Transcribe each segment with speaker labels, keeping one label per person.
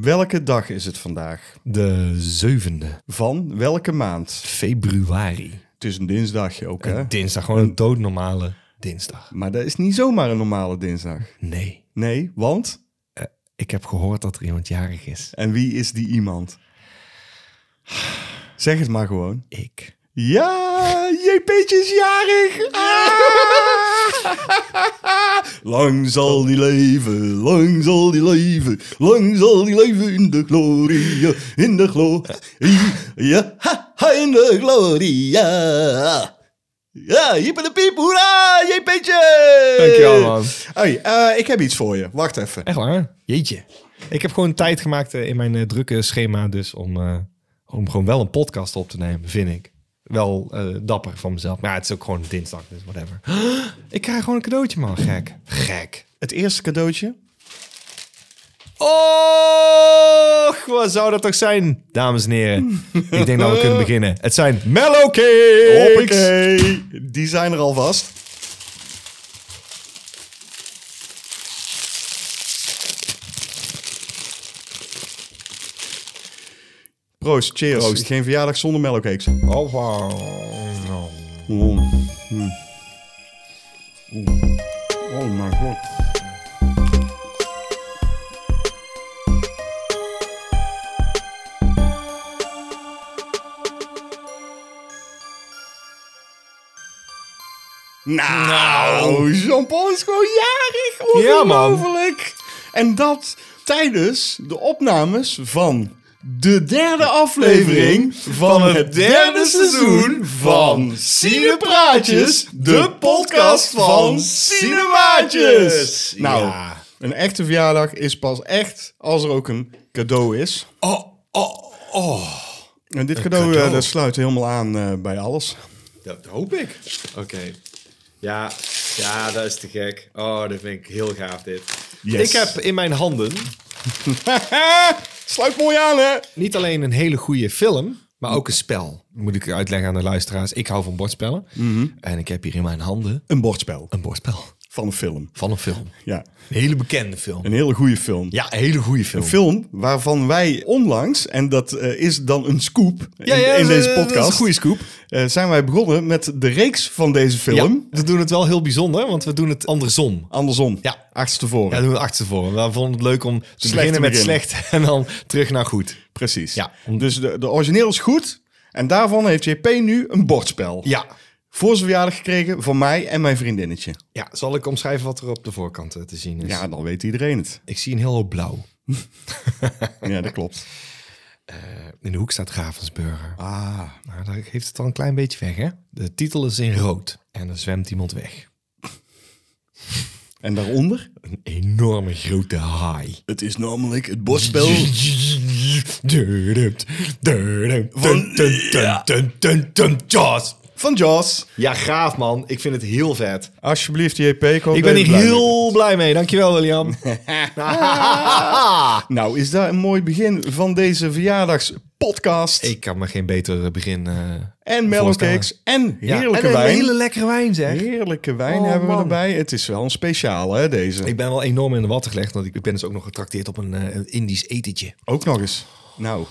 Speaker 1: Welke dag is het vandaag?
Speaker 2: De zevende.
Speaker 1: Van welke maand?
Speaker 2: Februari.
Speaker 1: Het is een dinsdagje ook, hè?
Speaker 2: Een dinsdag. Gewoon een doodnormale dinsdag.
Speaker 1: Maar dat is niet zomaar een normale dinsdag.
Speaker 2: Nee.
Speaker 1: Nee, want?
Speaker 2: Ik heb gehoord dat er iemand jarig is.
Speaker 1: En wie is die iemand? Zeg het maar gewoon.
Speaker 2: Ik.
Speaker 1: Ja, JP'tje is jarig! Ah! Lang zal die leven, lang zal die leven, lang zal die leven in de glorie, in de glorie, ja, ha, ha, in de glorie, ja. Ja, hiep en de piep, hoera, JP'tje!
Speaker 2: Dankjewel, man.
Speaker 1: Hey, eh, ik heb iets voor je, wacht even.
Speaker 2: Echt waar? Jeetje. Ik heb gewoon tijd gemaakt eh, in mijn eh, drukke schema dus om, eh, om gewoon wel een podcast op te nemen, vind ik. Wel eh, dapper van mezelf. Maar ja, het is ook gewoon dinsdag, dus whatever. Ik krijg gewoon een cadeautje, man. Gek. Gek.
Speaker 1: Het eerste cadeautje?
Speaker 2: Och, wat zou dat toch zijn, dames en heren? Ik denk dat we kunnen beginnen. Het zijn mellowcakes.
Speaker 1: Hoppakee, die zijn er alvast. Proost, cheers. Geen verjaardag zonder mellowcakes.
Speaker 2: Oh, wow. Nou.
Speaker 1: Hmm. Oh mijn god. Nou, Jean-Paul is gewoon jarig.
Speaker 2: Ja, man.
Speaker 1: Ongelooflijk. En dat tijdens de opnames van de derde aflevering van het derde seizoen van Cinepraatjes, de podcast van Cinemaatjes. Nou,
Speaker 2: Ja.
Speaker 1: een echte verjaardag is pas echt als er ook een cadeau is.
Speaker 2: Oh, oh, oh.
Speaker 1: En dit cadeau, eh,
Speaker 2: cadeau.
Speaker 1: dat sluit helemaal aan eh, bij alles.
Speaker 2: Dat hoop ik. Oké. Ja, ja, dat is te gek. Oh, dat vind ik heel gaaf dit.
Speaker 1: Yes.
Speaker 2: Ik heb in mijn handen
Speaker 1: sluit mooi aan, hè?
Speaker 2: niet alleen een hele goede film, maar ook een spel. Moet ik uitleggen aan de luisteraars. Ik hou van bordspellen. En ik heb hier in mijn handen
Speaker 1: Een bordspel
Speaker 2: een bordspel
Speaker 1: van een film.
Speaker 2: van een film.
Speaker 1: Ja,
Speaker 2: Een hele bekende film.
Speaker 1: een hele goede film.
Speaker 2: Ja, een hele goede film.
Speaker 1: Film waarvan wij onlangs, en dat eh, is dan een scoop in,
Speaker 2: ja, ja,
Speaker 1: in
Speaker 2: dat-
Speaker 1: deze
Speaker 2: dat is
Speaker 1: podcast,
Speaker 2: een goede scoop.
Speaker 1: eh, zijn wij begonnen met de reeks van deze film.
Speaker 2: Ja, we doen het wel heel bijzonder, want we doen het andersom.
Speaker 1: Andersom,
Speaker 2: Ja.
Speaker 1: achterstevoren.
Speaker 2: Ja, we doen het achterstevoren. We vonden het leuk om te beginnen
Speaker 1: te
Speaker 2: met
Speaker 1: beginnen.
Speaker 2: slecht en dan terug naar goed.
Speaker 1: Precies.
Speaker 2: Ja.
Speaker 1: Dus de, de origineel is goed. En daarvan heeft JP nu een bordspel.
Speaker 2: Ja.
Speaker 1: Voor zijn verjaardag gekregen van mij en mijn vriendinnetje.
Speaker 2: ja, zal ik omschrijven wat er op de voorkant eh, te zien is?
Speaker 1: Ja, dan weet iedereen het.
Speaker 2: Ik zie een heel hoop blauw.
Speaker 1: Ja, dat klopt.
Speaker 2: In de hoek staat Ravensburger.
Speaker 1: Ah,
Speaker 2: Nou, dat heeft het al een klein beetje weg, hè? De titel is in rood en er zwemt iemand weg.
Speaker 1: en daaronder?
Speaker 2: Een enorme grote haai.
Speaker 1: Het is namelijk het bordspel Van- Ja.
Speaker 2: Jaws.
Speaker 1: van Jaws.
Speaker 2: Ja, gaaf man. Ik vind het heel vet.
Speaker 1: Alsjeblieft, JP. Ik, hoop
Speaker 2: Ik
Speaker 1: dat
Speaker 2: ben
Speaker 1: je
Speaker 2: hier
Speaker 1: blij
Speaker 2: heel blij mee. Dankjewel, William.
Speaker 1: bent. Nou, is dat een mooi begin van deze verjaardagspodcast.
Speaker 2: Ik kan me geen beter begin eh
Speaker 1: en mellowcakes en
Speaker 2: voorstellen. Ja,
Speaker 1: heerlijke
Speaker 2: en een
Speaker 1: wijn.
Speaker 2: hele lekkere wijn, zeg.
Speaker 1: Heerlijke wijn
Speaker 2: Oh,
Speaker 1: hebben we
Speaker 2: man.
Speaker 1: erbij. Het is wel een speciaal, hè, deze.
Speaker 2: Ik ben wel enorm in de watten gelegd, want ik ik ben dus ook nog getrakteerd op een eh, een Indisch etentje.
Speaker 1: Ook nog eens. Nou,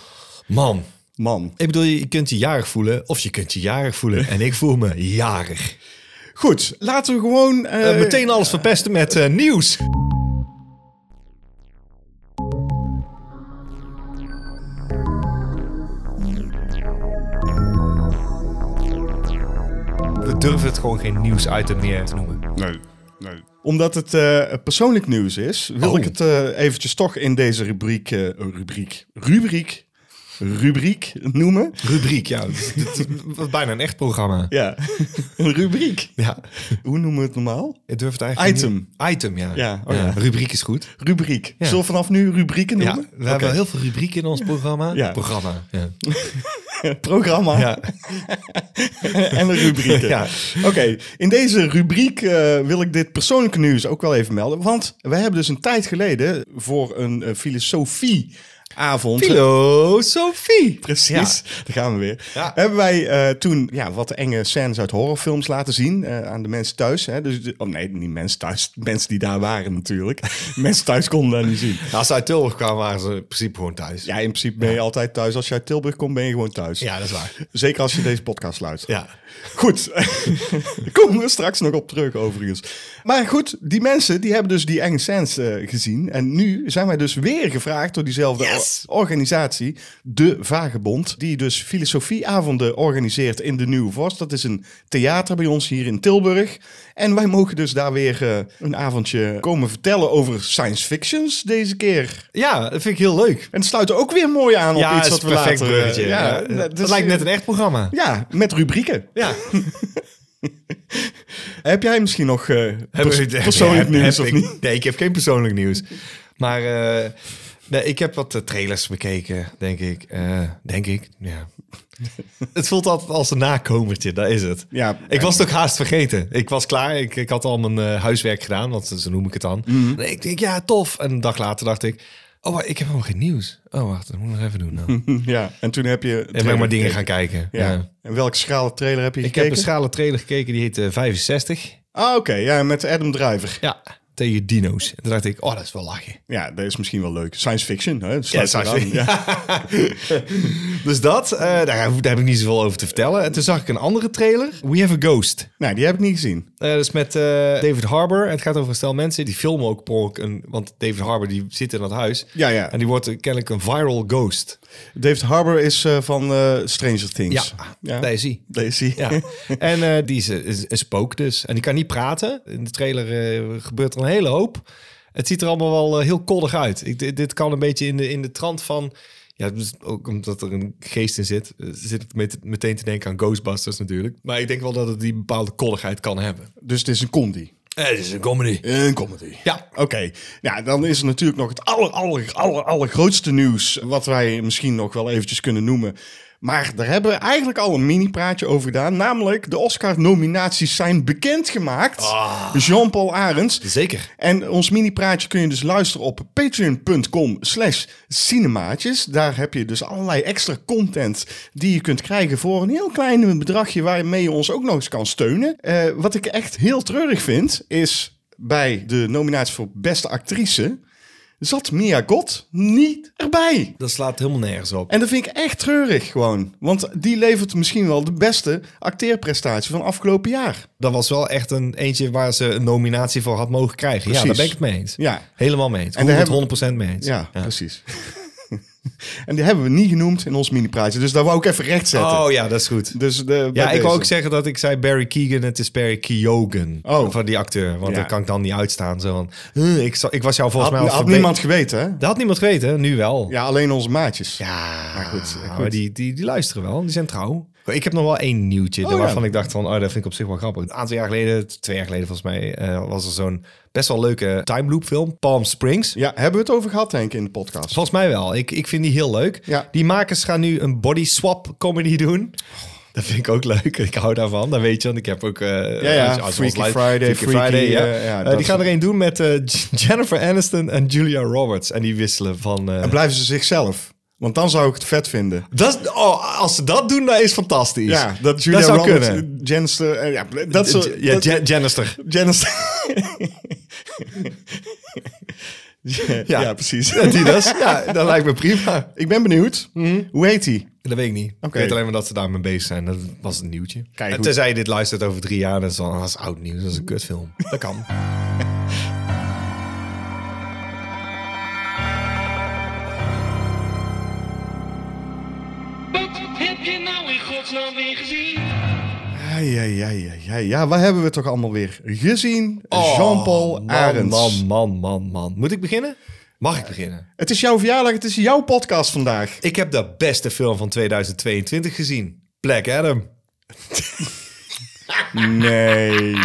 Speaker 2: Man,
Speaker 1: man.
Speaker 2: ik bedoel, je kunt je jarig voelen of je kunt je jarig voelen. En ik voel me jarig.
Speaker 1: Goed, laten we gewoon... eh,
Speaker 2: Eh, meteen alles verpesten met eh, nieuws. We durven het gewoon geen nieuwsitem meer te noemen.
Speaker 1: Nee, nee. Omdat het eh, persoonlijk nieuws is, wil
Speaker 2: Oh.
Speaker 1: ik het eh, eventjes toch in deze rubriek, eh, rubriek, rubriek, rubriek noemen.
Speaker 2: Rubriek, ja. Het is- het is- was bijna een echt programma.
Speaker 1: Ja, een rubriek.
Speaker 2: Ja,
Speaker 1: Hoe noemen we het normaal?
Speaker 2: ik durf het eigenlijk
Speaker 1: Item.
Speaker 2: niet- Item, ja.
Speaker 1: Ja, oh ja.
Speaker 2: Rubriek is goed.
Speaker 1: Rubriek.
Speaker 2: Ja.
Speaker 1: Zullen we vanaf nu rubrieken
Speaker 2: Ja,
Speaker 1: noemen?
Speaker 2: we hebben heel veel rubrieken in ons programma.
Speaker 1: Ja.
Speaker 2: Programma, ja.
Speaker 1: programma en een rubriek.
Speaker 2: Ja.
Speaker 1: Oké, in deze rubriek eh, wil ik dit persoonlijke nieuws ook wel even melden. Want we hebben dus een tijd geleden voor een eh, filosofie avond.
Speaker 2: Filosofie.
Speaker 1: Precies, daar gaan we weer.
Speaker 2: Ja.
Speaker 1: Hebben wij eh, toen ja, wat enge scènes uit horrorfilms laten zien eh, aan de mensen thuis. Hè? Dus, de- oh nee, niet mensen thuis. Mensen die daar waren natuurlijk. mensen thuis konden dat niet zien.
Speaker 2: Nou, als ze uit Tilburg kwamen, waren ze in principe gewoon thuis.
Speaker 1: Ja, in principe ben je altijd thuis. Als je uit Tilburg komt, ben je gewoon thuis.
Speaker 2: Ja, dat is waar.
Speaker 1: Zeker als je deze podcast luistert.
Speaker 2: Ja.
Speaker 1: Goed, daar komen we straks nog op terug overigens. Maar goed, die mensen die hebben dus die enge scènes eh, gezien. En nu zijn wij dus weer gevraagd door diezelfde
Speaker 2: Yes!
Speaker 1: o- organisatie, De Vagebond. Die dus filosofieavonden organiseert in de Nieuwe Vorst. Dat is een theater bij ons hier in Tilburg. En wij mogen dus daar weer eh, een avondje komen vertellen over science fictions deze keer.
Speaker 2: ja, dat vind ik heel leuk.
Speaker 1: En het sluit ook weer mooi aan op
Speaker 2: ja,
Speaker 1: iets
Speaker 2: het
Speaker 1: wat
Speaker 2: is
Speaker 1: we
Speaker 2: perfect
Speaker 1: later... eh,
Speaker 2: bruggetje. Ja,
Speaker 1: ja,
Speaker 2: dat,
Speaker 1: is-
Speaker 2: lijkt net een echt programma.
Speaker 1: Ja, met rubrieken.
Speaker 2: Ja.
Speaker 1: Heb jij misschien nog eh, pers-
Speaker 2: Hebben we-
Speaker 1: persoonlijk
Speaker 2: heb-
Speaker 1: nieuws
Speaker 2: heb
Speaker 1: of
Speaker 2: ik-
Speaker 1: niet?
Speaker 2: Nee, ik heb geen persoonlijk nieuws. Maar eh, nee, ik heb wat eh, trailers bekeken, denk ik. Eh, denk ik, ja. het voelt altijd als een nakomertje, dat is het.
Speaker 1: Ja,
Speaker 2: Ik was het ook haast vergeten. Ik was klaar. Ik, ik had al mijn eh, huiswerk gedaan, want zo noem ik het dan.
Speaker 1: Mhm.
Speaker 2: En ik denk, ja, tof. En een dag later dacht ik, oh, maar ik heb helemaal geen nieuws. Oh, wacht, dat moet ik nog even doen. Nou. En
Speaker 1: Ja, en toen heb je...
Speaker 2: ben ik maar dingen gaan kijken.
Speaker 1: Ja.
Speaker 2: Ja.
Speaker 1: En welke schrale trailer heb je
Speaker 2: Ik heb
Speaker 1: gekeken?
Speaker 2: een schrale trailer gekeken, die heet eh, 65.
Speaker 1: ah, oké. ja, met Adam Driver.
Speaker 2: Ja, tegen dino's. En toen dacht ik, oh, dat is wel lachen.
Speaker 1: Ja, dat is misschien wel leuk. Science fiction, hè? Dat
Speaker 2: Ja,
Speaker 1: sluit
Speaker 2: science
Speaker 1: eraan.
Speaker 2: fiction. dus dat, eh, daar, daar heb ik niet zoveel over te vertellen. En toen zag ik een andere trailer, We Have a Ghost.
Speaker 1: Nee, die heb ik niet gezien.
Speaker 2: Eh, dat is met eh, David Harbour. En het gaat over een stel mensen, die filmen ook per ongeluk een... Want David Harbour die zit in dat huis.
Speaker 1: Ja, ja.
Speaker 2: En die wordt eh, kennelijk een viral ghost. Dus,
Speaker 1: David Harbour is eh, van eh, Stranger Things.
Speaker 2: ah, daar is hij.
Speaker 1: Daar is hij.
Speaker 2: Ja. en eh, die is, is een spook dus. En die kan niet praten. In de trailer eh, gebeurt er een hele hoop. Het ziet er allemaal wel eh, heel koddig uit. Ik, dit, dit kan een beetje in de, in de trant van... Ja, dus ook omdat er een geest in zit, eh, zit ik met, meteen te denken aan Ghostbusters natuurlijk. Maar ik denk wel dat het die bepaalde koddigheid kan hebben.
Speaker 1: Dus het is een comedy.
Speaker 2: Het is een comedy.
Speaker 1: Een comedy.
Speaker 2: Ja.
Speaker 1: Oké, ja, dan is er natuurlijk nog het aller, aller, aller, allergrootste nieuws... wat wij misschien nog wel eventjes kunnen noemen. Maar daar hebben we eigenlijk al een mini-praatje over gedaan. Namelijk, de Oscar-nominaties zijn bekendgemaakt. Jean-Paul Arends.
Speaker 2: Zeker.
Speaker 1: En ons mini-praatje kun je dus luisteren op patreon.com slash cinemaatjes. Daar heb je dus allerlei extra content die je kunt krijgen voor een heel klein bedragje waarmee je ons ook nog eens kan steunen. Eh, wat ik echt heel treurig vind is bij de nominatie voor beste actrice zat Mia Gott niet erbij.
Speaker 2: Dat slaat helemaal nergens op.
Speaker 1: En dat vind ik echt treurig gewoon. Want die levert misschien wel de beste acteerprestatie van afgelopen jaar.
Speaker 2: Dat was wel echt een eentje waar ze een nominatie voor had mogen krijgen. Ja, daar ben ik het mee eens.
Speaker 1: Ja,
Speaker 2: Helemaal mee eens.
Speaker 1: En daar hebben-
Speaker 2: 100% mee eens.
Speaker 1: Ja, precies. en die hebben we niet genoemd in ons mini-praatje. Dus daar wou ik even recht zetten.
Speaker 2: Oh ja, dat is goed.
Speaker 1: Dus de, bij
Speaker 2: Ja, ik
Speaker 1: deze.
Speaker 2: wou ook zeggen dat ik zei Barry Keegan, het is Barry Keoghan.
Speaker 1: Oh.
Speaker 2: Van die acteur, want
Speaker 1: Ja.
Speaker 2: daar kan ik dan niet uitstaan. Zo van, "Huh, ik, zal- ik was jou volgens
Speaker 1: Had,
Speaker 2: mij al
Speaker 1: had
Speaker 2: verbe-
Speaker 1: niemand geweten, hè?
Speaker 2: Dat had niemand geweten, hè? nu wel.
Speaker 1: Ja, alleen onze maatjes.
Speaker 2: Ja, maar
Speaker 1: goed,
Speaker 2: goed.
Speaker 1: goed.
Speaker 2: die, die, die luisteren wel, die zijn trouw. Ik heb nog wel één nieuwtje
Speaker 1: Oh,
Speaker 2: waarvan
Speaker 1: ja.
Speaker 2: ik dacht van, oh, dat vind ik op zich wel grappig. Een aantal jaar geleden, twee jaar geleden volgens mij, eh, was er zo'n best wel leuke time loop film, Palm Springs.
Speaker 1: Ja, hebben we het over gehad, Henk, in de podcast?
Speaker 2: Volgens mij wel. Ik, ik vind die heel leuk.
Speaker 1: Ja.
Speaker 2: Die makers gaan nu een body swap comedy doen. Dat vind ik ook leuk. Ik hou daarvan. Dat weet je, want ik heb ook... eh,
Speaker 1: ja.
Speaker 2: als- als-
Speaker 1: Freaky
Speaker 2: als-
Speaker 1: Friday,
Speaker 2: Freaky
Speaker 1: Freaky,
Speaker 2: Friday, ja.
Speaker 1: eh, ja,
Speaker 2: Eh,
Speaker 1: dat
Speaker 2: die gaan
Speaker 1: soort-
Speaker 2: er een doen met eh, Jennifer Aniston en Julia Roberts. En die wisselen van... eh,
Speaker 1: En blijven ze zichzelf? Want dan zou ik het vet vinden.
Speaker 2: dat is- oh, als ze dat doen, dat is fantastisch.
Speaker 1: Ja, dat Julia
Speaker 2: zou
Speaker 1: Roberts,
Speaker 2: kunnen.
Speaker 1: Jennifer... eh, Ja, dat
Speaker 2: Ja,
Speaker 1: soort... dat-
Speaker 2: Jen- Jennister.
Speaker 1: Jennifer... ja, ja.
Speaker 2: Ja.
Speaker 1: precies.
Speaker 2: Ja, die dus. Ja, dat lijkt me prima. Mhm.
Speaker 1: ik ben benieuwd. Hoe heet hij?
Speaker 2: Dat weet ik niet.
Speaker 1: Oké.
Speaker 2: Ik weet alleen maar dat ze daarmee bezig zijn. Dat was een nieuwtje.
Speaker 1: Kijk,
Speaker 2: En
Speaker 1: goed.
Speaker 2: tenzij je dit luistert over drie jaar, dan is dat, dat is oud nieuws. Dat is een kutfilm. Dat kan.
Speaker 3: Wat heb je nou in godsnaam weer gezien?
Speaker 1: Ja, ja, ja, ja, ja, ja. Waar hebben we toch allemaal weer gezien?
Speaker 2: Oh,
Speaker 1: Jean-Paul
Speaker 2: man,
Speaker 1: Arends.
Speaker 2: Man, man, man, man. Moet ik beginnen? Mag ik beginnen?
Speaker 1: Het is jouw verjaardag, het is jouw podcast vandaag.
Speaker 2: Ik heb de beste film van 2022 gezien. Black Adam.
Speaker 1: Nee.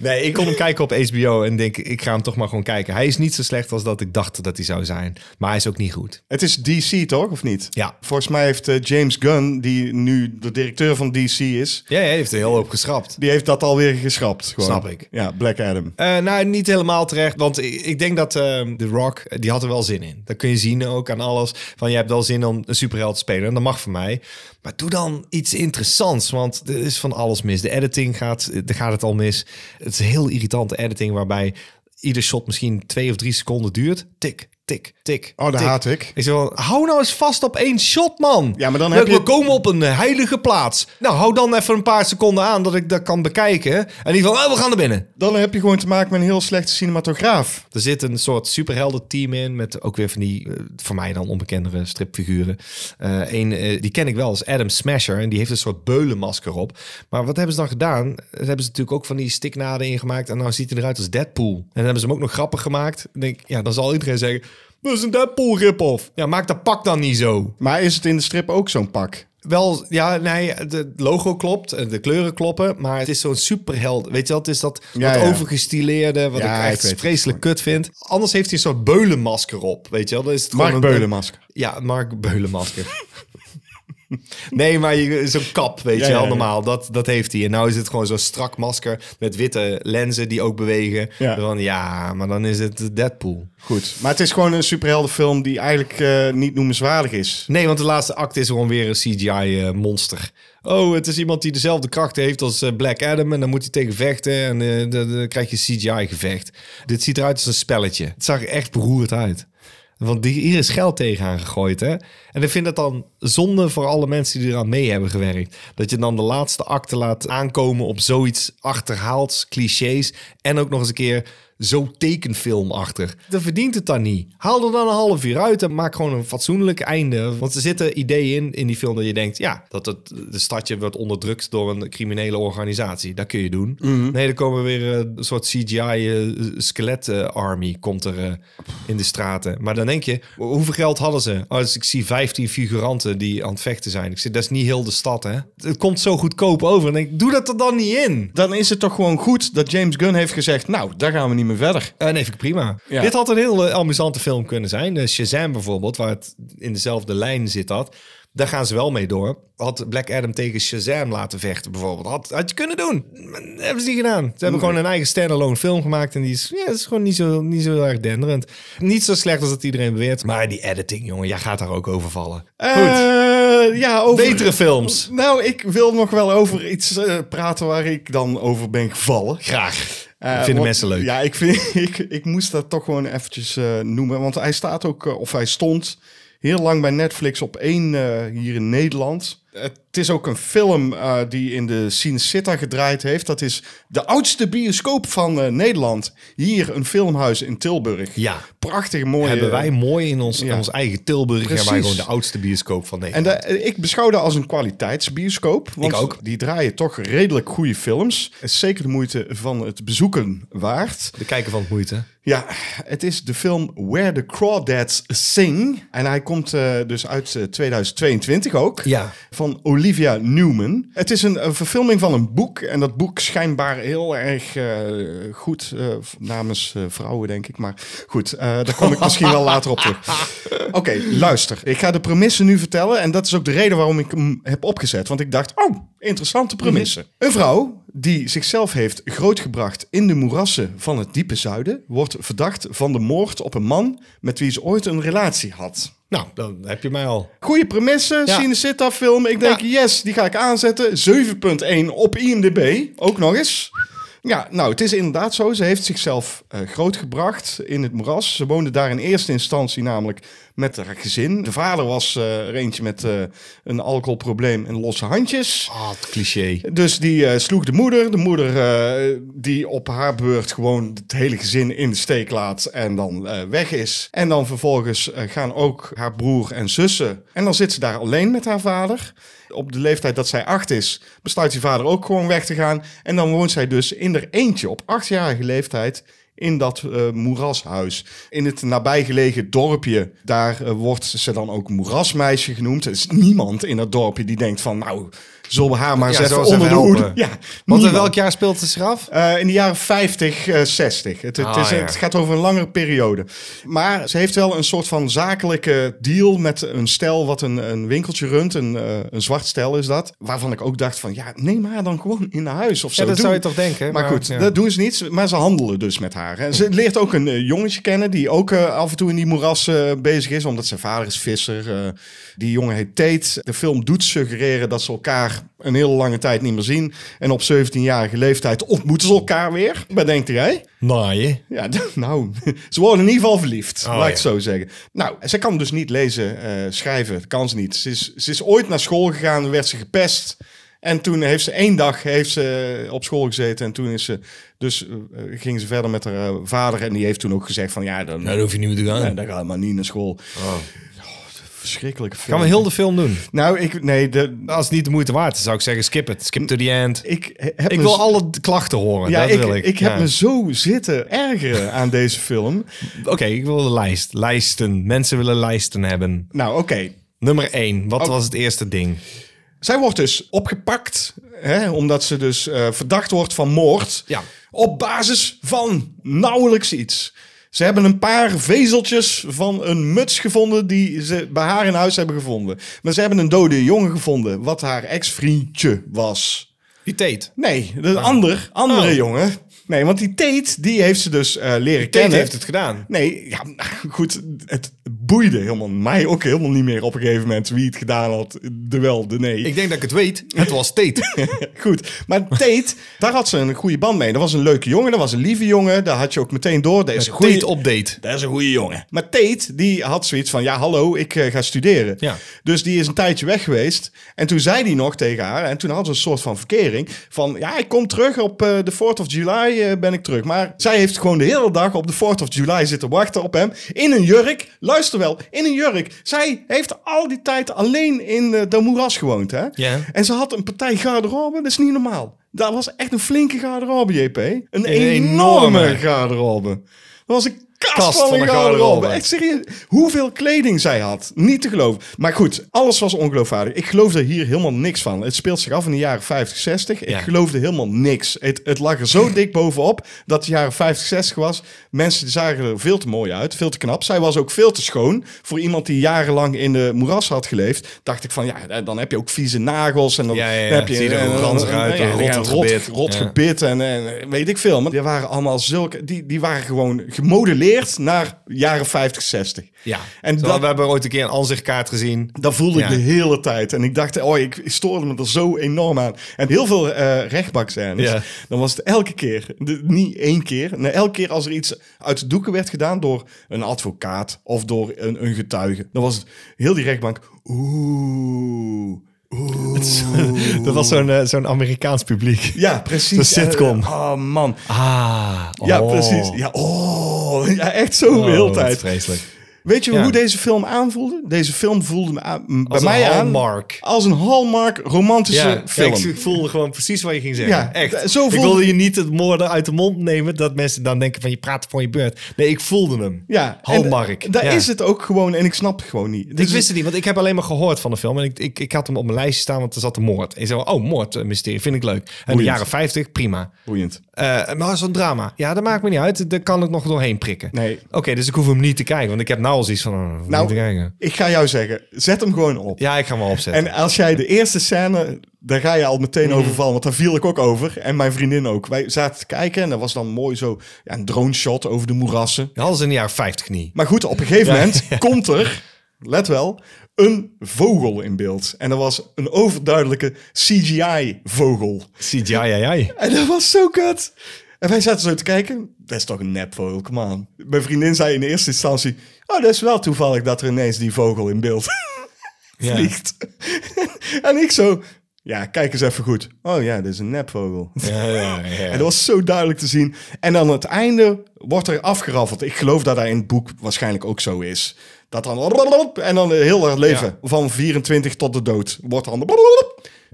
Speaker 2: Nee, ik kon hem kijken op HBO en denk ik ga hem toch maar gewoon kijken. Hij is niet zo slecht als dat ik dacht dat hij zou zijn. Maar hij is ook niet goed.
Speaker 1: Het is DC, toch? Of niet?
Speaker 2: Ja.
Speaker 1: Volgens mij heeft eh, James Gunn, die nu de directeur van DC is...
Speaker 2: Ja, hij heeft een heel hoop geschrapt.
Speaker 1: Die heeft dat alweer geschrapt. Gewoon.
Speaker 2: Snap ik.
Speaker 1: Ja, Black Adam.
Speaker 2: Eh, nou, niet helemaal terecht. Want ik, ik denk dat ehm The Rock, eh, die had er wel zin in. Dat kun je zien ook aan alles. Van, je hebt wel zin om een superheld te spelen. En dat mag voor mij. Maar doe dan iets interessants. Want er is van alles mis. De editing gaat, eh, daar gaat het al mis. Het is een heel irritante editing waarbij ieder shot misschien twee of drie seconden duurt. Tik, tik, tik.
Speaker 1: Oh, dat
Speaker 2: tik.
Speaker 1: haat ik.
Speaker 2: Ik zeg wel, hou nou eens vast op één shot, man.
Speaker 1: Ja, maar dan
Speaker 2: We-
Speaker 1: heb je-
Speaker 2: We komen op een eh, heilige plaats. Nou, hou dan even een paar seconden aan dat ik dat kan bekijken. En die van, oh, we gaan er binnen.
Speaker 1: Dan heb je gewoon te maken met een heel slechte cinematograaf.
Speaker 2: Er zit een soort superhelden-team in met ook weer van die eh, voor mij dan onbekendere stripfiguren. Eh een, eh, die ken ik wel als Adam Smasher en die heeft een soort beulenmasker op. Maar wat hebben ze dan gedaan? Daar hebben ze natuurlijk ook van die stiknaden ingemaakt en nou ziet hij eruit als Deadpool. En dan hebben ze hem ook nog grappig gemaakt. Dan denk ik, ja, dan zal iedereen zeggen, dat is een Deadpool rip-off. Ja, maak dat pak dan niet zo.
Speaker 1: Maar is het in de strip ook zo'n pak?
Speaker 2: Wel, ja, nee, het logo klopt, en de kleuren kloppen, maar het is zo'n superheld. Weet je wel, het is dat
Speaker 1: Ja,
Speaker 2: wat
Speaker 1: ja.
Speaker 2: overgestileerde, wat
Speaker 1: Ja,
Speaker 2: ik
Speaker 1: ik weet
Speaker 2: echt
Speaker 1: het.
Speaker 2: vreselijk kut vind. Anders heeft hij een soort beulenmasker op, weet je wel. Dan is het gewoon
Speaker 1: Mark
Speaker 2: een-
Speaker 1: Beulenmasker.
Speaker 2: Ja, Mark Beulenmasker. nee, maar je- zo'n kap, weet
Speaker 1: Ja,
Speaker 2: je wel,
Speaker 1: ja, ja.
Speaker 2: normaal, dat, dat heeft hij. En nou is het gewoon zo'n strak masker met witte lenzen die ook bewegen.
Speaker 1: Ja.
Speaker 2: Ja, van, ja maar dan is het Deadpool.
Speaker 1: Goed. Maar het is gewoon een superheldenfilm die eigenlijk eh, niet noemenswaardig is.
Speaker 2: Nee, want de laatste act is gewoon weer een CGI-monster. eh, oh, het is iemand die dezelfde krachten heeft als eh, Black Adam. En dan moet hij tegen vechten. En eh, dan dan krijg je CGI-gevecht. Dit ziet eruit als een spelletje. Het zag er echt beroerd uit. Want die, hier is geld tegenaan gegooid, hè? En ik vind dat dan zonde voor alle mensen die eraan mee hebben gewerkt. Dat je dan de laatste acte laat aankomen op zoiets achterhaalds, clichés. En ook nog eens een keer zo tekenfilmachtig. Dan verdient het dan niet. Haal er dan een half uur uit en maak gewoon een fatsoenlijk einde. Want er zitten ideeën in, in die film dat je denkt... ja, dat het de stadje wordt onderdrukt door een criminele organisatie. Dat kun je doen. Nee, er komen weer eh, een soort eh, CGI-skelet-army komt er eh, in de straten. Maar dan denk je, ho- hoeveel geld hadden ze? Oh, dus ik zie 15 figuranten die aan het vechten zijn. Ik zeg, dat is niet heel de stad, hè? Het komt zo goedkoop over. En dan denk ik, doe dat er dan niet in.
Speaker 1: Dan is het toch gewoon goed dat James Gunn heeft gezegd... Nou, daar gaan we niet meer verder.
Speaker 2: Eh, nee, vind ik prima.
Speaker 1: Ja.
Speaker 2: Dit had een heel eh, amusante film kunnen zijn. Eh, Shazam bijvoorbeeld, waar het in dezelfde lijn zit dat. Daar gaan ze wel mee door. Had Black Adam tegen Shazam laten vechten bijvoorbeeld. Had, had je kunnen doen. Maar dat hebben ze niet gedaan. Ze hebben gewoon een eigen standalone film gemaakt. En die is, ja, dat is gewoon niet zo, niet zo erg denderend. Niet zo slecht als dat iedereen beweert. Maar die editing, jongen. Jij gaat daar ook over vallen. Goed.
Speaker 1: Eh, ja, over...
Speaker 2: Betere films.
Speaker 1: Nou, ik wil nog wel over iets eh, praten waar ik dan over ben gevallen.
Speaker 2: Graag.
Speaker 1: Eh,
Speaker 2: Vinden
Speaker 1: want-
Speaker 2: mensen leuk.
Speaker 1: Ja, ik, vind, ik, ik moest dat toch gewoon eventjes eh, noemen. Want hij staat ook, eh, of hij stond heel lang bij Netflix op één eh, hier in Nederland. Het is ook een film eh, die in de Sin Cita gedraaid heeft. Dat is de oudste bioscoop van eh, Nederland. Hier een filmhuis in Tilburg.
Speaker 2: Ja.
Speaker 1: Prachtig mooi.
Speaker 2: Hebben
Speaker 1: eh,
Speaker 2: wij mooi in ons,
Speaker 1: ja.
Speaker 2: ons eigen Tilburg. Hebben wij
Speaker 1: Precies.
Speaker 2: gewoon de oudste bioscoop van
Speaker 1: En
Speaker 2: Nederland.
Speaker 1: da- ik beschouw dat als een kwaliteitsbioscoop. Want
Speaker 2: ook.
Speaker 1: die draaien toch redelijk goede films. Het is zeker de moeite van het bezoeken waard.
Speaker 2: de kijker van het moeite.
Speaker 1: Ja, het is de film Where the Crawdads Sing. En hij komt eh, dus uit eh, 2022 ook.
Speaker 2: Ja.
Speaker 1: Van Olivia Newman. Het is een, eh, verfilming van een boek. En dat boek schijnbaar heel erg eh, goed eh, v- namens eh, vrouwen, denk ik. Maar goed, eh, daar kom ik misschien wel later op terug. Oké, luister. Ik ga de premissen nu vertellen. En dat is ook de reden waarom ik hem heb opgezet. Want ik dacht, oh, interessante premissen. Een vrouw die zichzelf heeft grootgebracht in de moerassen van het diepe zuiden... wordt verdacht van de moord op een man met wie ze ooit een relatie had.
Speaker 2: Nou, dan heb je mij al.
Speaker 1: Goeie premissen,
Speaker 2: Ja.
Speaker 1: Cinecitta film. Ik denk, yes, die ga ik aanzetten. 7.1 op IMDb, ook nog eens. Ja, nou, het is inderdaad zo. Ze heeft zichzelf eh, grootgebracht in het moeras. Ze woonde daar in eerste instantie namelijk met haar gezin. De vader was eh, er eentje met eh, een alcoholprobleem en losse handjes.
Speaker 2: Ah, het cliché.
Speaker 1: Dus die eh, sloeg de moeder. De moeder eh, die op haar beurt gewoon het hele gezin in de steek laat en dan eh, weg is. En dan vervolgens eh, gaan ook haar broer en zussen. En dan zit ze daar alleen met haar vader. Op de leeftijd dat zij acht is, besluit die vader ook gewoon weg te gaan. En dan woont zij dus in haar eentje op achtjarige leeftijd in dat eh, moerashuis. In het nabijgelegen dorpje, daar eh, wordt ze dan ook moerasmeisje genoemd. Er is niemand in dat dorpje die denkt van, nou, zullen we haar maar
Speaker 2: Ja,
Speaker 1: eens even
Speaker 2: zullen we ze
Speaker 1: onder de
Speaker 2: even
Speaker 1: hoede.
Speaker 2: helpen?
Speaker 1: Ja,
Speaker 2: Want in
Speaker 1: niemand.
Speaker 2: welk jaar speelt het zich af?
Speaker 1: Eh, in de jaren 50, eh, 60. Het, het,
Speaker 2: Ah,
Speaker 1: is,
Speaker 2: ja.
Speaker 1: het gaat over een langere periode. Maar ze heeft wel een soort van zakelijke deal met een stel wat een, een winkeltje runt. Een, eh, een zwart stel is dat. Waarvan ik ook dacht van, ja, neem haar dan gewoon in naar huis of zo.
Speaker 2: Ja, dat
Speaker 1: Doe-
Speaker 2: zou je toch denken?
Speaker 1: maar goed,
Speaker 2: ja.
Speaker 1: dat doen ze niet. Maar ze handelen dus met haar. En ze leert ook een eh, jongetje kennen die ook eh, af en toe in die moerassen eh, bezig is. Omdat zijn vader is visser. Eh, die jongen heet Tate. De film doet suggereren dat ze elkaar een hele lange tijd niet meer zien. En op 17-jarige leeftijd ontmoeten ze elkaar weer. Wat denkt jij?
Speaker 2: Naaien.
Speaker 1: Ja, d- nou, ze worden in ieder geval verliefd. laat
Speaker 2: Oh,
Speaker 1: ik
Speaker 2: ja.
Speaker 1: het zo zeggen. Nou, ze kan dus niet lezen, eh, schrijven. Dat kan ze niet. Ze is, ze is ooit naar school gegaan, werd ze gepest. En toen heeft ze één dag heeft ze eh, op school gezeten. En toen is ze, dus, eh, eh, ging ze verder met haar eh, vader. En die heeft toen ook gezegd van, ja, dan,
Speaker 2: Nou, dat hoef je niet meer te gaan.
Speaker 1: eh, dan ga je maar niet naar school. Oh, verschrikkelijke film.
Speaker 2: Gaan we heel de film doen?
Speaker 1: Nou, ik, nee, de,
Speaker 2: Als het niet de moeite waard is, zou ik zeggen skip het. Skip to the end.
Speaker 1: ik heb
Speaker 2: Ik
Speaker 1: me
Speaker 2: wil
Speaker 1: z-
Speaker 2: alle d- klachten horen.
Speaker 1: Ja,
Speaker 2: dat
Speaker 1: ik,
Speaker 2: wil ik.
Speaker 1: ik heb
Speaker 2: dus- Ja.
Speaker 1: me zo zitten ergeren aan deze film.
Speaker 2: Oké, ik wil de lijst. Lijsten. Mensen willen lijsten hebben.
Speaker 1: Nou, oké.
Speaker 2: Nummer 1. Wat was het eerste ding?
Speaker 1: Zij wordt dus opgepakt, hè, omdat ze dus eh, verdacht wordt van moord.
Speaker 2: Ja.
Speaker 1: Op basis van nauwelijks iets. Ze hebben een paar vezeltjes van een muts gevonden die ze bij haar in huis hebben gevonden. Maar ze hebben een dode jongen gevonden, wat haar ex-vriendje was.
Speaker 2: Die teet.
Speaker 1: Nee, een ander, andere
Speaker 2: Ah. Oh.
Speaker 1: jongen. Nee, want die Tate, die heeft ze dus eh, leren
Speaker 2: Teet
Speaker 1: kennen.
Speaker 2: heeft het gedaan.
Speaker 1: Nee, ja, goed, het boeide helemaal mij ook helemaal niet meer op een gegeven moment wie het gedaan had. De wel, de nee.
Speaker 2: Ik denk dat ik het weet. Het was teet.
Speaker 1: Goed, maar Tate, daar had ze een goede band mee. Dat was een leuke jongen, dat was een lieve jongen. Daar had je ook meteen door. Dat is een
Speaker 2: Teet
Speaker 1: goede
Speaker 2: update.
Speaker 1: dat is een goede jongen. Maar Tate, die had zoiets van, ja hallo, ik eh, ga studeren.
Speaker 2: Ja.
Speaker 1: Dus die is een tijdje weg geweest. En toen zei die nog tegen haar, en toen hadden ze een soort van verkering. Van, ja, ik kom terug op eh, de 4th of July eh, ben ik terug. Maar zij heeft gewoon de hele dag op de 4th of July zitten wachten op hem. In een jurk, luister wel, in een jurk. Zij heeft al die tijd alleen in eh, de moeras gewoond, hè?
Speaker 2: Ja.
Speaker 1: En ze had een partij garderobe, dat is niet normaal. Dat was echt een flinke garderobe, JP. Een, enorme,
Speaker 2: enorme.
Speaker 1: garderobe. Dat was een kast, van, een garderobe. Echt serieus. Hoeveel kleding zij had. Niet te geloven. Maar goed, alles was ongeloofwaardig. Ik geloofde hier helemaal niks van. Het speelt zich af in de jaren 50, 60. Ik
Speaker 2: Ja.
Speaker 1: geloofde helemaal niks. Het, het lag er zo dik bovenop dat de jaren 50, 60 was. Mensen die zagen er veel te mooi uit. Veel te knap. Zij was ook veel te schoon. Voor iemand die jarenlang in de moeras had geleefd. Dacht ik van, ja, dan heb je ook vieze nagels. En dan,
Speaker 2: Ja, ja, ja.
Speaker 1: dan heb je...
Speaker 2: Zie er
Speaker 1: en-
Speaker 2: ook
Speaker 1: en-
Speaker 2: ranzig uit,
Speaker 1: ja,
Speaker 2: een
Speaker 1: ja,
Speaker 2: rottend
Speaker 1: rot-
Speaker 2: gebit.
Speaker 1: rot
Speaker 2: Ja.
Speaker 1: gebit pit en, en weet ik veel. Maar die waren allemaal zulke... Die, die waren gewoon gemodelleerd naar jaren 50, 60.
Speaker 2: Ja.
Speaker 1: En
Speaker 2: En
Speaker 1: dat-
Speaker 2: We hebben ooit een keer een ansichtkaart gezien.
Speaker 1: Dat voelde ik
Speaker 2: Ja.
Speaker 1: de hele tijd. En ik dacht, oh, ik stoorde me er zo enorm aan. En heel veel eh rechtbakscènes.
Speaker 2: Ja.
Speaker 1: Dan was het elke keer, de- niet één keer. Nee, elke keer als er iets uit de doeken werd gedaan door een advocaat of door een, een getuige. Dan was het heel die rechtbank, oeh, oeh.
Speaker 2: Dat was zo'n eh, zo'n Amerikaans publiek.
Speaker 1: Ja, precies.
Speaker 2: Een sitcom.
Speaker 1: Eh, Oh man.
Speaker 2: Ah.
Speaker 1: Ja,
Speaker 2: oh.
Speaker 1: precies. Ja, oh. Ja, echt zo de
Speaker 2: Oh,
Speaker 1: hele
Speaker 2: wat
Speaker 1: tijd.
Speaker 2: Vreselijk.
Speaker 1: Weet je
Speaker 2: Ja.
Speaker 1: hoe deze film aanvoelde? Deze film voelde me aan- m- bij
Speaker 2: Als
Speaker 1: mij
Speaker 2: een
Speaker 1: aan
Speaker 2: hallmark.
Speaker 1: als een Hallmark romantische
Speaker 2: Ja,
Speaker 1: film.
Speaker 2: Dus, eh, ik, ik voelde gewoon precies wat je ging zeggen.
Speaker 1: Ja, d-
Speaker 2: echt.
Speaker 1: zo
Speaker 2: ik
Speaker 1: voelde-
Speaker 2: wilde je niet het moorden uit de mond nemen dat mensen dan denken van je praat voor je beurt. Nee, ik voelde hem.
Speaker 1: ja, en
Speaker 2: Hallmark.
Speaker 1: d- Daar
Speaker 2: Ja.
Speaker 1: is het ook gewoon en ik snap het gewoon niet. Dus
Speaker 2: ik wist het niet, want ik heb alleen maar gehoord van de film. En ik, ik, ik had hem op mijn lijstje staan, want er zat een moord. Ik zei, oh, moord, eh, mysterie, vind ik leuk. En de
Speaker 1: Boeiend.
Speaker 2: jaren 50, prima.
Speaker 1: boeiend.
Speaker 2: Eh, maar zo'n drama, ja, dat maakt me niet uit. Daar kan ik nog doorheen prikken.
Speaker 1: Nee.
Speaker 2: Oké, dus ik hoef hem niet te kijken, want ik heb nou al zoiets van, oh, hoef
Speaker 1: Nou,
Speaker 2: niet te kijken.
Speaker 1: Ik ga jou zeggen, zet hem gewoon op.
Speaker 2: Ja, ik ga hem wel opzetten.
Speaker 1: En als jij de eerste scène, daar ga je al meteen
Speaker 2: Mm.
Speaker 1: over vallen, want daar viel ik ook over. En mijn vriendin ook. Wij zaten te kijken en dat was dan mooi zo ja, een drone shot over de moerassen.
Speaker 2: Dat hadden ze in de jaren 50 niet.
Speaker 1: Maar goed, op een gegeven moment komt er, let wel, een vogel in beeld. En dat was een overduidelijke CGI-vogel.
Speaker 2: Ziet, ja, ja, ja.
Speaker 1: En dat was zo kut. En wij zaten zo te kijken. Dat is toch een nepvogel, come on. Mijn vriendin zei in eerste instantie... Oh, dat is wel toevallig dat er ineens die vogel in beeld
Speaker 2: Ja.
Speaker 1: vliegt. en ik zo... Ja, kijk eens even goed. Oh ja, dat is een nepvogel.
Speaker 2: Ja, ja, ja.
Speaker 1: En dat was zo duidelijk te zien. En aan het einde wordt er afgeraffeld. Ik geloof dat dat in het boek waarschijnlijk ook zo is. Dat dan... En dan heel haar leven. Van 24 tot de dood. Wordt dan...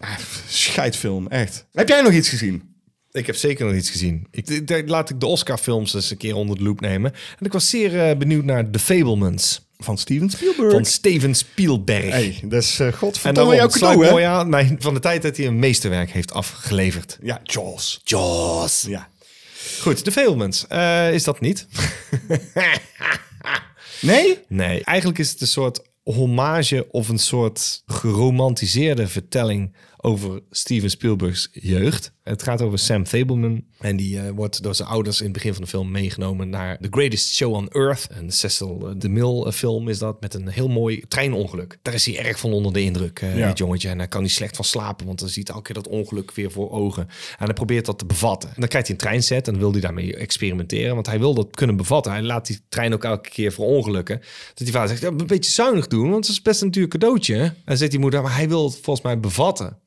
Speaker 1: Ah, scheidfilm, echt. Heb jij nog iets gezien?
Speaker 2: Ik heb zeker nog iets gezien. Ik, ik- daar laat ik de Oscar-films eens een keer onder de loep nemen. En ik was zeer eh, benieuwd naar The Fablemans
Speaker 4: Van Steven Spielberg.
Speaker 2: van Steven Spielberg.
Speaker 4: hey, dat is eh
Speaker 2: en
Speaker 4: godverdomme
Speaker 2: daarom
Speaker 4: jouw
Speaker 2: het sluit
Speaker 4: cadeau, hè?
Speaker 2: mooi aan bij- van de tijd dat hij een meesterwerk heeft afgeleverd.
Speaker 4: Ja, Jaws.
Speaker 2: Jaws.
Speaker 4: Ja.
Speaker 2: Goed, The Fablemans. Eh, is dat niet?
Speaker 4: Nee?
Speaker 2: Nee, eigenlijk is het een soort hommage of een soort geromantiseerde vertelling over Steven Spielberg's jeugd. Het gaat over Sam Fableman en die eh, wordt door zijn ouders in het begin van de film meegenomen naar The Greatest Show on Earth. Een Cecil eh, DeMille film is dat met een heel mooi treinongeluk. Daar is hij erg van onder de indruk, eh,
Speaker 4: Ja.
Speaker 2: dit jongetje. En daar kan hij slecht van slapen, want dan ziet hij elke keer dat ongeluk weer voor ogen. En hij probeert dat te bevatten. En dan krijgt hij een treinset en dan wil hij daarmee experimenteren, want hij wil dat kunnen bevatten. Hij laat die trein ook elke keer voor ongelukken. Dat die vader zegt, ja, een beetje zuinig doen, want het is best een duur cadeautje. En dan zegt die moeder, maar hij wil het volgens mij bevatten.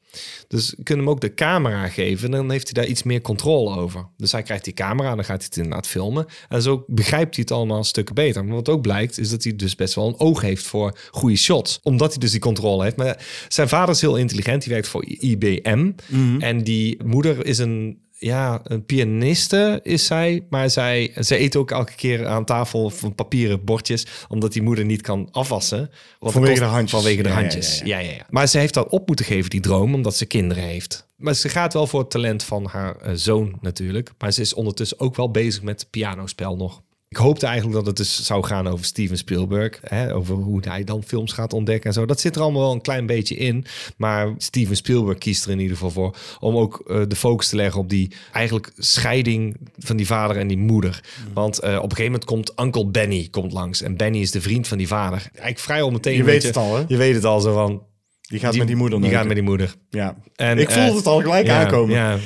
Speaker 2: Dus we kunnen hem ook de camera geven. Dan heeft hij daar iets meer controle over. Dus hij krijgt die camera en dan gaat hij het inderdaad filmen. En zo begrijpt hij het allemaal een stuk beter. Maar wat ook blijkt, is dat hij dus best wel een oog heeft voor goede shots. Omdat hij dus die controle heeft. Maar zijn vader is heel intelligent. Die werkt voor IBM.
Speaker 4: Mhm.
Speaker 2: En die moeder is een... Ja, een pianiste is zij, maar zij, zij eet ook elke keer aan tafel van papieren bordjes, omdat die moeder niet kan afwassen. want dat
Speaker 4: Vanwege
Speaker 2: kost-
Speaker 4: de handjes.
Speaker 2: Vanwege de
Speaker 4: Ja, ja, ja,
Speaker 2: handjes,
Speaker 4: ja.
Speaker 2: ja, ja, ja. Maar ze heeft dat op moeten geven, die droom, omdat ze kinderen heeft. Maar ze gaat wel voor het talent van haar eh, zoon natuurlijk. Maar ze is ondertussen ook wel bezig met pianospel nog. Ik hoopte eigenlijk dat het dus zou gaan over Steven Spielberg. Hè, over hoe hij dan films gaat ontdekken en zo. Dat zit er allemaal wel een klein beetje in. Maar Steven Spielberg kiest er in ieder geval voor. Om ook eh, de focus te leggen op die eigenlijk scheiding van die vader en die moeder.
Speaker 4: Mm.
Speaker 2: Want eh, op een gegeven moment komt Uncle Benny komt langs. En Benny is de vriend van die vader. Eigenlijk vrijwel meteen.
Speaker 4: Je
Speaker 2: weet
Speaker 4: weet het al, hè?
Speaker 2: Je weet het al zo van...
Speaker 4: Die gaat met die moeder
Speaker 2: Die
Speaker 4: neuken.
Speaker 2: gaat met die moeder.
Speaker 4: Ja.
Speaker 2: En,
Speaker 4: ik voelde
Speaker 2: eh,
Speaker 4: het al gelijk
Speaker 2: ja,
Speaker 4: aankomen.
Speaker 2: Ja.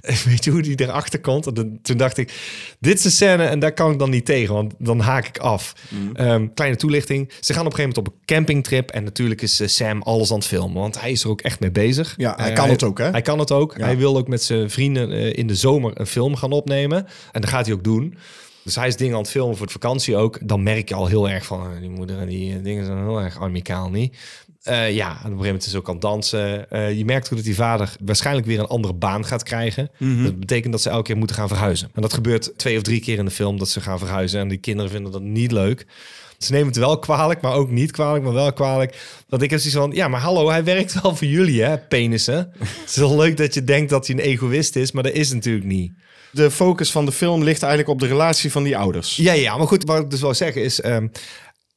Speaker 2: Weet je hoe die erachter komt? En dan- Toen dacht ik, dit is een scène en daar kan ik dan niet tegen, want dan haak ik af.
Speaker 4: Mhm.
Speaker 2: Ehm, kleine toelichting. Ze gaan op een gegeven moment op een campingtrip en natuurlijk is eh, Sam alles aan het filmen, want hij is er ook echt mee bezig.
Speaker 4: Ja, hij
Speaker 2: Eh,
Speaker 4: kan het ook, hè?
Speaker 2: Hij kan het ook. Hij wil ook met zijn vrienden eh, in de zomer een film gaan opnemen en dat gaat hij ook doen. Dus hij is dingen aan het filmen voor de vakantie ook. Dan merk je al heel erg van, eh, die moeder en die eh, dingen zijn heel erg amicaal niet. Eh, ja, en op een gegeven moment is ze ook aan het dansen. Eh, je merkt ook dat die vader waarschijnlijk weer een andere baan gaat krijgen.
Speaker 4: Mhm.
Speaker 2: Dat betekent dat ze elke keer moeten gaan verhuizen. En dat gebeurt twee of drie keer in de film dat ze gaan verhuizen. En die kinderen vinden dat niet leuk. Ze nemen het wel kwalijk, maar ook niet kwalijk, maar wel kwalijk. Want ik heb zoiets van, ja, maar hallo, hij werkt wel voor jullie, hè, penissen. het is wel leuk dat je denkt dat hij een egoïst is, maar dat is natuurlijk niet.
Speaker 4: De focus van de film ligt eigenlijk op de relatie van die ouders.
Speaker 2: Ja, ja, maar goed, wat ik dus wil zeggen is... ehm,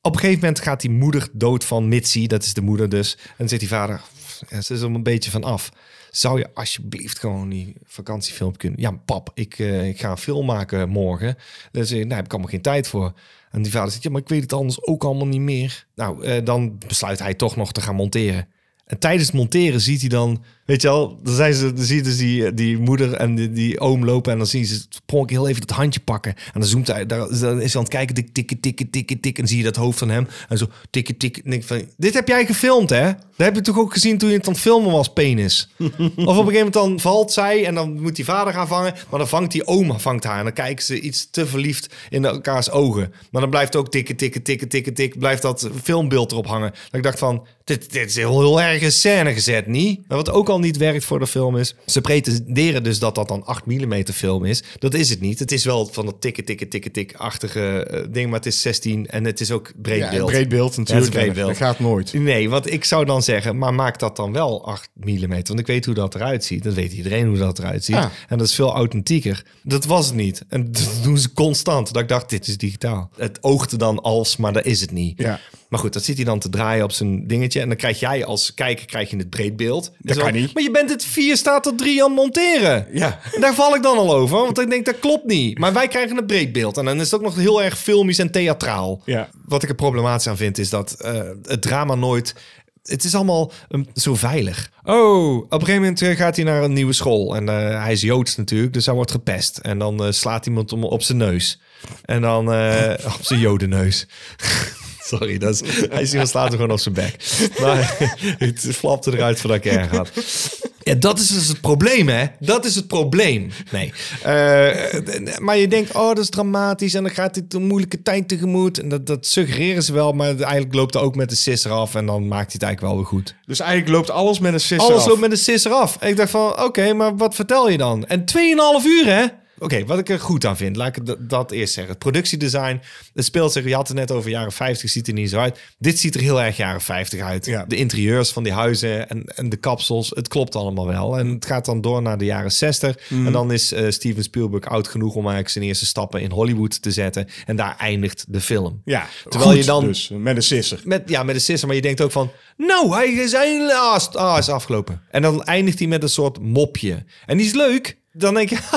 Speaker 2: op een gegeven moment gaat die moeder dood van Mitzi. Dat is de moeder dus. En dan zegt die vader, "Ja, ze is er een beetje van af. Zou je alsjeblieft gewoon die vakantiefilm kunnen... Ja, pap, ik, eh, ik ga een film maken morgen. Dan zeg je, nou, heb ik allemaal geen tijd voor. En die vader zegt, ja, maar ik weet het anders ook allemaal niet meer. Nou, eh, dan besluit hij toch nog te gaan monteren. En tijdens het monteren ziet hij dan, weet je wel, dan, zijn ze, dan zie je dus die, die moeder en die, die oom lopen en dan zien ze pronk heel even dat handje pakken. En dan zoomt hij, daar, dan is hij aan het kijken, tik, tik, tik, tik, tik, en zie je dat hoofd van hem. En zo, tik, tik, en denk ik van, dit heb jij gefilmd, hè? Dat heb je toch ook gezien toen je het aan het filmen was, penis? of op een gegeven moment dan valt zij en dan moet die vader gaan vangen, maar dan vangt die oom vangt haar. En dan kijken ze iets te verliefd in elkaars ogen. Maar dan blijft ook tikken, tikken, tikken, tikken, tik, blijft dat filmbeeld erop hangen. Dat ik dacht van, dit, dit is heel, heel erg in scène gezet, niet? Maar wat ook al niet werkt voor de film is... ze pretenderen dus dat dat dan 8 mm film is. Dat is het niet. Het is wel van dat tikken, tikken, tikken, tik-achtige eh, ding... maar het is 16 en het is ook breed
Speaker 4: Ja, een
Speaker 2: beeld.
Speaker 4: breed beeld natuurlijk.
Speaker 2: Ja, het is een
Speaker 4: Dat
Speaker 2: breed beeld.
Speaker 4: gaat nooit.
Speaker 2: Nee, want ik zou dan zeggen, maar maak dat dan wel 8 mm. Want ik weet hoe dat eruit ziet. Dat weet iedereen hoe dat eruit ziet.
Speaker 4: Ja.
Speaker 2: En dat is veel authentieker. Dat was het niet. En dat doen ze constant. Dat ik dacht, dit is digitaal. Het oogde dan als, maar dat is het niet.
Speaker 4: Ja.
Speaker 2: Maar goed, dat zit hij dan te draaien op zijn dingetje. En dan krijg jij als kijker krijg je het breedbeeld. Dat
Speaker 4: kan niet.
Speaker 2: Maar je bent het 4 staat tot 3 aan het monteren.
Speaker 4: Ja.
Speaker 2: En daar val ik dan al over. Want ik denk, dat klopt niet. Maar wij krijgen het breedbeeld. En dan is het ook nog heel erg filmisch en theatraal.
Speaker 4: Ja.
Speaker 2: Wat ik er problematisch aan vind, is dat eh, het drama nooit... Het is allemaal ehm, zo veilig. Oh, op een gegeven moment eh, gaat hij naar een nieuwe school. En eh, hij is Joods natuurlijk, dus hij wordt gepest. En dan eh, slaat iemand om, op zijn neus. En dan... eh, op zijn jodenneus. Sorry, dat is, hij is iemand slaat hem gewoon op zijn bek. Maar het flapte eruit voordat ik erg had. Ja, dat is dus het probleem, hè? Dat is het probleem. Nee. Eh, eh, maar je denkt, oh, dat is dramatisch en dan gaat dit een moeilijke tijd tegemoet. En dat, dat suggereren ze wel, maar eigenlijk loopt er ook met de sisser af en dan maakt hij het eigenlijk wel weer goed.
Speaker 1: Dus eigenlijk loopt alles met een sisser
Speaker 2: Alles
Speaker 1: af.
Speaker 2: loopt met de sisser af. En ik dacht van, oké, maar wat vertel je dan? En 2,5 uur, hè? Oké, wat ik er goed aan vind, laat ik dat- dat eerst zeggen. Het productiedesign, het speelt zich, je had het net over jaren 50, ziet er niet zo uit. Dit ziet er heel erg jaren 50 uit.
Speaker 1: Ja.
Speaker 2: De interieurs van die huizen en, en de kapsels, het klopt allemaal wel. En het gaat dan door naar de jaren 60. En dan is eh, Steven Spielberg oud genoeg om eigenlijk zijn eerste stappen in Hollywood te zetten. En daar eindigt de film.
Speaker 1: Ja,
Speaker 2: Terwijl je dan-
Speaker 1: Dus, met een sisser.
Speaker 2: Met, ja, met een sisser, maar je denkt ook van... Nou, hij is, eindelijk- ah, is- ah, is afgelopen. En dan eindigt hij met een soort mopje. En die is leuk. Dan denk je...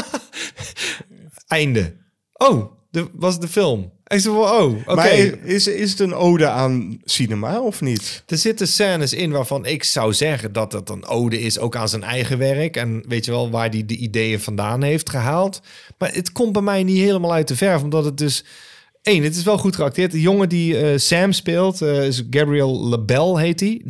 Speaker 2: einde. Oh, de, was de film. En ze van, oh, oké.
Speaker 1: Maar is, is het een ode aan cinema of niet?
Speaker 2: Er zitten scènes in waarvan ik zou zeggen dat dat een ode is, ook aan zijn eigen werk. En weet je wel, waar hij de ideeën vandaan heeft gehaald. Maar het komt bij mij niet helemaal uit de verf, omdat het dus... Eén, het is wel goed geacteerd. De jongen die eh, Sam speelt, eh, is Gabriel Labelle heet hij.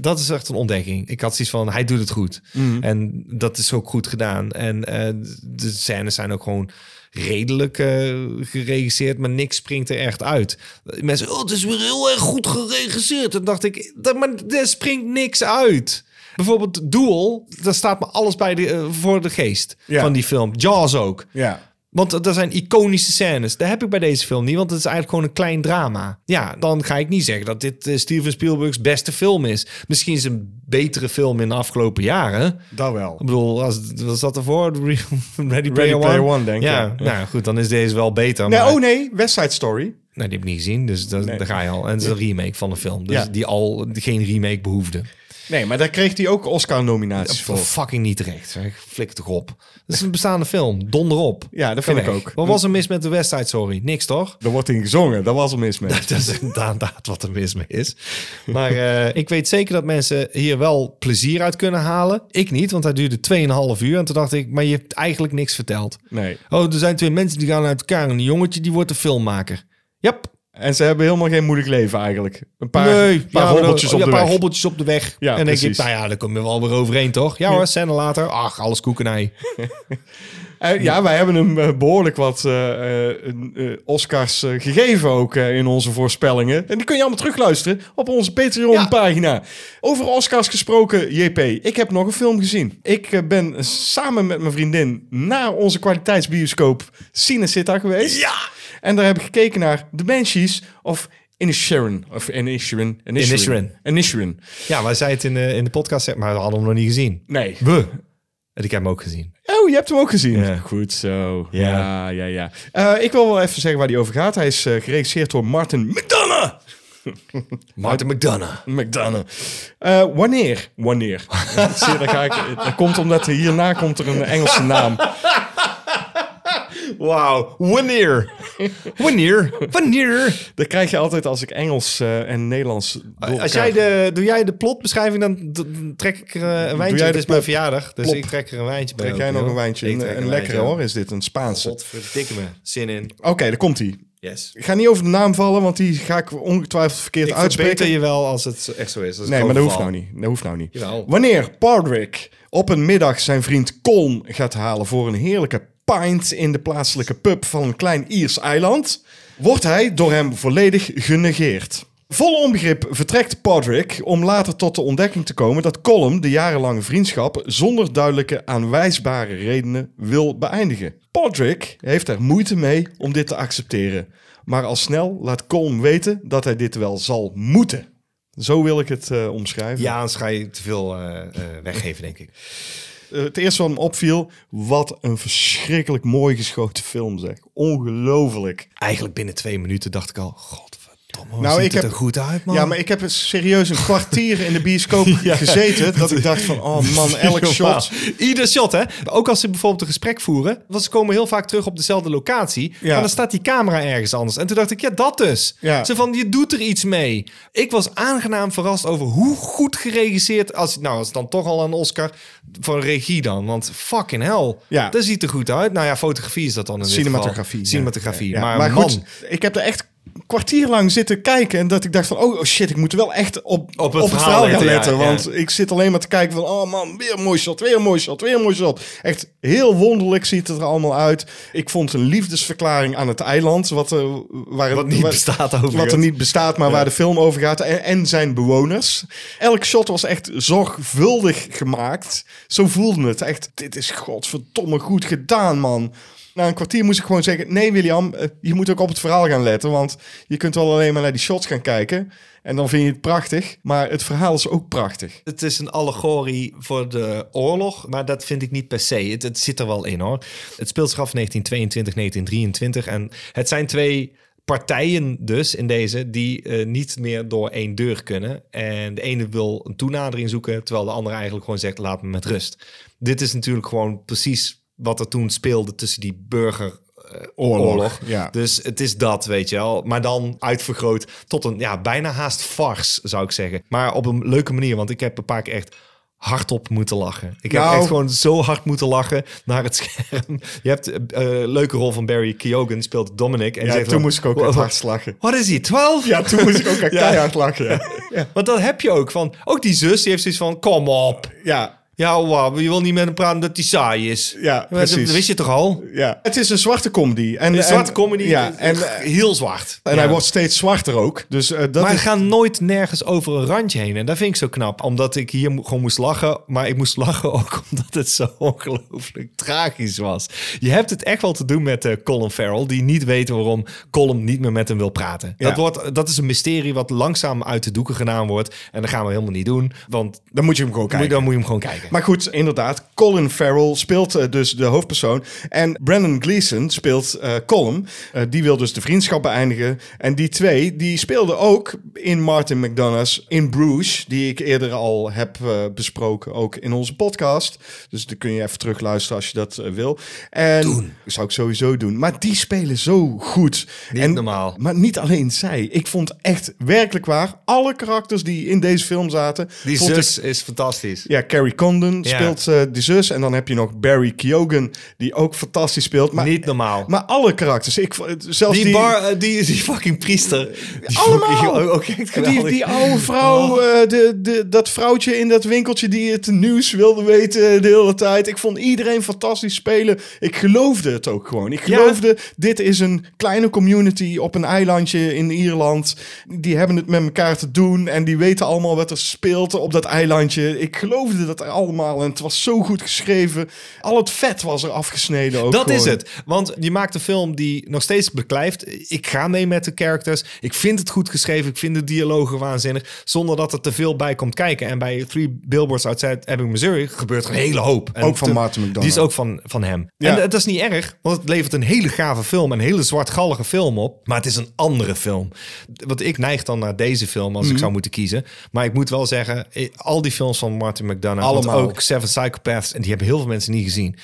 Speaker 2: Dat is echt een ontdekking. Ik had zoiets van, hij doet het goed. En dat is ook goed gedaan. En eh, de scènes zijn ook gewoon redelijk eh, geregisseerd, maar niks springt er echt uit. Mensen, oh, het is weer heel erg goed geregisseerd. Dan dacht ik, dat, maar er springt niks uit. Bijvoorbeeld Duel, daar staat me alles bij de, eh, voor de geest
Speaker 1: Ja.
Speaker 2: van die film. Jaws ook.
Speaker 1: Ja.
Speaker 2: Want er- er zijn iconische scènes. Dat heb ik bij deze film niet, want het is eigenlijk gewoon een klein drama. Ja, dan ga ik niet zeggen dat dit eh, Steven Spielberg's beste film is. Misschien is het een betere film in de afgelopen jaren.
Speaker 1: Dat wel.
Speaker 2: Ik bedoel, als, was dat ervoor? Ready Player,
Speaker 1: Player One, denk ik,
Speaker 2: ja,
Speaker 1: ja.
Speaker 2: nou goed, dan is deze wel beter.
Speaker 1: Nee,
Speaker 2: maar,
Speaker 1: oh nee, West Side Story.
Speaker 2: Nou, die heb ik niet gezien, dus dat,
Speaker 1: Nee.
Speaker 2: daar ga je al. En het is een remake van een film, dus
Speaker 1: Ja.
Speaker 2: die al geen remake behoefde.
Speaker 1: Nee, maar daar kreeg hij ook Oscar-nominaties voor.
Speaker 2: Fucking niet terecht, zeg. Flik toch op. Dat is een bestaande film, donder op.
Speaker 1: Ja, dat
Speaker 2: Ga
Speaker 1: vind ik
Speaker 2: weg.
Speaker 1: ook.
Speaker 2: Wat was er mis met de West Side Sorry? Niks toch?
Speaker 1: Daar wordt in gezongen, daar was er mis mee.
Speaker 2: Dat is inderdaad wat er mis mee is. Maar eh, ik weet zeker dat mensen hier wel plezier uit kunnen halen. Ik niet, want hij duurde 2,5 uur. En toen dacht ik, maar je hebt eigenlijk niks verteld.
Speaker 1: Nee.
Speaker 2: Oh, er zijn twee mensen die gaan uit elkaar. En een jongetje die wordt een filmmaker. Yep.
Speaker 1: En ze hebben helemaal geen moeilijk leven eigenlijk. Een paar,
Speaker 2: nee,
Speaker 1: paar
Speaker 2: ja,
Speaker 1: hobbeltjes
Speaker 2: ja,
Speaker 1: op de
Speaker 2: een paar
Speaker 1: weg.
Speaker 2: hobbeltjes op de weg.
Speaker 1: Ja,
Speaker 2: en
Speaker 1: precies.
Speaker 2: ik denk, nou ja, daar kom je wel weer overheen, toch? Ja hoor, scène later. Ach, alles koekenij.
Speaker 1: Eh, ja, wij hebben hem eh, behoorlijk wat eh, eh, eh, Oscars eh, gegeven ook eh, in onze voorspellingen. En die kun je allemaal terugluisteren op onze Patreon-pagina. Over Oscars gesproken, JP. Ik heb nog een film gezien. Ik eh, ben samen met mijn vriendin naar onze kwaliteitsbioscoop Cinecitta geweest. Ja! En daar heb ik gekeken naar The Banshees of Inisherin. Of Inisherin.
Speaker 2: Inisherin.
Speaker 1: Inisherin.
Speaker 2: Ja, maar zei het in de, in de podcast, zeg maar we hadden hem nog niet gezien.
Speaker 1: Nee.
Speaker 2: We. En ik heb hem ook gezien.
Speaker 1: Oh, je hebt hem ook gezien.
Speaker 2: Ja.
Speaker 1: Goed zo.
Speaker 2: Ja.
Speaker 1: Ja, ja, ja. Eh, ik wil wel even zeggen waar die over gaat. Hij is eh, geregisseerd door Martin McDonough.
Speaker 2: Martin McDonough.
Speaker 1: McDonough. Eh, wanneer? Wanneer? Zie je, daar ga ik, dat komt omdat er hierna komt er een Engelse naam.
Speaker 2: Wauw. Wanneer? Wanneer? Wanneer?
Speaker 1: Dat krijg je altijd als ik Engels eh, en Nederlands door
Speaker 2: Als
Speaker 1: elkaar-
Speaker 2: jij de, doe jij de plotbeschrijving, dan d- dan trek ik er eh, een wijntje.
Speaker 1: jij
Speaker 2: Het
Speaker 1: de
Speaker 2: is mijn
Speaker 1: plop-
Speaker 2: verjaardag, dus
Speaker 1: plop.
Speaker 2: ik trek er een wijntje bij.
Speaker 1: Trek jij
Speaker 2: open,
Speaker 1: nog
Speaker 2: joh.
Speaker 1: een wijntje?
Speaker 2: Ik
Speaker 1: Een,
Speaker 2: trek
Speaker 1: een
Speaker 2: een
Speaker 1: lekkere
Speaker 2: wijntje.
Speaker 1: hoor is dit, een Spaanse.
Speaker 2: Godverdikke me. Zin in.
Speaker 1: Oké, daar komt hij.
Speaker 2: Yes.
Speaker 1: Ik ga niet over de naam vallen, want die ga ik ongetwijfeld verkeerd
Speaker 2: Ik
Speaker 1: uitspreken.
Speaker 2: verbeter je wel als het zo- echt zo is.
Speaker 1: Nee, maar dat hoeft nou niet. Dat hoeft nou niet.
Speaker 2: Jawel.
Speaker 1: Wanneer Pardrick op een middag zijn vriend Colm gaat halen voor een heerlijke pint in de plaatselijke pub van een klein Iers eiland, wordt hij door hem volledig genegeerd. Vol onbegrip vertrekt Podrick om later tot de ontdekking te komen dat Colm de jarenlange vriendschap zonder duidelijke aanwijsbare redenen wil beëindigen. Podrick heeft er moeite mee om dit te accepteren, maar al snel laat Colm weten dat hij dit wel zal moeten. Zo wil ik het eh, omschrijven.
Speaker 2: Ja, anders ga je te veel eh, eh, weggeven, denk ik.
Speaker 1: Eh, het eerste wat me opviel, wat een verschrikkelijk mooi geschoten film zeg. Ongelooflijk.
Speaker 2: Eigenlijk binnen twee minuten dacht ik al, godverdomme,
Speaker 1: Nou,
Speaker 2: nou, Oh,
Speaker 1: ik
Speaker 2: ziet ik het
Speaker 1: heb-
Speaker 2: er goed uit, man.
Speaker 1: Ja, maar ik heb serieus een kwartier in de bioscoop gezeten dat ik dacht van, oh man, elk shot.
Speaker 2: Ieder shot, hè? Ook als ze bijvoorbeeld een gesprek voeren. Want ze komen heel vaak terug op dezelfde locatie.
Speaker 1: Ja.
Speaker 2: Maar dan staat die camera ergens anders. En toen dacht ik, ja, dat dus.
Speaker 1: Ja.
Speaker 2: Ze van, je doet er iets mee. Ik was aangenaam verrast over hoe goed geregisseerd... Als, nou, als dan toch al een Oscar voor regie dan. Want fucking hell.
Speaker 1: Ja.
Speaker 2: Dat ziet er goed uit. Nou ja, fotografie is dat dan in dit geval.
Speaker 1: Cinematografie. ja.
Speaker 2: Cinematografie.
Speaker 1: Ja,
Speaker 2: Maar,
Speaker 1: maar
Speaker 2: man,
Speaker 1: goed, ik heb er echt kwartier lang zitten kijken. En dat ik dacht van, oh, oh shit, ik moet wel echt op, op het, verhaal, gaan
Speaker 2: ja,
Speaker 1: letten.
Speaker 2: ja.
Speaker 1: want ik zit alleen maar te kijken van, oh man, weer een mooi shot, weer een mooi shot, weer een mooi shot. Echt heel wonderlijk ziet het er allemaal uit. Ik vond een liefdesverklaring aan het eiland, wat, eh, waar,
Speaker 2: Wat niet
Speaker 1: waar-
Speaker 2: bestaat over.
Speaker 1: wat er niet bestaat, maar waar de film over gaat. En, en zijn bewoners. Elk shot was echt zorgvuldig gemaakt. Zo voelde het. Echt, dit is godverdomme goed gedaan, man. Na een kwartier moest ik gewoon zeggen... Nee, William, eh, je moet ook op het verhaal gaan letten. Want je kunt wel alleen maar naar die shots gaan kijken. En dan vind je het prachtig. Maar het verhaal is ook prachtig.
Speaker 2: Het is een allegorie voor de oorlog, maar dat vind ik niet per se. Het, het zit er wel in hoor. Het speelt zich af 1922, 1923. En het zijn twee partijen dus in deze die eh, niet meer door één deur kunnen. En de ene wil een toenadering zoeken, terwijl de andere eigenlijk gewoon zegt laat me met rust. Dit is natuurlijk gewoon precies wat er toen speelde tussen die burger... eh,
Speaker 1: Oorlog,
Speaker 2: oorlog.
Speaker 1: ja.
Speaker 2: Dus het is dat, weet je wel. Maar dan uitvergroot tot een ja, bijna haast farce, zou ik zeggen. Maar op een leuke manier, want ik heb een paar keer echt hardop moeten lachen. Ik
Speaker 1: Nou.
Speaker 2: heb echt gewoon zo hard moeten lachen naar het scherm. Je hebt eh, eh, leuke rol van Barry Keoghan, speelt Dominic. En die
Speaker 1: Ja,
Speaker 2: zegt
Speaker 1: toen
Speaker 2: van,
Speaker 1: moest ik ook
Speaker 2: "Wa-
Speaker 1: echt
Speaker 2: wa-
Speaker 1: hard lachen.
Speaker 2: What is he, 12?
Speaker 1: Ja, toen moest ik ook echt
Speaker 2: Ja.
Speaker 1: keihard lachen. Ja, ja.
Speaker 2: Want dat heb je ook. Van, ook die zus, die heeft zoiets van, kom op.
Speaker 1: ja.
Speaker 2: Ja, wauw, je wil niet met hem praten dat hij saai is.
Speaker 1: Ja,
Speaker 2: Maar
Speaker 1: precies.
Speaker 2: Dat wist je toch al?
Speaker 1: Ja. Het is een zwarte comedy. En,
Speaker 2: Een
Speaker 1: en-
Speaker 2: zwarte comedy,
Speaker 1: Ja, en, en
Speaker 2: heel zwart.
Speaker 1: hij
Speaker 2: Ja.
Speaker 1: wordt steeds zwarter ook. Dus eh, dat
Speaker 2: maar
Speaker 1: is...
Speaker 2: gaan nooit nergens over een randje heen. En dat vind ik zo knap. Omdat ik hier mo- gewoon moest lachen. Maar ik moest lachen ook omdat het zo ongelooflijk tragisch was. Je hebt het echt wel te doen met eh, Colin Farrell. Die niet weet waarom Colin niet meer met hem wil praten.
Speaker 1: Ja.
Speaker 2: Dat, wordt, dat is een mysterie wat langzaam uit de doeken gedaan wordt. En dat gaan we helemaal niet doen. Want
Speaker 1: Dan moet je hem gewoon
Speaker 2: moet-
Speaker 1: kijken.
Speaker 2: dan moet je hem gewoon kijken.
Speaker 1: Maar goed, inderdaad. Colin Farrell speelt eh, dus de hoofdpersoon. En Brandon Gleeson speelt eh Colin. Eh, die wil dus de vriendschap beëindigen. En die twee, die speelden ook in Martin McDonough's In Bruges. Die ik eerder al heb eh, besproken, ook in onze podcast. Dus daar kun je even terug luisteren als je dat eh, wil. En zou ik sowieso doen. Maar die spelen zo goed.
Speaker 2: Niet
Speaker 1: en,
Speaker 2: normaal.
Speaker 1: Maar niet alleen zij. Ik vond echt werkelijk waar, alle karakters die in deze film zaten...
Speaker 2: die
Speaker 1: vond ik
Speaker 2: zus is fantastisch.
Speaker 1: ja, Carrie Condon
Speaker 2: Ja.
Speaker 1: speelt eh die zus. En dan heb je nog Barry Keoghan, die ook fantastisch speelt. Maar,
Speaker 2: niet normaal.
Speaker 1: maar alle karakters. Ik, v- zelfs
Speaker 2: die,
Speaker 1: die,
Speaker 2: bar, eh, die, die fucking priester. Die
Speaker 1: Allemaal!
Speaker 2: fucking- ook echt
Speaker 1: die,
Speaker 2: geweldig.
Speaker 1: die oude vrouw,
Speaker 2: Oh.
Speaker 1: eh, de, de, dat vrouwtje in dat winkeltje die het nieuws wilde weten de hele tijd. Ik vond iedereen fantastisch spelen. Ik geloofde het ook gewoon. Ik
Speaker 2: Ja.
Speaker 1: geloofde, dit is een kleine community op een eilandje in Ierland. Die hebben het met elkaar te doen en die weten allemaal wat er speelt op dat eilandje. Ik geloofde dat allemaal en het was zo goed geschreven. Al het vet was er afgesneden ook
Speaker 2: Dat is
Speaker 1: gewoon.
Speaker 2: het. Want je maakt een film die nog steeds beklijft. Ik ga mee met de characters. Ik vind het goed geschreven. Ik vind de dialogen waanzinnig. Zonder dat er te veel bij komt kijken. En bij Three Billboards Outside Ebbing, Missouri gebeurt er een hele hoop. En
Speaker 1: Ook van
Speaker 2: te-
Speaker 1: Martin McDonagh.
Speaker 2: Die is ook van, van hem.
Speaker 1: Ja.
Speaker 2: En dat is niet erg, want het levert een hele gave film. Een hele zwartgallige film op. Maar het is een andere film. Want ik neig dan naar deze film als ik
Speaker 1: Mhm.
Speaker 2: zou moeten kiezen. Maar ik moet wel zeggen, eh, al die films van Martin McDonagh. want
Speaker 1: Allemaal.
Speaker 2: Ook Seven Psychopaths. En die hebben heel veel mensen niet gezien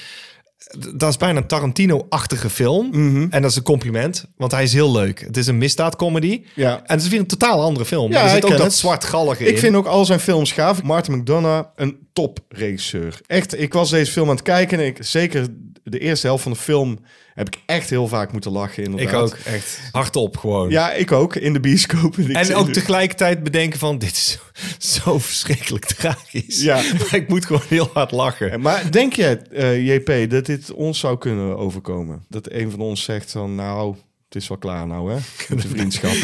Speaker 2: dat is bijna een Tarantino-achtige film.
Speaker 1: Mhm.
Speaker 2: En dat is een compliment, want hij is heel leuk. Het is een misdaadcomedy.
Speaker 1: Ja.
Speaker 2: En het is weer een totaal andere film.
Speaker 1: Ja,
Speaker 2: er
Speaker 1: ik
Speaker 2: zit
Speaker 1: ken
Speaker 2: ook dat
Speaker 1: het.
Speaker 2: zwartgallige in.
Speaker 1: Ik vind ook al zijn films gaaf. Martin McDonough, een topregisseur. Echt, ik was deze film aan het kijken en ik, zeker de eerste helft van de film heb ik echt heel vaak moeten lachen inderdaad.
Speaker 2: Ik ook, echt. Hardop gewoon.
Speaker 1: Ja, ik ook, in de bioscoop. Ik
Speaker 2: En
Speaker 1: zit
Speaker 2: ook
Speaker 1: nu-
Speaker 2: tegelijkertijd bedenken van, dit is zo, zo verschrikkelijk tragisch.
Speaker 1: Ja.
Speaker 2: Maar ik moet gewoon heel hard lachen.
Speaker 1: Maar denk jij, eh, JP, dat dit ons zou kunnen overkomen? Dat een van ons zegt van, nou, het is wel klaar nou hè, met de vriendschap.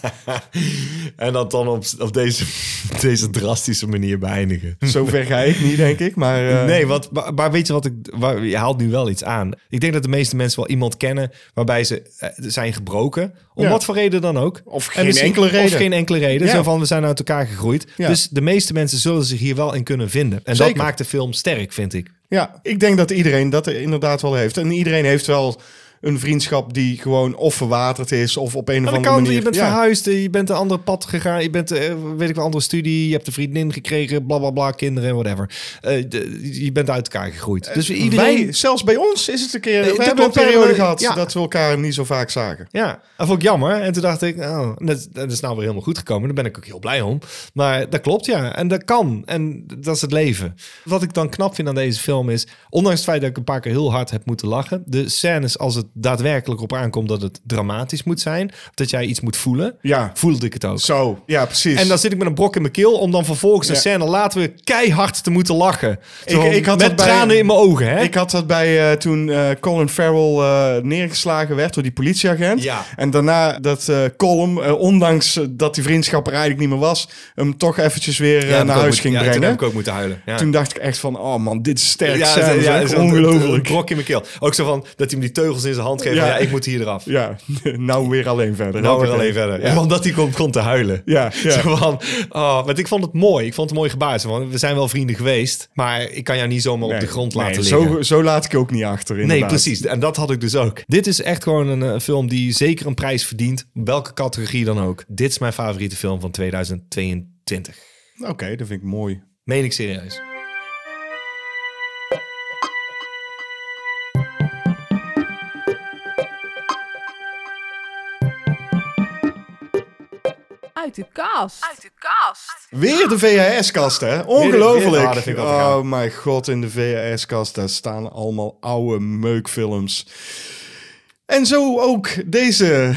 Speaker 2: En dat dan op, op deze, deze drastische manier beëindigen.
Speaker 1: Zover ga ik niet, denk ik, maar... eh,
Speaker 2: Nee, want, maar, maar weet je wat ik... Waar, je haalt nu wel iets aan. Ik denk dat de meeste mensen wel iemand kennen... waarbij ze eh, zijn gebroken. Om
Speaker 1: Ja.
Speaker 2: wat voor reden dan ook.
Speaker 1: Of
Speaker 2: En
Speaker 1: geen
Speaker 2: misschien-
Speaker 1: enkele
Speaker 2: Of
Speaker 1: reden.
Speaker 2: geen enkele reden.
Speaker 1: Ja.
Speaker 2: Zo van, we zijn uit elkaar gegroeid.
Speaker 1: Ja.
Speaker 2: Dus de meeste mensen zullen zich hier wel in kunnen vinden. En
Speaker 1: Zeker.
Speaker 2: dat maakt de film sterk, vind ik.
Speaker 1: Ja, ik denk dat iedereen dat inderdaad wel heeft. En iedereen heeft wel een vriendschap die gewoon of verwaterd is of op een of
Speaker 2: Aan de
Speaker 1: andere
Speaker 2: kant,
Speaker 1: manier.
Speaker 2: je bent
Speaker 1: ja.
Speaker 2: verhuisd, eh, je bent een ander pad gegaan, je bent, eh, weet ik wel, andere studie, je hebt een vriendin gekregen, bla bla bla, kinderen en whatever. Eh, de- je bent uit elkaar gegroeid. Dus iedereen...
Speaker 1: Wij, zelfs bij ons is het een keer.
Speaker 2: dat
Speaker 1: we hebben een
Speaker 2: klopt,
Speaker 1: periode
Speaker 2: eh,
Speaker 1: gehad
Speaker 2: ja.
Speaker 1: dat we elkaar niet zo vaak zagen.
Speaker 2: Ja, dat vond ik jammer. En toen dacht ik, oh, dat, dat is nou weer helemaal goed gekomen. Daar ben ik ook heel blij om. Maar dat klopt, ja. En dat kan. En dat is het leven. Wat ik dan knap vind aan deze film is... ondanks het feit dat ik een paar keer heel hard heb moeten lachen... de scènes als het daadwerkelijk op aankomt dat het dramatisch moet zijn. Of dat jij iets moet voelen.
Speaker 1: Ja.
Speaker 2: Voelde ik het ook.
Speaker 1: Zo, ja, precies.
Speaker 2: En dan zit ik met een brok in mijn keel om dan vervolgens een
Speaker 1: Ja.
Speaker 2: scène later weer keihard te moeten lachen. Zo,
Speaker 1: ik had
Speaker 2: met
Speaker 1: dat bij-
Speaker 2: tranen in mijn ogen, hè?
Speaker 1: Ik had dat bij eh, toen eh, Colin Farrell eh, neergeslagen werd door die politieagent.
Speaker 2: Ja.
Speaker 1: En daarna dat eh Colin, eh, ondanks eh, dat die vriendschap er eigenlijk niet meer was, hem toch eventjes weer eh,
Speaker 2: Ja,
Speaker 1: naar
Speaker 2: dat ik ook
Speaker 1: huis
Speaker 2: moet-
Speaker 1: ging
Speaker 2: ja, Toen
Speaker 1: brengen.
Speaker 2: heb ik ook moeten huilen. Ja.
Speaker 1: Toen dacht ik echt van, oh man, dit is sterk
Speaker 2: Ja,
Speaker 1: scène,
Speaker 2: ja,
Speaker 1: zeg.
Speaker 2: ja, Een
Speaker 1: ongelooflijk.
Speaker 2: brok in mijn keel. Ook zo van dat hij hem die teugels in zijn hand geeft.
Speaker 1: Ja.
Speaker 2: Ja, ik moet hier eraf.
Speaker 1: Ja, nou weer alleen verder.
Speaker 2: Nou, weer
Speaker 1: Hoppakee.
Speaker 2: alleen verder.
Speaker 1: Ja.
Speaker 2: Omdat hij kon, kon te huilen.
Speaker 1: Ja, ja.
Speaker 2: Zo van, oh, want ik vond het mooi. Ik vond het een mooi gebaar. Zo van, we zijn wel vrienden geweest, maar ik kan jou niet zomaar op de grond
Speaker 1: Nee,
Speaker 2: laten liggen.
Speaker 1: Zo, zo laat ik ook niet achter, inderdaad.
Speaker 2: Nee, precies. En dat had ik dus ook. Dit is echt gewoon een eh, film die zeker een prijs verdient. Welke categorie dan ook. Dit is mijn favoriete film van 2022.
Speaker 1: Oké, dat vind ik mooi.
Speaker 2: Meen ik serieus.
Speaker 5: Uit de kast.
Speaker 1: Weer de VHS-kast, hè? Ongelooflijk.
Speaker 2: weer- ah, dat vind ik wel gaaf.
Speaker 1: oh mijn god, in de VHS-kast, daar staan allemaal oude meukfilms. En zo ook deze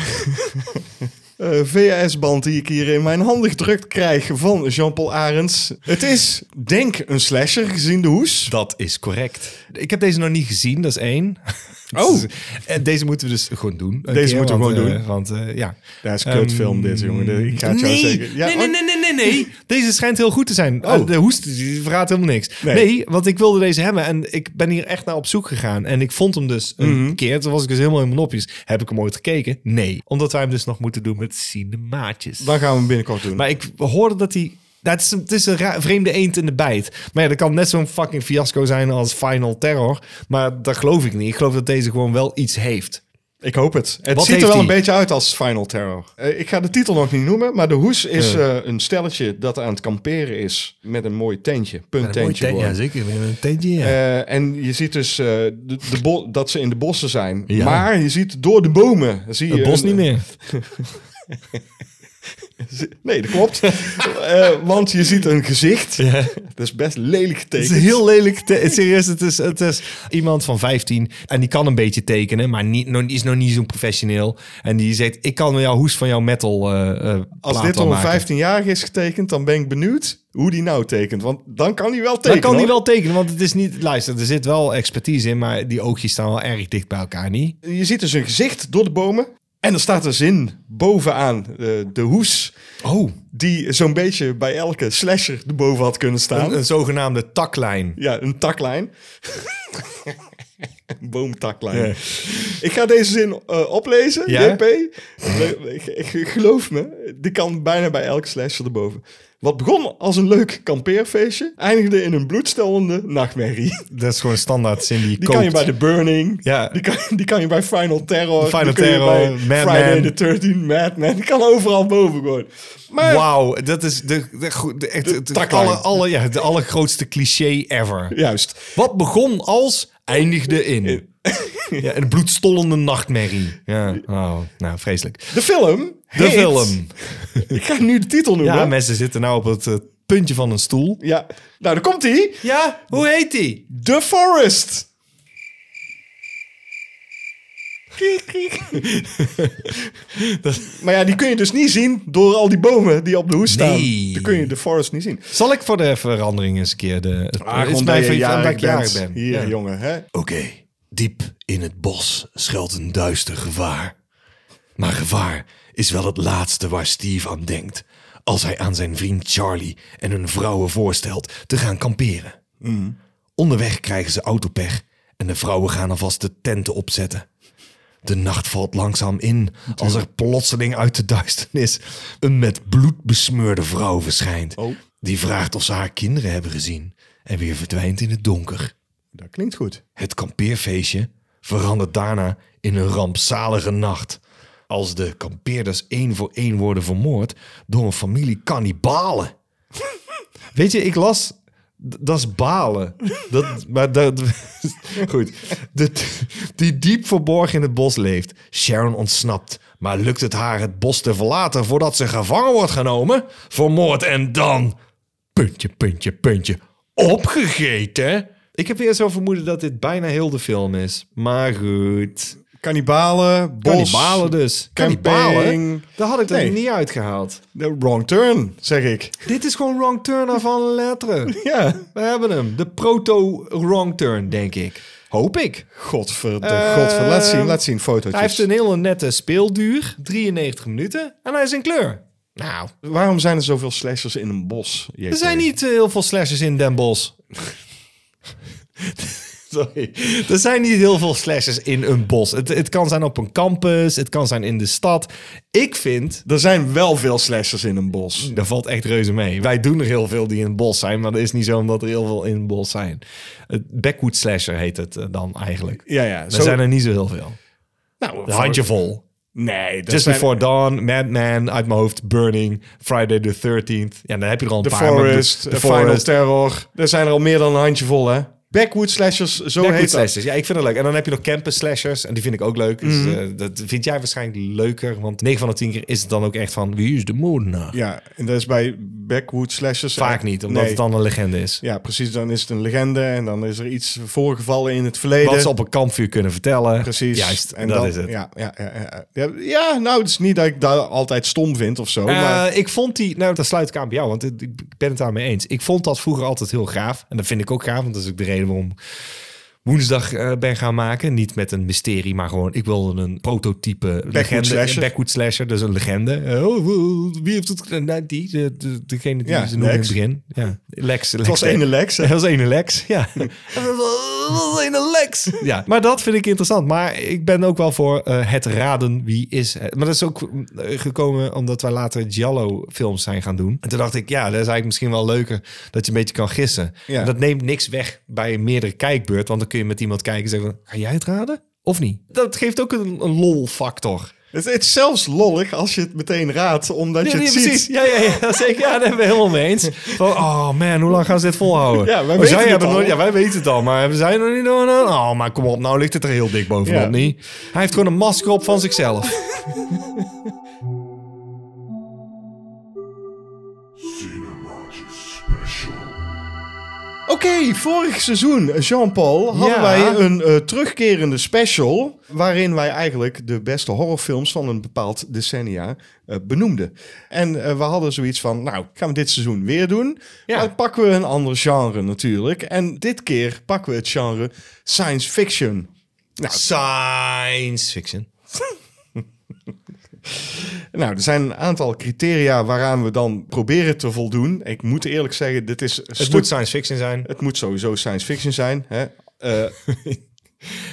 Speaker 1: eh VHS-band die ik hier in mijn handen gedrukt krijg van Jean-Paul Arends. Het is, denk een slasher, gezien de hoes.
Speaker 2: Dat is correct. Ik heb deze nog niet gezien, dat is één.
Speaker 1: Oh.
Speaker 2: En deze moeten we dus gewoon doen. Een
Speaker 1: Deze moeten we
Speaker 2: want,
Speaker 1: gewoon
Speaker 2: eh,
Speaker 1: doen.
Speaker 2: Want eh, ja. Ehm,
Speaker 1: Dat is een kutfilm, dit, jongen. Ik ga het jou zeggen. Ja,
Speaker 2: nee,
Speaker 1: oh,
Speaker 2: nee, nee, nee, nee, nee. Deze schijnt heel goed te zijn.
Speaker 1: Oh.
Speaker 2: Eh, De hoest die verraadt helemaal niks.
Speaker 1: Nee.
Speaker 2: Nee. want ik wilde deze hebben en ik ben hier echt naar op zoek gegaan. En ik vond hem dus een
Speaker 1: Mhm.
Speaker 2: keer. Toen was ik dus helemaal in mijn nopjes. Heb ik hem ooit gekeken? Nee. Omdat wij hem dus nog moeten doen met cinemaatjes.
Speaker 1: Dan gaan we hem binnenkort doen.
Speaker 2: Maar ik hoorde dat hij... Dat is, het is een ra- vreemde eend in de bijt. Maar ja, dat kan net zo'n fucking fiasco zijn als Final Terror. Maar dat geloof ik niet. Ik geloof dat deze gewoon wel iets heeft.
Speaker 1: Ik hoop het. Het
Speaker 2: Wat
Speaker 1: ziet er
Speaker 2: heeft
Speaker 1: wel een
Speaker 2: die?
Speaker 1: beetje uit als Final Terror. Eh, ik ga de titel nog niet noemen, maar de hoes is eh, een stelletje dat aan het kamperen is met een mooi tentje. Puntentje. gewoon.
Speaker 2: zeker. Een tentje, ja.
Speaker 1: Eh, en je ziet dus eh, de, de bo- dat ze in de bossen zijn.
Speaker 2: Ja.
Speaker 1: Maar je ziet door de bomen. Zie je
Speaker 2: het bos
Speaker 1: een-
Speaker 2: niet meer.
Speaker 1: Nee, dat klopt. Eh, want je ziet een gezicht. Dat is best lelijk
Speaker 2: Het
Speaker 1: getekend.
Speaker 2: is heel lelijk. te- serieus, het is, het is iemand van 15 en die kan een beetje tekenen, maar niet, nog- is nog niet zo'n professioneel. En die zegt: Ik kan jouw hoes van jouw metal. eh, eh,
Speaker 1: Als
Speaker 2: plaat
Speaker 1: dit
Speaker 2: wel
Speaker 1: om een
Speaker 2: maken.
Speaker 1: 15-jarige is getekend, dan ben ik benieuwd hoe die nou tekent. Want dan kan hij wel tekenen.
Speaker 2: Dan kan die
Speaker 1: hoor.
Speaker 2: wel tekenen, want het is niet. Luister, er zit wel expertise in, maar die oogjes staan wel erg dicht bij elkaar, niet?
Speaker 1: Je ziet dus een gezicht door de bomen. En er staat een zin bovenaan eh, de hoes.
Speaker 2: Oh,
Speaker 1: Die zo'n beetje bij elke slasher erboven had kunnen staan.
Speaker 2: een, een zogenaamde taklijn.
Speaker 1: ja, een taklijn. een boomtaklijn. Ik ga deze zin eh, oplezen,
Speaker 2: Ja?
Speaker 1: JP. Ik- ik- Geloof me, die kan bijna bij elke slasher erboven. Wat begon als een leuk kampeerfeestje, eindigde in een bloedstollende nachtmerrie.
Speaker 2: Dat is gewoon een standaard zin die je
Speaker 1: Die
Speaker 2: koopt.
Speaker 1: kan je bij The Burning.
Speaker 2: Ja.
Speaker 1: Die, kan, die kan je bij Final Terror.
Speaker 2: Final
Speaker 1: die kun je
Speaker 2: Terror,
Speaker 1: bij
Speaker 2: Mad
Speaker 1: Friday
Speaker 2: Men.
Speaker 1: the 13 Madman. Die kan overal boven gewoon. Maar
Speaker 2: Wauw, dat is de, de, goed- Eh! de, echt- het-
Speaker 1: taklijn.
Speaker 2: alle, alle, ja, de allergrootste cliché ever.
Speaker 1: juist.
Speaker 2: Wat begon als, eindigde in. Ja, een bloedstollende nachtmerrie. Ja, oh, nou, vreselijk.
Speaker 1: De film.
Speaker 2: De film.
Speaker 1: Ik ga nu de titel noemen.
Speaker 2: Ja, mensen zitten nou op het eh, puntje van een stoel.
Speaker 1: Ja. Nou, daar komt hij.
Speaker 2: Ja, hoe heet die?
Speaker 1: The Forest. maar ja, die kun je dus niet zien door al die bomen die op de hoes staan.
Speaker 2: Nee.
Speaker 1: Dan kun je de forest niet zien.
Speaker 2: Zal ik voor de verandering eens een keer de... Het het
Speaker 1: Omdat je
Speaker 2: mijn favoriet-
Speaker 1: jarig
Speaker 2: omdat ik jarig
Speaker 1: bent.
Speaker 2: ben.
Speaker 1: Hier,
Speaker 2: Ja.
Speaker 1: jongen. Hè?
Speaker 2: Oké, diep in het bos schuilt een duister gevaar. Maar gevaar is wel het laatste waar Steve aan denkt. Als hij aan zijn vriend Charlie en hun vrouwen voorstelt te gaan kamperen. Onderweg krijgen ze autopech en de vrouwen gaan alvast de tenten opzetten. De nacht valt langzaam in als er plotseling uit de duisternis een met bloed besmeurde vrouw verschijnt.
Speaker 1: Oh.
Speaker 2: Die vraagt of ze haar kinderen hebben gezien en weer verdwijnt in het donker.
Speaker 1: Dat klinkt goed.
Speaker 2: Het kampeerfeestje verandert daarna in een rampzalige nacht. Als de kampeerders één voor één worden vermoord door een familie kannibalen. Weet je, ik las. d- Dat is balen. Dat, maar dat, goed. De, die diep verborgen in het bos leeft. Sharon ontsnapt. Maar lukt het haar het bos te verlaten voordat ze gevangen wordt genomen? Vermoord en dan puntje, puntje, puntje, opgegeten. Ik heb weer zo vermoeden dat dit bijna heel de film is. Maar goed.
Speaker 1: Kannibalen, bos,
Speaker 2: Kannibalen dus.
Speaker 1: camping.
Speaker 2: Kannibalen? Daar had ik er
Speaker 1: Nee.
Speaker 2: niet uitgehaald.
Speaker 1: de wrong turn, zeg ik.
Speaker 2: Dit is gewoon wrong turn af van letteren.
Speaker 1: Ja,
Speaker 2: We hebben hem. De proto-wrong turn, denk ik. Hoop ik.
Speaker 1: godverde,
Speaker 2: Eh,
Speaker 1: godver. Laat zien, laat zien, fotootjes.
Speaker 2: Hij heeft een hele nette speelduur. 93 minuten. En hij is in kleur. Nou,
Speaker 1: Waarom zijn er zoveel slashers in een bos? JP?
Speaker 2: er zijn niet eh, heel veel slashers in Den Bosch.
Speaker 1: Sorry.
Speaker 2: Er zijn niet heel veel slashers in een bos. Het, het kan zijn op een campus, het kan zijn in de stad. Ik vind,
Speaker 1: Er zijn wel veel slashers in een bos.
Speaker 2: dat valt echt reuze mee. Wij doen er heel veel die in het bos zijn, maar dat is niet zo omdat er heel veel in het bos zijn. Het backwood slasher heet het eh, dan eigenlijk.
Speaker 1: Ja, ja.
Speaker 2: Er
Speaker 1: zo-
Speaker 2: zijn er niet zo heel veel.
Speaker 1: nou,
Speaker 2: Een handjevol.
Speaker 1: Nee, dat
Speaker 2: Just
Speaker 1: zijn-
Speaker 2: Before Dawn, Madman, uit mijn hoofd, Burning, Friday the 13th. Ja, dan heb je er al een
Speaker 1: The
Speaker 2: paar. maar dus de-
Speaker 1: Forest,
Speaker 2: The
Speaker 1: The Final
Speaker 2: Forest, eh,
Speaker 1: Terror. Er zijn er al meer dan een handjevol, hè? Backwood slashers, zo
Speaker 2: Backwood
Speaker 1: heet dat.
Speaker 2: slashers. Ja, ik vind het leuk. En dan heb je nog campus slashers. En die vind ik ook leuk. Dus,
Speaker 1: Mhm.
Speaker 2: eh, dat vind jij waarschijnlijk leuker. Want 9 van de 10 keer is het dan ook echt van... Wie is de moordenaar?
Speaker 1: Ja, en dat is bij backwood slashers... eh,
Speaker 2: Vaak niet, omdat
Speaker 1: Nee.
Speaker 2: het dan een legende is.
Speaker 1: Ja, precies. Dan is het een legende en dan is er iets voorgevallen in het verleden.
Speaker 2: Wat ze op een kampvuur kunnen vertellen.
Speaker 1: Precies.
Speaker 2: Juist, en
Speaker 1: en
Speaker 2: dat
Speaker 1: dan,
Speaker 2: is het.
Speaker 1: Ja, ja, ja, ja, ja. Ja, nou, het is niet dat ik dat altijd stom vind of zo. maar
Speaker 2: Eh, ik vond die, nou dat sluit ik aan bij jou, want ik ik ben het daarmee eens. Ik vond dat vroeger altijd heel gaaf. En dat vind ik ook gaaf, want dat is ook de reden waarom ik woensdag eh, ben gaan maken. Niet met een mysterie, maar gewoon, ik wilde een prototype legende.
Speaker 1: slasher.
Speaker 2: Backwood slasher, dus een legende. Eh, oh, oh, wie heeft het gedaan? Nou, die, de, de- degene die
Speaker 1: Ja,
Speaker 2: ze noemde in het
Speaker 1: Lex.
Speaker 2: begin. Ja, Lex.
Speaker 1: het was ene Lex.
Speaker 2: Dat was ene Lex, ja. dat was ene Lex. Ja, maar dat vind ik interessant. Maar ik ben ook wel voor eh, het raden wie is het. Maar dat is ook eh, gekomen omdat wij later Giallo-films zijn gaan doen. En toen dacht ik, ja, dat is eigenlijk misschien wel leuker dat je een beetje kan gissen.
Speaker 1: Ja.
Speaker 2: En Dat neemt niks weg bij een meerdere kijkbeurt. Want dan kun je met iemand kijken en zeggen, van, ga jij het raden? Of niet? Dat geeft ook een, een lol-factor.
Speaker 1: Het, het is zelfs lollig als je het meteen raadt, omdat je
Speaker 2: Ja,
Speaker 1: het
Speaker 2: ja,
Speaker 1: ziet.
Speaker 2: precies. Ja, ja, ja, zeker. Ja, daar hebben we helemaal mee eens. Van, oh man, hoe lang gaan ze dit volhouden?
Speaker 1: Ja, wij
Speaker 2: Oh,
Speaker 1: weten
Speaker 2: zij
Speaker 1: het
Speaker 2: hebben
Speaker 1: al.
Speaker 2: Nooit, ja, wij weten het al, maar we zijn er niet door. Oh, maar kom op, nou ligt het er heel dik bovenop,
Speaker 1: Ja.
Speaker 2: niet? Hij heeft gewoon een masker op van zichzelf.
Speaker 1: Oké, vorig seizoen, Jean-Paul, hadden
Speaker 2: Ja.
Speaker 1: wij een eh, terugkerende special... waarin wij eigenlijk de beste horrorfilms van een bepaald decennia eh, benoemden. En eh, we hadden zoiets van, nou, gaan we dit seizoen weer doen?
Speaker 2: Ja.
Speaker 1: Maar pakken we een ander genre natuurlijk. En dit keer pakken we het genre science fiction.
Speaker 2: Science fiction.
Speaker 1: Nou, er zijn een aantal criteria waaraan we dan proberen te voldoen. Ik moet eerlijk zeggen, dit is...
Speaker 2: Het moet science fiction zijn.
Speaker 1: het moet sowieso science fiction zijn, hè? Eh,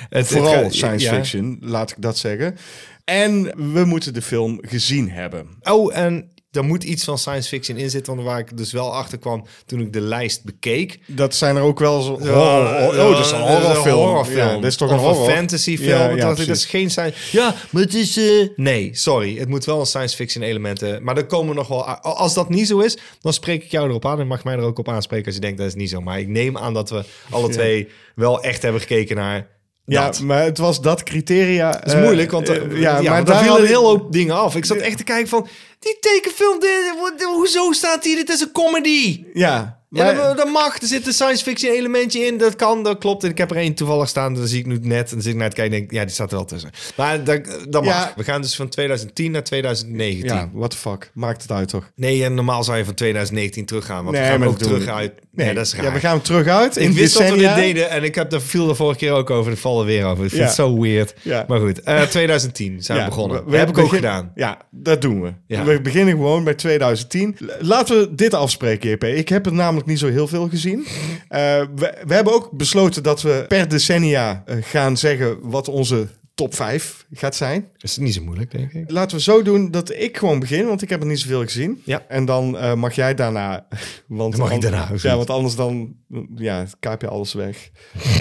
Speaker 2: Het,
Speaker 1: Vooral
Speaker 2: het-
Speaker 1: science
Speaker 2: ja.
Speaker 1: fiction, laat ik dat zeggen. En we moeten de film gezien hebben.
Speaker 2: Oh, en er moet iets van science fiction in zitten, want waar ik dus wel achter kwam toen ik de lijst bekeek.
Speaker 1: Dat zijn er ook wel zo.
Speaker 2: Ja,
Speaker 1: horror- oh,
Speaker 2: ja,
Speaker 1: dat is een horrorfilm. Ja, dat is toch
Speaker 2: of
Speaker 1: een horror?
Speaker 2: fantasyfilm.
Speaker 1: Ja, ja,
Speaker 2: Want dat, dat is
Speaker 1: precies.
Speaker 2: geen science... Ja, maar het is... eh, Nee, sorry. Het moet wel een science fiction elementen. Maar er komen nog wel... a- Als dat niet zo is, dan spreek ik jou erop aan. En mag mij er ook op aanspreken als je denkt dat is niet zo. Maar ik neem aan dat we alle twee wel echt hebben gekeken naar
Speaker 1: Ja,
Speaker 2: dat.
Speaker 1: maar het was dat criteria. eh, Dat
Speaker 2: Het is moeilijk, want er- ja, maar daar viel
Speaker 1: viel
Speaker 2: een heel hoop dingen af. Ik zat echt te kijken van... Die tekenfilm, dit, wat- hoezo staat hier? Dit is een comedy.
Speaker 1: Ja,
Speaker 2: Ja,
Speaker 1: maar,
Speaker 2: dat, dat mag. Er zit een science fiction elementje in. Dat kan, dat klopt. En ik heb er één toevallig staan. Dan zie ik nu net. En dan zit ik naar het kijken en denk ik, ja, die staat er wel tussen. Maar dat, dat mag.
Speaker 1: Ja.
Speaker 2: We gaan dus van 2010 naar 2019.
Speaker 1: ja, what the fuck. Maakt het uit toch?
Speaker 2: Nee, en normaal zou je van 2019 teruggaan. Want we gaan
Speaker 1: maar
Speaker 2: ook
Speaker 1: dat doen we
Speaker 2: terug
Speaker 1: niet.
Speaker 2: uit. Nee, dat is raar.
Speaker 1: Ja, we gaan hem terug uit.
Speaker 2: ik
Speaker 1: in
Speaker 2: wist dat we
Speaker 1: decennia.
Speaker 2: dit deden en ik heb, daar viel de vorige keer ook over. Ik val er weer over. Ik vind
Speaker 1: Ja.
Speaker 2: het zo weird.
Speaker 1: Ja.
Speaker 2: Maar goed, eh, 2010 zijn
Speaker 1: Ja,
Speaker 2: we begonnen.
Speaker 1: we-
Speaker 2: Dat
Speaker 1: we
Speaker 2: heb ik ook
Speaker 1: begin-
Speaker 2: gedaan.
Speaker 1: Ja, dat doen we.
Speaker 2: Ja.
Speaker 1: We beginnen gewoon bij 2010. L- Laten we dit afspreken, JP. Ik heb het namelijk niet zo heel veel gezien. Eh, we, we hebben ook besloten dat we per decennia eh, gaan zeggen wat onze top 5 gaat zijn.
Speaker 2: Dat is niet zo moeilijk, denk ik.
Speaker 1: Laten we zo doen dat ik gewoon begin, want ik heb er niet zoveel gezien.
Speaker 2: Ja.
Speaker 1: En dan eh, mag jij daarna. Want
Speaker 2: Dan mag ik
Speaker 1: an-
Speaker 2: daarna,
Speaker 1: Ja, want anders dan mm, ja, kaap je alles weg.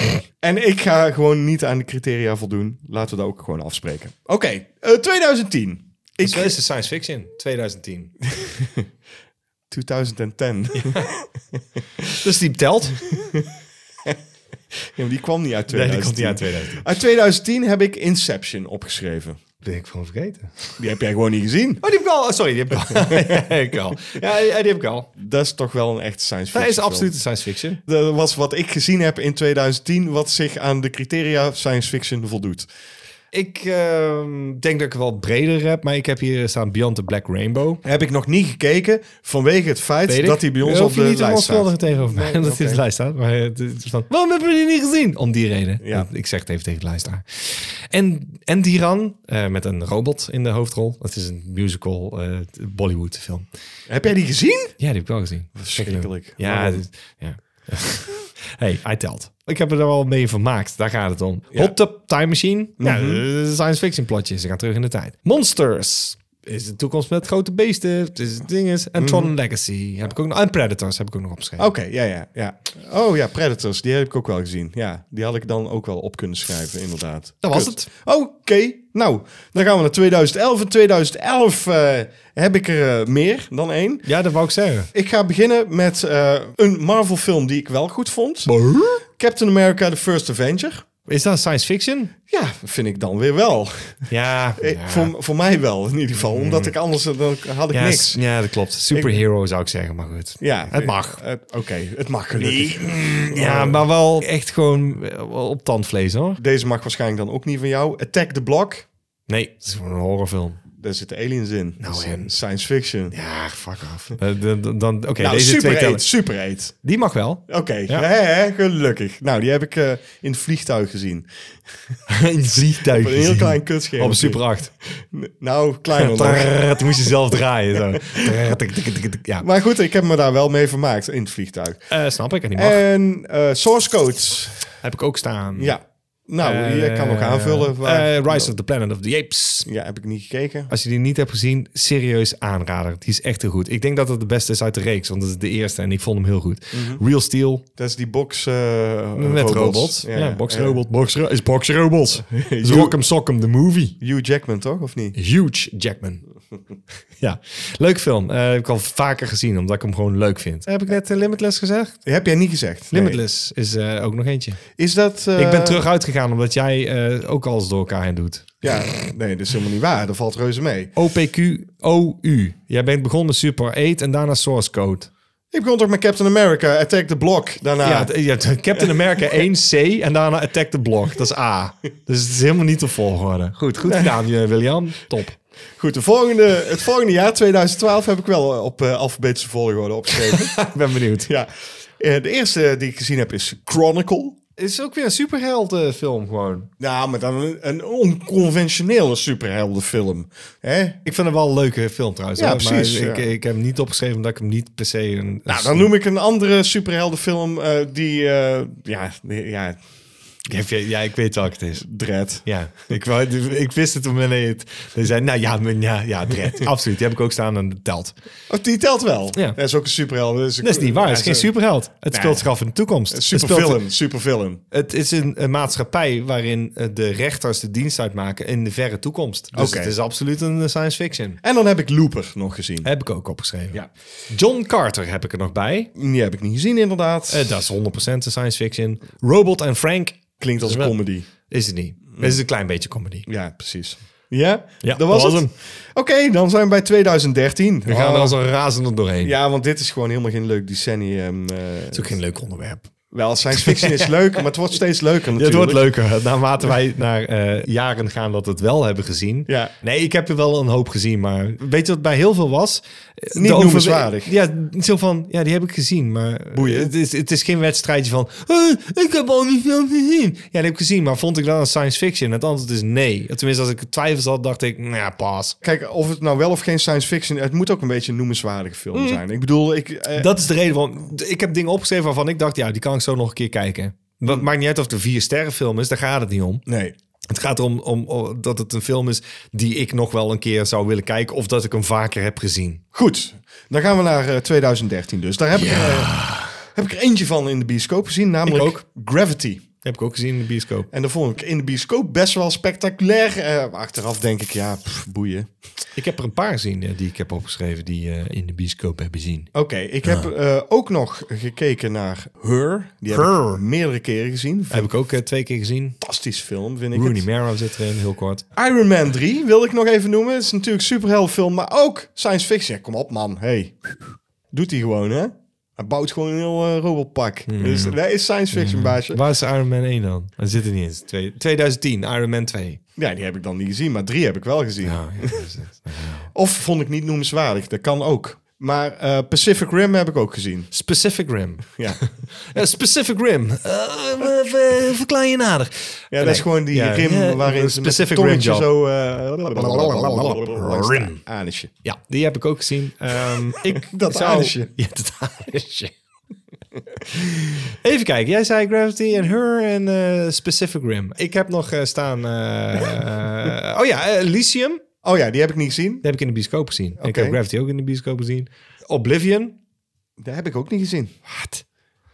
Speaker 1: en ik ga gewoon niet aan de criteria voldoen. Laten we dat ook gewoon afspreken. Oké, eh, 2010.
Speaker 2: Ik
Speaker 1: Ik,
Speaker 2: dat Dus is de science fiction, 2010.
Speaker 1: 2010. Ja.
Speaker 2: Dus die telt.
Speaker 1: maar die kwam niet uit
Speaker 2: Nee,
Speaker 1: 2010.
Speaker 2: die komt niet uit 2010.
Speaker 1: Uit 2010 heb ik Inception opgeschreven.
Speaker 2: Ben ik gewoon vergeten.
Speaker 1: Die heb jij gewoon niet gezien.
Speaker 2: Oh, die heb ik al. Oh, sorry, die heb ik al. ja, ik al. Ja, ja, die heb ik al.
Speaker 1: Dat is toch wel een echt science fiction
Speaker 2: Dat is
Speaker 1: film.
Speaker 2: absoluut science fiction.
Speaker 1: Dat was wat ik gezien heb in 2010, wat zich aan de criteria science fiction voldoet.
Speaker 2: Ik ehm, denk dat ik het wel breder heb, maar ik heb hier staan Beyond the Black Rainbow.
Speaker 1: Heb ik nog niet gekeken vanwege het feit
Speaker 2: Weet ik.
Speaker 1: dat hij bij ons
Speaker 2: Daar
Speaker 1: op
Speaker 2: hoef je
Speaker 1: de
Speaker 2: niet te
Speaker 1: lijst staat.
Speaker 2: onschuldig tegenover mij
Speaker 1: Nee,
Speaker 2: dat
Speaker 1: oké.
Speaker 2: hij op de lijst staat. Maar het is van, waarom hebben we die niet gezien? Om die reden.
Speaker 1: Ja.
Speaker 2: Ik zeg het even tegen de luisteraar. En, en Diran, eh, met een robot in de hoofdrol. Dat is een musical eh, Bollywood film.
Speaker 1: Heb jij die gezien?
Speaker 2: Ja, die heb ik wel gezien.
Speaker 1: Verschrikkelijk.
Speaker 2: Ja,
Speaker 1: Waarom?
Speaker 2: dit- ja. hey, hij telt. Ik heb er wel mee vermaakt. Daar gaat het om. Hot Tub Time Machine. Ja, eh, science fiction plotje. Ze gaan terug in de tijd. Monsters. Is de toekomst met grote beesten. Het is dinges. En Tron Legacy. Heb ik ook nog, en Predators heb ik ook nog opgeschreven.
Speaker 1: Oké, ja, ja, ja. Oh ja, Predators, die heb ik ook wel gezien. Ja, die had ik dan ook wel op kunnen schrijven, inderdaad.
Speaker 2: Dat was
Speaker 1: Kut.
Speaker 2: het.
Speaker 1: Oké, nou, dan gaan we naar 2011. In 2011 eh, heb ik er eh, meer dan één.
Speaker 2: Ja, dat wou ik zeggen.
Speaker 1: Ik ga beginnen met eh, een Marvel-film die ik wel goed vond. Captain America The First Avenger.
Speaker 2: Is dat science fiction?
Speaker 1: Ja, vind ik dan weer wel.
Speaker 2: Ja. Mm.
Speaker 1: Eh,
Speaker 2: ja.
Speaker 1: Voor, voor mij wel, in ieder geval. Omdat ik anders eh, dan had ik
Speaker 2: ja, s-
Speaker 1: niks.
Speaker 2: ja, dat klopt. Superhero zou ik zeggen, maar goed.
Speaker 1: Ja,
Speaker 2: Het mag.
Speaker 1: eh, Oké, het mag gelukkig.
Speaker 2: Ja, maar wel echt gewoon eh, op tandvlees, hoor.
Speaker 1: Deze mag waarschijnlijk dan ook niet van jou. Attack the Block.
Speaker 2: Nee, het is gewoon een horrorfilm.
Speaker 1: Daar zitten aliens in.
Speaker 2: Nou,
Speaker 1: Dat is
Speaker 2: en-
Speaker 1: Science fiction.
Speaker 2: Ja, fuck af. dan, Eh, dan, Oké,
Speaker 1: nou,
Speaker 2: deze twee
Speaker 1: super
Speaker 2: tellen.
Speaker 1: eet, super eet.
Speaker 2: Die mag wel.
Speaker 1: Oké,
Speaker 2: Ja.
Speaker 1: hè, hè, gelukkig. Nou, die heb ik eh, in het vliegtuig gezien.
Speaker 2: een vliegtuig.
Speaker 1: Op een heel klein kutscherm.
Speaker 2: Op een Super 8.
Speaker 1: Nou, kleiner nog.
Speaker 2: Trrrt, moest je zelf draaien. Zo. Trrrt, tik, tik, tik, tik, ja.
Speaker 1: Maar goed, ik heb me daar wel mee vermaakt in het vliegtuig.
Speaker 2: Eh, snap ik, en die mag.
Speaker 1: En eh, Source Code.
Speaker 2: heb ik ook staan.
Speaker 1: Ja. Nou,
Speaker 2: Eh,
Speaker 1: je kan nog aanvullen. waar-
Speaker 2: eh, Rise of the Planet of the Apes.
Speaker 1: Ja, heb ik niet gekeken.
Speaker 2: Als je die niet hebt gezien, serieus aanrader. Die is echt heel goed. Ik denk dat het de beste is uit de reeks, want dat is de eerste en ik vond hem heel goed. Real Steel
Speaker 1: Dat is die box... eh,
Speaker 2: met
Speaker 1: robots.
Speaker 2: Mhm. robots. Ja, boxrobot. Boxro is boxrobot. is
Speaker 1: You-
Speaker 2: Rock'em Sock'em, de movie.
Speaker 1: Eh, Hugh Jackman, toch? Of niet?
Speaker 2: Huge Jackman. ja, leuk film. Eh, heb ik al vaker gezien, omdat ik hem gewoon leuk vind. Heb ik net eh, Limitless gezegd?
Speaker 1: Heb jij niet gezegd? Nee.
Speaker 2: Limitless is eh, ook nog eentje.
Speaker 1: Is dat... eh,
Speaker 2: ik ben terug uitgegaan, omdat jij eh, ook alles door elkaar heen doet.
Speaker 1: Ja, nee, dat is helemaal niet waar. Dat valt reuze mee.
Speaker 2: OPQ-OU. Jij bent begonnen met Super 8 en daarna Source Code.
Speaker 1: Ik begon toch met Captain America, Attack the Block. Daarna...
Speaker 2: Ja, t- ja, t- Captain America 1C en daarna Attack the Block. Dat is A. Dus het is helemaal niet de volgorde. Goed, goed gedaan, eh, William. Top.
Speaker 1: Goed, de volgende, het volgende jaar, 2012, heb ik wel eh, op eh, alfabetische volgorde opgeschreven.
Speaker 2: Ik ben benieuwd.
Speaker 1: ja. Eh, De eerste die ik gezien heb is Chronicle.
Speaker 2: Het is ook weer een superheldenfilm gewoon.
Speaker 1: Ja, maar dan een, een onconventionele superheldenfilm. Hè? Nou,
Speaker 2: Ik vind hem wel een leuke film trouwens.
Speaker 1: Ja,
Speaker 2: hoor,
Speaker 1: precies,
Speaker 2: Maar
Speaker 1: ja.
Speaker 2: ik, ik heb hem niet opgeschreven omdat ik hem niet per se een... dus
Speaker 1: Nou, dan noem ik een andere superheldenfilm eh, die... eh, ja, die- ja,
Speaker 2: ik... Ja, ik weet welke het is.
Speaker 1: Dread.
Speaker 2: Ja, ik, wou- ik wist het toen wanneer het... Hij zei, nou ja, maar ja, ja Dredd. Absoluut, die heb ik ook staan en dat telt.
Speaker 1: Oh, die telt wel.
Speaker 2: Ja.
Speaker 1: Dat is ook een superheld. Dat is, een-
Speaker 2: Dat is niet waar, het is
Speaker 1: ja,
Speaker 2: geen superheld. Het speelt zich af in de toekomst.
Speaker 1: een
Speaker 2: Het speelt-
Speaker 1: Superfilm, superfilm.
Speaker 2: Het is een, een maatschappij waarin eh, de rechters de dienst uitmaken in de verre toekomst. Dus
Speaker 1: Oké.
Speaker 2: het is absoluut een eh, science fiction.
Speaker 1: En dan heb ik Looper nog gezien.
Speaker 2: Heb ik ook opgeschreven. John Carter heb ik er nog bij.
Speaker 1: Die heb ik niet gezien, inderdaad.
Speaker 2: Eh, dat is 100% een science fiction. Robot en Frank
Speaker 1: Klinkt als een
Speaker 2: Wel-
Speaker 1: comedy.
Speaker 2: Is het niet. Het is een klein beetje comedy.
Speaker 1: Ja, precies. Ja,
Speaker 2: Ja,
Speaker 1: dat was,
Speaker 2: dat was
Speaker 1: het.
Speaker 2: hem.
Speaker 1: Oké, dan zijn we bij 2013.
Speaker 2: We gaan
Speaker 1: Oh,
Speaker 2: er als een razende doorheen.
Speaker 1: Ja, want dit is gewoon helemaal geen leuk decennium. eh.
Speaker 2: Het is ook geen leuk onderwerp.
Speaker 1: wel, science fiction is leuk, maar het wordt steeds leuker natuurlijk.
Speaker 2: het wordt leuker. Naarmate wij naar eh, jaren gaan dat we het wel hebben gezien.
Speaker 1: Ja.
Speaker 2: Nee, ik heb er wel een hoop gezien. Maar weet je wat bij heel veel was?
Speaker 1: Niet
Speaker 2: De overwe-
Speaker 1: noemenswaardig.
Speaker 2: Ja, zo van, ja, die heb ik gezien. Maar
Speaker 1: Boeien.
Speaker 2: Het is, het is geen wedstrijdje van, "Eh, ik heb al die film gezien. Ja, die heb ik gezien. Maar vond ik dat een science fiction? Het antwoord is nee. Tenminste, als ik twijfels had, dacht ik, nou ja, pas.
Speaker 1: Kijk, of het nou wel of geen science fiction... Het moet ook een beetje een noemenswaardige film zijn. Ik bedoel, ik... eh,
Speaker 2: Mm. Dat is de reden waarom. Ik heb dingen opgeschreven waarvan ik dacht, ja, die kan ik zo nog een keer kijken. Het maakt niet uit of het een vier sterren film is, daar gaat het niet om.
Speaker 1: nee.
Speaker 2: Het gaat erom om, om- dat het een film is die ik nog wel een keer zou willen kijken. Of dat ik hem vaker heb gezien.
Speaker 1: Goed, dan gaan we naar eh, 2013 dus. Daar heb, ik, eh, heb ik er eentje van in de bioscoop gezien, namelijk
Speaker 2: ook.
Speaker 1: Gravity.
Speaker 2: heb ik ook gezien in de bioscoop.
Speaker 1: En dat vond ik in de bioscoop best wel spectaculair. Eh, maar achteraf denk ik, ja, pff, boeien.
Speaker 2: Ik heb er een paar gezien eh, die ik heb opgeschreven die eh, in de bioscoop hebben gezien.
Speaker 1: Oké, ik heb eh, ook nog gekeken naar Her. Die heb
Speaker 2: Her.
Speaker 1: ik meerdere keren gezien.
Speaker 2: Heb ik ook eh, twee keer gezien.
Speaker 1: Fantastisch film, vind ik
Speaker 2: Rooney
Speaker 1: het.
Speaker 2: Mara zit erin, heel kort.
Speaker 1: Iron Man 3 wilde ik nog even noemen. Het is natuurlijk superheldenfilm, maar ook science fiction. Ja, kom op, man. Hey. Doet hij gewoon, hè? Hij bouwt gewoon een heel eh, robotpak.
Speaker 2: Mm.
Speaker 1: Dus dat is science fiction, baasje.
Speaker 2: Waar is Iron Man 1 dan? Hij zit er niet eens. Twee- 2010, Iron Man 2.
Speaker 1: Ja, die heb ik dan niet gezien, maar drie heb ik wel gezien.
Speaker 2: Ja, ja, dat is het.
Speaker 1: Of vond ik niet noemenswaardig, dat kan ook. Maar eh, Pacific Rim heb ik ook gezien.
Speaker 2: Specific Rim.
Speaker 1: Ja,
Speaker 2: Ja, specific Rim. Eh, we- we- verklaar je nader.
Speaker 1: ja dat is gewoon die
Speaker 2: Ja,
Speaker 1: rim
Speaker 2: ja,
Speaker 1: waarin ze met een
Speaker 2: Pacific
Speaker 1: tongetje
Speaker 2: Rim
Speaker 1: zo... eh,
Speaker 2: Rim.
Speaker 1: rim. Anusje.
Speaker 2: Ja, die heb ik ook gezien. Ehm, ik
Speaker 1: Dat
Speaker 2: zou...
Speaker 1: anusje.
Speaker 2: Ja, dat anusje. Even kijken, jij zei Gravity en Her en eh, Specific Rim. Ik heb nog eh, staan... eh, eh, oh ja, eh, Elysium. Die
Speaker 1: Oh ja, die heb ik niet gezien.
Speaker 2: heb ik in de bioscoop gezien. Ik
Speaker 1: Oké.
Speaker 2: heb Gravity ook in de bioscoop gezien. Oblivion.
Speaker 1: Dat heb ik ook niet gezien.
Speaker 2: Wat?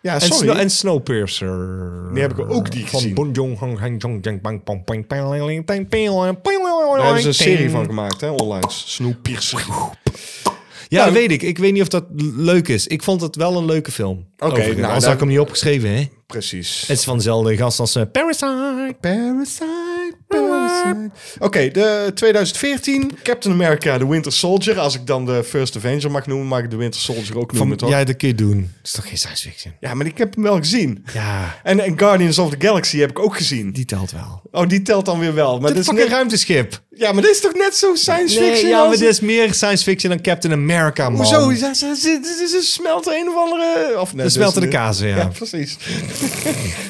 Speaker 1: Ja,
Speaker 2: En,
Speaker 1: sorry.
Speaker 2: Snow- en Snowpiercer.
Speaker 1: Die heb ik ook niet
Speaker 2: van
Speaker 1: gezien.
Speaker 2: Bong Joon-ho, Hang Jong Jang Bang Pong Ping Ping Ling Ting Ping Ling Ping
Speaker 1: Daar hebben ze een
Speaker 2: Ling
Speaker 1: serie
Speaker 2: Ting.
Speaker 1: van gemaakt, hè, onlangs. Snoepiercer.
Speaker 2: Ja,
Speaker 1: Nou,
Speaker 2: dat weet ik. Ik weet niet of dat l- leuk is. Ik vond het wel een leuke film. Oké,
Speaker 1: nou,
Speaker 2: als had
Speaker 1: daar-
Speaker 2: ik hem niet opgeschreven, hè?
Speaker 1: Precies.
Speaker 2: Het is van dezelfde gast als eh, Parasite.
Speaker 1: Parasite, Parasite. Oké, de 2014 Captain America, The Winter Soldier. Als ik dan de First Avenger mag noemen, mag ik de Winter Soldier ook noemen, toch? Ja.
Speaker 2: ja, dat kun je doen. Dat is toch geen science fiction?
Speaker 1: maar ik heb hem wel gezien.
Speaker 2: Ja,
Speaker 1: En, en Guardians of the Galaxy heb ik ook gezien.
Speaker 2: die telt wel.
Speaker 1: Oh, die telt dan weer wel. Maar dit
Speaker 2: Het is
Speaker 1: is
Speaker 2: fucking
Speaker 1: net,
Speaker 2: ruimteschip.
Speaker 1: ja, maar dit is toch net zo science fiction?
Speaker 2: Nee, ja, maar
Speaker 1: als-
Speaker 2: dit is meer science fiction dan Captain America, man.
Speaker 1: Hoezo? Ze, ze, ze, ze- ze smelten een of andere... Of, nee,
Speaker 2: Ze smelten de
Speaker 1: dus-
Speaker 2: kazen, ja.
Speaker 1: Ja, precies.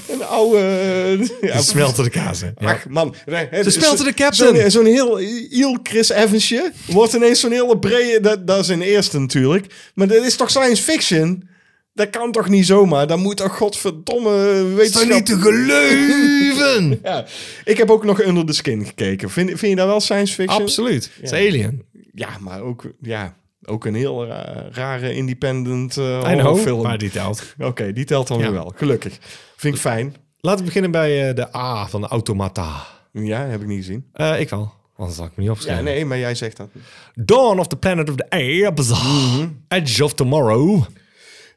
Speaker 1: een oude... Ja,
Speaker 2: Ze smelten de kazen. Ja.
Speaker 1: Ach, man. Nee, hè,
Speaker 2: Ze
Speaker 1: zo-
Speaker 2: speelden de captain.
Speaker 1: Zo'n zo'n heel iel Chris Evansje wordt ineens zo'n hele brede... Dat, dat is een eerste natuurlijk. Maar dat is toch science fiction? Dat kan toch niet zomaar? Dat moet toch godverdomme
Speaker 2: Is
Speaker 1: wetenschap...
Speaker 2: niet te geloven?
Speaker 1: Ja. Ik heb ook nog Under the Skin gekeken. Vind, vind je dat wel science fiction?
Speaker 2: Absoluut. Het is Alien.
Speaker 1: Ja, maar ook... Ja, ook een heel ra- rare independent eh
Speaker 2: I know,
Speaker 1: horrorfilm.
Speaker 2: maar die telt.
Speaker 1: Oké, die telt dan weer wel. Gelukkig. Vind ik fijn.
Speaker 2: Laten we beginnen bij eh, de A van de Automata.
Speaker 1: Ja, heb ik niet gezien.
Speaker 2: Eh, ik wel. Anders had ik me niet
Speaker 1: Ja,
Speaker 2: opgeschreven.
Speaker 1: nee, maar jij zegt dat.
Speaker 2: Dawn of the Planet of the Apes. Mhm. Edge of Tomorrow.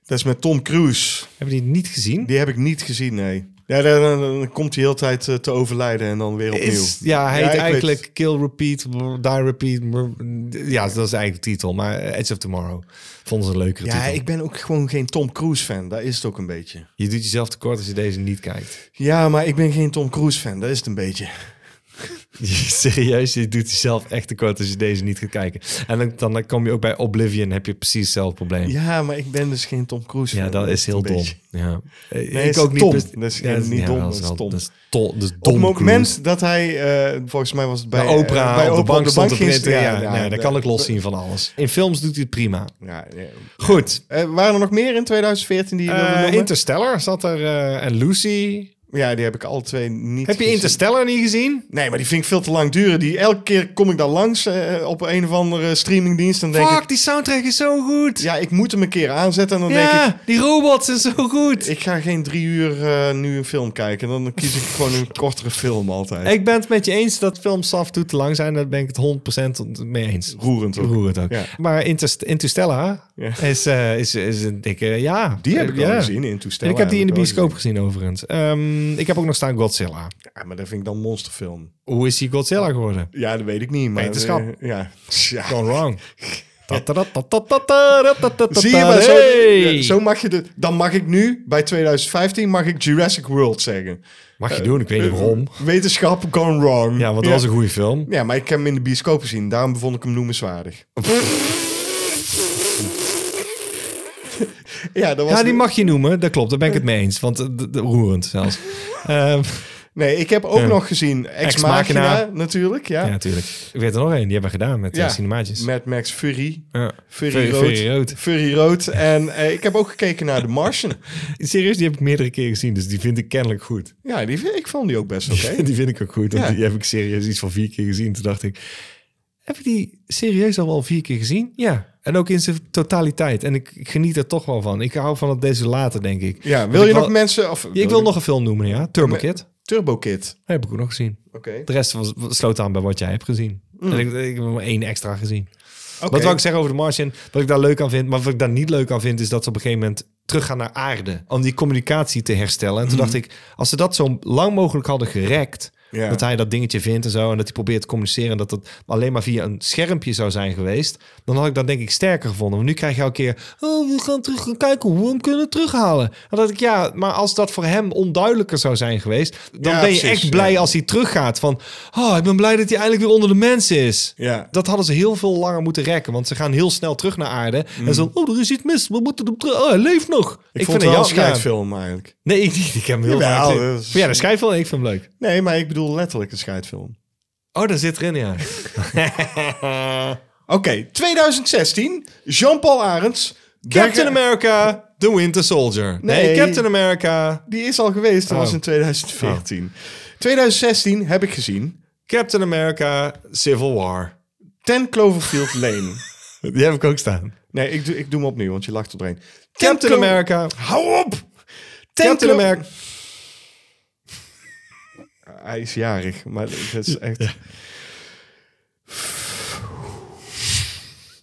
Speaker 1: Dat is met Tom Cruise.
Speaker 2: Hebben die niet gezien?
Speaker 1: Die heb ik niet gezien, nee. Ja, dan, dan- dan komt hij heel de hele tijd eh, te overlijden en dan weer opnieuw.
Speaker 2: Is, ja, hij
Speaker 1: Ja,
Speaker 2: heet
Speaker 1: ik
Speaker 2: eigenlijk
Speaker 1: weet
Speaker 2: Kill Repeat, brr, Die Repeat. brr, Ja, dat is eigenlijk de titel. Maar eh, Edge of Tomorrow vonden ze een leukere
Speaker 1: Ja,
Speaker 2: titel.
Speaker 1: ik ben ook gewoon geen Tom Cruise fan. Daar is het ook een beetje.
Speaker 2: Je doet jezelf tekort als je deze niet kijkt.
Speaker 1: Ja, maar ik ben geen Tom Cruise fan. Daar is het een beetje.
Speaker 2: Serieus, je doet jezelf echt tekort als je deze niet gaat kijken. En dan, dan, dan kom je ook bij Oblivion, heb je precies hetzelfde probleem. Ja.
Speaker 1: Ja, maar ik ben dus geen Tom Cruise fan.
Speaker 2: dat is heel
Speaker 1: een
Speaker 2: dom.
Speaker 1: beetje.
Speaker 2: Ja.
Speaker 1: Nee, is dom.
Speaker 2: best-
Speaker 1: Dat is
Speaker 2: Ja,
Speaker 1: niet dom,
Speaker 2: dat
Speaker 1: dat is
Speaker 2: wel-
Speaker 1: dom.
Speaker 2: Dat is, to- dat is dom.
Speaker 1: Op het
Speaker 2: Cruise.
Speaker 1: moment dat hij, eh, volgens mij was het bij,
Speaker 2: bij Oprah
Speaker 1: eh,
Speaker 2: bij op de
Speaker 1: Oprah
Speaker 2: bank stond te
Speaker 1: ging
Speaker 2: printen.
Speaker 1: staan.
Speaker 2: Ja, nee, dat kan ik los zien van alles. In films doet hij het prima.
Speaker 1: Ja, ja.
Speaker 2: Goed.
Speaker 1: Eh, waren er nog meer in 2014 die je
Speaker 2: Eh,
Speaker 1: wilde noemen?
Speaker 2: Interstellar zat er eh, en Lucy.
Speaker 1: ja, die heb ik alle twee niet
Speaker 2: Heb je
Speaker 1: gezien.
Speaker 2: Interstellar niet gezien?
Speaker 1: Nee, maar die vind ik veel te lang duren. Die, elke keer kom ik daar langs eh, op een of andere streamingdienst. En denk
Speaker 2: Fuck,
Speaker 1: ik,
Speaker 2: die soundtrack is zo goed. Ja,
Speaker 1: ja, ik moet hem een keer aanzetten. En dan denk ik,
Speaker 2: die robots zijn zo goed. Ik,
Speaker 1: ik ga geen drie uur eh, nu een film kijken. Dan kies ik gewoon een kortere film altijd.
Speaker 2: ben het met je eens dat films af en toe te lang zijn. Daar ben ik het 100% mee eens.
Speaker 1: Roerend ook.
Speaker 2: Roerend ook.
Speaker 1: Ja.
Speaker 2: Maar Interst- Interstellar
Speaker 1: Ja.
Speaker 2: is, eh, is, is een dikke ja.
Speaker 1: Die heb ik
Speaker 2: ja.
Speaker 1: al gezien in
Speaker 2: En
Speaker 1: toestel.
Speaker 2: ik heb die in de bioscoop gezien, overigens. Ehm, ik heb ook nog staan Godzilla.
Speaker 1: Ja, maar dat vind ik dan monsterfilm.
Speaker 2: Hoe is die Godzilla geworden?
Speaker 1: Ja, dat weet ik niet. Maar,
Speaker 2: Wetenschap.
Speaker 1: eh, ja. ja.
Speaker 2: Gone wrong.
Speaker 1: Zie je, maar zo, ja, zo mag je de, dan mag ik nu, bij 2015, mag ik Jurassic World zeggen. Eh,
Speaker 2: Mag je doen, ik weet niet waarom.
Speaker 1: Wetenschap gone wrong.
Speaker 2: Ja, want dat was een goede film.
Speaker 1: Ja, maar ik heb hem in de bioscoop gezien. Daarom vond ik hem noemenswaardig. ja, dat was...
Speaker 2: Ja, die mag je noemen, dat klopt, daar ben ik het mee eens. Want eh, d- d- roerend zelfs. Ehm,
Speaker 1: Nee, ik heb ook
Speaker 2: Ja.
Speaker 1: nog gezien Ex
Speaker 2: Ex
Speaker 1: Machina,
Speaker 2: Machina.
Speaker 1: natuurlijk. Ja.
Speaker 2: ja,
Speaker 1: ja.
Speaker 2: natuurlijk. Ik weet er nog één, die hebben we gedaan met ja. cinemaatjes.
Speaker 1: Mad Max Fury.
Speaker 2: Ja.
Speaker 1: Fury,
Speaker 2: Fury-
Speaker 1: rood,
Speaker 2: Fury rood.
Speaker 1: Fury rood. En eh, ik heb ook gekeken naar The Martian.
Speaker 2: Serieus, die heb ik meerdere keren gezien, dus die vind ik kennelijk goed.
Speaker 1: Ja, die, vind- ik vond die ook best oké.
Speaker 2: Dus Die vind ik ook goed, want
Speaker 1: Ja.
Speaker 2: die heb ik serieus iets van vier keer gezien. Toen dacht ik, heb ik die serieus al wel vier keer gezien? Ja, en ook in zijn totaliteit. En ik, ik geniet er toch wel van. Ik hou van dat desolaten, denk ik.
Speaker 1: Ja,
Speaker 2: Want
Speaker 1: wil
Speaker 2: ik
Speaker 1: je nog mensen... Of,
Speaker 2: Ik wil nog een film noemen, ja. Turbo Kid. Dat
Speaker 1: Turbo Kid.
Speaker 2: heb ik ook nog gezien.
Speaker 1: Oké.
Speaker 2: De rest was, sloot aan bij wat jij hebt gezien. En ik, ik heb er maar één extra gezien.
Speaker 1: Oké.
Speaker 2: Wat wil ik zeggen over de Martian? Wat ik daar leuk aan vind, maar wat ik daar niet leuk aan vind, is dat ze op een gegeven moment teruggaan naar
Speaker 1: Mhm.
Speaker 2: aarde om die communicatie te herstellen. En toen dacht ik, als ze dat zo lang mogelijk hadden gerekt,
Speaker 1: Ja.
Speaker 2: Dat hij dat dingetje vindt en zo. En dat hij probeert te communiceren. En dat dat alleen maar via een schermpje zou zijn geweest. Dan had ik dat denk ik sterker gevonden. Maar nu krijg je elke keer... Oh, we gaan terug gaan kijken hoe we hem kunnen terughalen. En dat ik, ja, maar als dat voor hem onduidelijker zou zijn geweest... Dan
Speaker 1: Ja,
Speaker 2: ben je
Speaker 1: precies,
Speaker 2: echt blij
Speaker 1: ja.
Speaker 2: als hij teruggaat. Van, oh, ik ben blij dat hij eindelijk weer onder de mensen is.
Speaker 1: Ja.
Speaker 2: Dat hadden ze heel veel langer moeten rekken. Want ze gaan heel snel terug naar aarde. En zo, oh, er is iets mis. We moeten hem terug... Oh, hij leeft nog.
Speaker 1: Ik, vond het wel
Speaker 2: jou-
Speaker 1: een
Speaker 2: ja.
Speaker 1: scheidfilm eigenlijk.
Speaker 2: Nee, ik, niet. ik heb hem heel
Speaker 1: Jawel,
Speaker 2: vaak gezien.
Speaker 1: dat is-
Speaker 2: Ja, de schijfel, ik vind hem leuk.
Speaker 1: Nee, maar ik bedoel letterlijk een scheidfilm.
Speaker 2: Oh, daar zit erin, ja.
Speaker 1: Oké, 2016. Jean-Paul Arends.
Speaker 2: Captain
Speaker 1: Daar-
Speaker 2: America, The Winter Soldier. eh, Nee,
Speaker 1: Nee.
Speaker 2: Captain America,
Speaker 1: Die is al geweest, dat
Speaker 2: Oh.
Speaker 1: was in 2014. 2016 heb ik gezien.
Speaker 2: Captain America, Civil War.
Speaker 1: Ten Cloverfield Lane.
Speaker 2: Die heb ik ook staan.
Speaker 1: Nee, ik doe, ik doe hem opnieuw, want je lacht er doorheen. Ten
Speaker 2: Captain
Speaker 1: Clo-
Speaker 2: America,
Speaker 1: Hou op! Ten
Speaker 2: Captain
Speaker 1: Clo-
Speaker 2: America.
Speaker 1: Hij is jarig, maar dat is echt...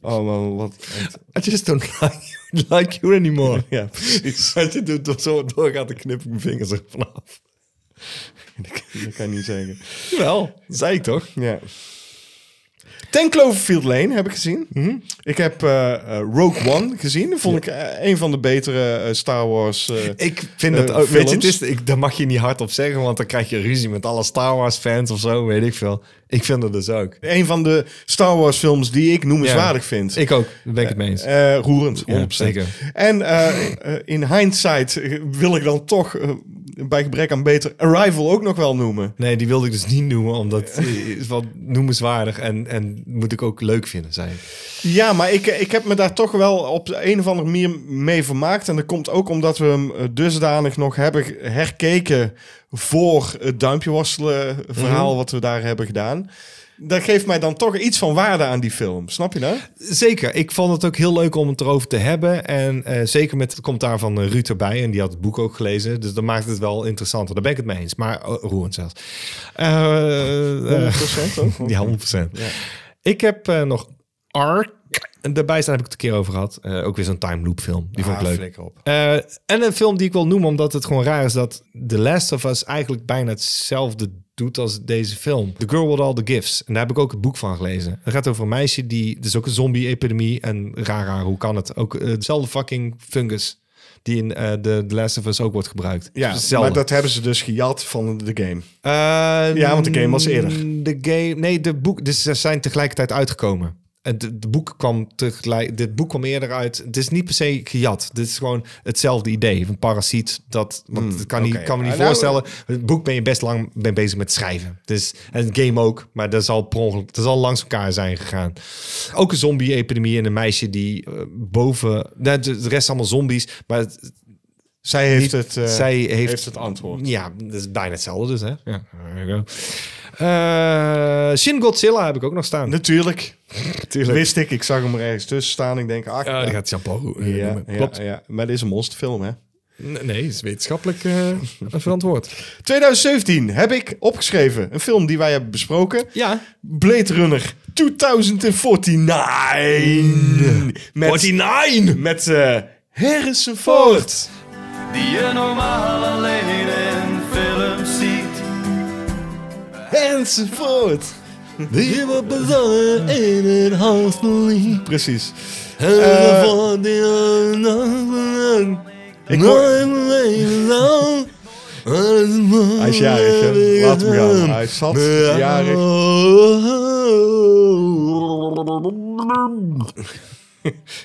Speaker 1: Oh man, wat... echt.
Speaker 2: I just don't like you, like you anymore.
Speaker 1: Ja, precies.
Speaker 2: Als je doet tot zo doorgaat, dan knip ik mijn vingers er vanaf.
Speaker 1: Dat kan je niet zeggen.
Speaker 2: Wel, zei ik toch?
Speaker 1: Ja. Ten Cloverfield Lane heb ik gezien.
Speaker 2: Mhm.
Speaker 1: Ik heb eh, eh, Rogue One gezien. Dat vond ik eh, een van de betere eh, Star Wars... eh,
Speaker 2: Ik vind
Speaker 1: Eh,
Speaker 2: het ook. Weet je, het
Speaker 1: films?
Speaker 2: is, ik, daar mag je niet hard op zeggen, want dan krijg je ruzie met alle Star Wars fans of zo, weet ik veel. Ik vind dat dus ook.
Speaker 1: een van de Star Wars films die ik noemenswaardig vind.
Speaker 2: Ik ook, daar ben ik het mee eens.
Speaker 1: Eh, roerend, 100%.
Speaker 2: Ja, zeker.
Speaker 1: En eh, eh, in hindsight eh, wil ik dan toch, eh, bij gebrek aan beter, Arrival ook nog wel noemen.
Speaker 2: Nee, die wilde ik dus niet noemen, omdat het is wel noemenswaardig en, en moet ik ook leuk vinden, zei ik.
Speaker 1: Ja, maar ik, eh, ik heb me daar toch wel op de een of andere manier mee vermaakt. En dat komt ook omdat we hem eh, dusdanig nog hebben ge- herkeken voor het duimpje worstelen eh,
Speaker 2: Mhm.
Speaker 1: verhaal wat we daar hebben gedaan. Dat geeft mij dan toch iets van waarde aan die film. Snap je nou?
Speaker 2: Zeker, ik vond het ook heel leuk om het erover te hebben. En eh, zeker met het commentaar van eh, Ruud erbij, en die had het boek ook gelezen. Dus dat maakt het wel interessanter, daar ben ik het mee eens. Maar oh, roerend zelfs. Eh, eh,
Speaker 1: 100% ook.
Speaker 2: Ja, 100%. Ik heb eh, nog Ark. En daarbij staan heb ik het een keer over gehad. Eh, ook weer zo'n time loop film. Die vond ik
Speaker 1: Ah,
Speaker 2: leuk. Eh, en een film die ik wil noemen, omdat het gewoon raar is dat The Last of Us eigenlijk bijna hetzelfde doet als deze film. The Girl with All the Gifts. En daar heb ik ook het boek van gelezen. Het gaat over een meisje die. Het is ook een zombie-epidemie. En raar, raar, hoe kan het? Ook eh, hetzelfde fucking fungus die in eh, de The Last of Us ook wordt gebruikt.
Speaker 1: Ja,
Speaker 2: Het is hetzelfde.
Speaker 1: maar dat hebben ze dus gejat van de game.
Speaker 2: Eh,
Speaker 1: Ja, want de game was eerder.
Speaker 2: De game, nee, de boek, dus ze zijn tegelijkertijd uitgekomen. Het de, de boek kwam tegelijk, dit boek kwam eerder uit. Het is niet per se gejat. Dit is gewoon hetzelfde idee van parasiet. Dat, want dat kan,
Speaker 1: oké.
Speaker 2: niet, kan me niet
Speaker 1: Ah, nou,
Speaker 2: voorstellen. Het boek ben je best lang mee bezig met schrijven. Dus, en het game ook, maar dat zal per ongeluk, dat zal langs elkaar zijn gegaan. Ook een zombie-epidemie en een meisje die eh, boven, nou, de, de rest allemaal zombies, maar het-
Speaker 1: Zij heeft,
Speaker 2: Niet-
Speaker 1: het, eh,
Speaker 2: zij heeft-
Speaker 1: het antwoord.
Speaker 2: ja, dat is bijna hetzelfde dus, hè? Ja. there you go. Eh, Shin Godzilla heb ik ook nog staan.
Speaker 1: Natuurlijk.
Speaker 2: Natuurlijk.
Speaker 1: Wist ik. Ik zag hem er ergens tussen staan. Ik denk, ach,
Speaker 2: die gaat shampoo. eh,
Speaker 1: ja,
Speaker 2: noemen.
Speaker 1: ja,
Speaker 2: Klopt.
Speaker 1: ja. Maar dit is een monsterfilm, hè?
Speaker 2: N- Nee, is wetenschappelijk eh, verantwoord.
Speaker 1: 2017 heb ik opgeschreven. Een film die wij hebben besproken.
Speaker 2: Ja.
Speaker 1: Blade Runner 2049. Met,
Speaker 2: 49!
Speaker 1: met eh, Harrison Ford.
Speaker 6: die je normaal alleen in films ziet.
Speaker 1: Harrison Ford.
Speaker 2: Die wordt bezongen in het huislied.
Speaker 1: Precies.
Speaker 2: Eh. En van die anderen.
Speaker 1: Ik hoor-
Speaker 2: Hij
Speaker 1: Hij is jarig, hè? Laat hem gaan. Hij zat jarig.
Speaker 2: Oh,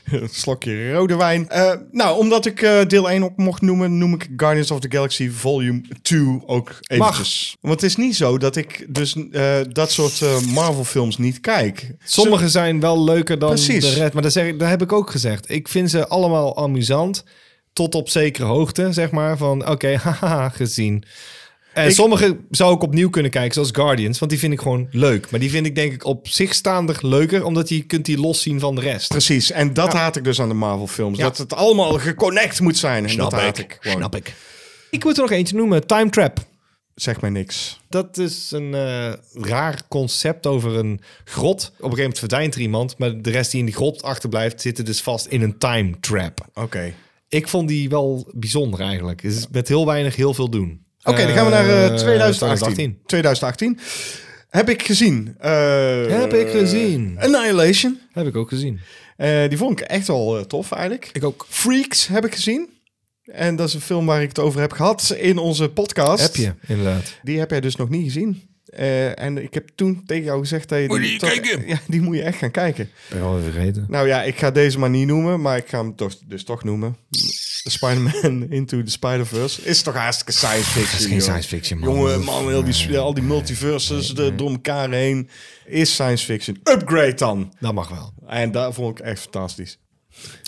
Speaker 1: Een slokje rode wijn. Eh, nou, omdat ik eh, deel 1 op mocht noemen, noem ik Guardians of the Galaxy Volume 2 ook eventjes. Want het is niet zo dat ik dus eh, dat soort eh, Marvel-films niet kijk.
Speaker 2: Sommige zijn wel leuker dan
Speaker 1: Precies.
Speaker 2: de rest. Maar dat, zeg, ik- dat heb ik ook gezegd. Ik vind ze allemaal amusant. Tot op zekere hoogte, zeg maar. Van oké, haha, gezien. En sommige zou ik opnieuw kunnen kijken, zoals Guardians. Want die vind ik gewoon leuk. Maar die vind ik denk ik op zich staandig leuker. Omdat je kunt die loszien van de rest.
Speaker 1: Precies, en dat haat ik dus aan de Marvel-films. Dat het allemaal geconnect moet zijn. En dat haat ik. gewoon.
Speaker 2: ik. Ik moet er nog eentje noemen. Time Trap.
Speaker 1: Zeg mij niks.
Speaker 2: Dat is een eh, raar concept over een grot. Op een gegeven moment verdwijnt er iemand. Maar de rest die in die grot achterblijft, zitten dus vast in een time trap.
Speaker 1: Oké.
Speaker 2: Ik vond die wel bijzonder eigenlijk. Het is met heel weinig heel veel doen.
Speaker 1: Oké, dan gaan we naar eh,
Speaker 2: Eh,
Speaker 1: 2018.
Speaker 2: 2018.
Speaker 1: 2018. Heb ik gezien. eh,
Speaker 2: Heb ik gezien.
Speaker 1: Annihilation.
Speaker 2: Heb ik ook gezien.
Speaker 1: Eh, die vond ik echt wel eh, tof eigenlijk.
Speaker 2: Ik ook.
Speaker 1: Freaks heb ik gezien. En dat is een film waar ik het over heb gehad in onze podcast.
Speaker 2: Heb je, inderdaad.
Speaker 1: Die heb jij dus nog niet gezien. Eh, en ik heb toen tegen jou gezegd dat je... Moet je kijken? Ja, die moet je echt gaan kijken.
Speaker 2: Ben je alweer vergeten.
Speaker 1: Nou ja, ik ga deze maar niet noemen, maar ik ga hem toch, dus toch noemen. Spider-Man Into the Spider-Verse. Is toch hartstikke science fiction,
Speaker 2: Dat is geen
Speaker 1: joh.
Speaker 2: science fiction, man.
Speaker 1: Jongen,
Speaker 2: Dat-
Speaker 1: man, heel die, al die multiverses de, door elkaar heen. Is science fiction. Upgrade dan.
Speaker 2: Dat mag wel.
Speaker 1: En dat vond ik echt fantastisch.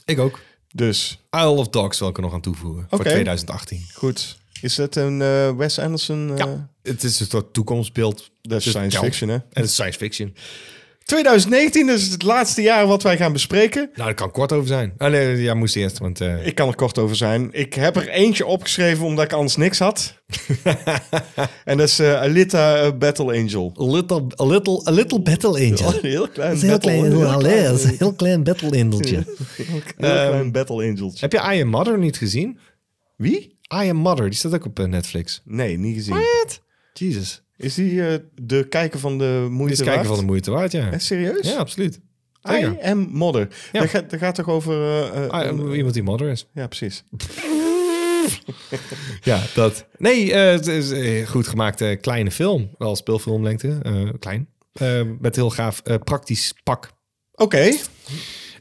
Speaker 2: Ik ook.
Speaker 1: Dus,
Speaker 2: Isle of Dogs wil ik er nog aan toevoegen. Voor
Speaker 1: Oké.
Speaker 2: 2018.
Speaker 1: goed. Is dat een eh, Wes Anderson? eh,
Speaker 2: Het is een soort toekomstbeeld.
Speaker 1: Dat is
Speaker 2: Dus-
Speaker 1: science
Speaker 2: ja.
Speaker 1: fiction, hè?
Speaker 2: En het is science fiction.
Speaker 1: 2019 is het laatste jaar wat wij gaan bespreken.
Speaker 2: Nou, dat kan kort over zijn. Ah, nee, ja, moest eerst, want... eh,
Speaker 1: Ik kan er kort over zijn. Ik heb er eentje opgeschreven omdat ik anders niks had. en dat is eh, Alita eh, Battle Angel.
Speaker 2: Little, a little, a little battle angel.
Speaker 1: Oh, heel klein
Speaker 2: Dat is heel
Speaker 1: battle,
Speaker 2: klein,
Speaker 1: heel
Speaker 2: heel,
Speaker 1: klein-
Speaker 2: heel, heel klein battle angeltje.
Speaker 1: heel klein battle angeltje.
Speaker 2: Heb je I Am Mother niet gezien?
Speaker 1: Wie?
Speaker 2: I Am Mother, die staat ook op eh, Netflix.
Speaker 1: Nee, niet gezien.
Speaker 2: Jesus.
Speaker 1: Is die eh, de kijker van de moeite
Speaker 2: Dit is kijken
Speaker 1: waard?
Speaker 2: van de moeite waard, ja.
Speaker 1: Eh, serieus?
Speaker 2: Ja, absoluut.
Speaker 1: I
Speaker 2: Zeker.
Speaker 1: am modder.
Speaker 2: Ja.
Speaker 1: Dat, gaat, dat gaat toch over... eh, eh,
Speaker 2: I am- iemand die mother is.
Speaker 1: ja, precies.
Speaker 2: Ja, dat. Nee, eh, het is een goed gemaakte kleine film. Wel speelfilmlengte, eh, klein. Eh, met heel gaaf eh, praktisch pak.
Speaker 1: Oké,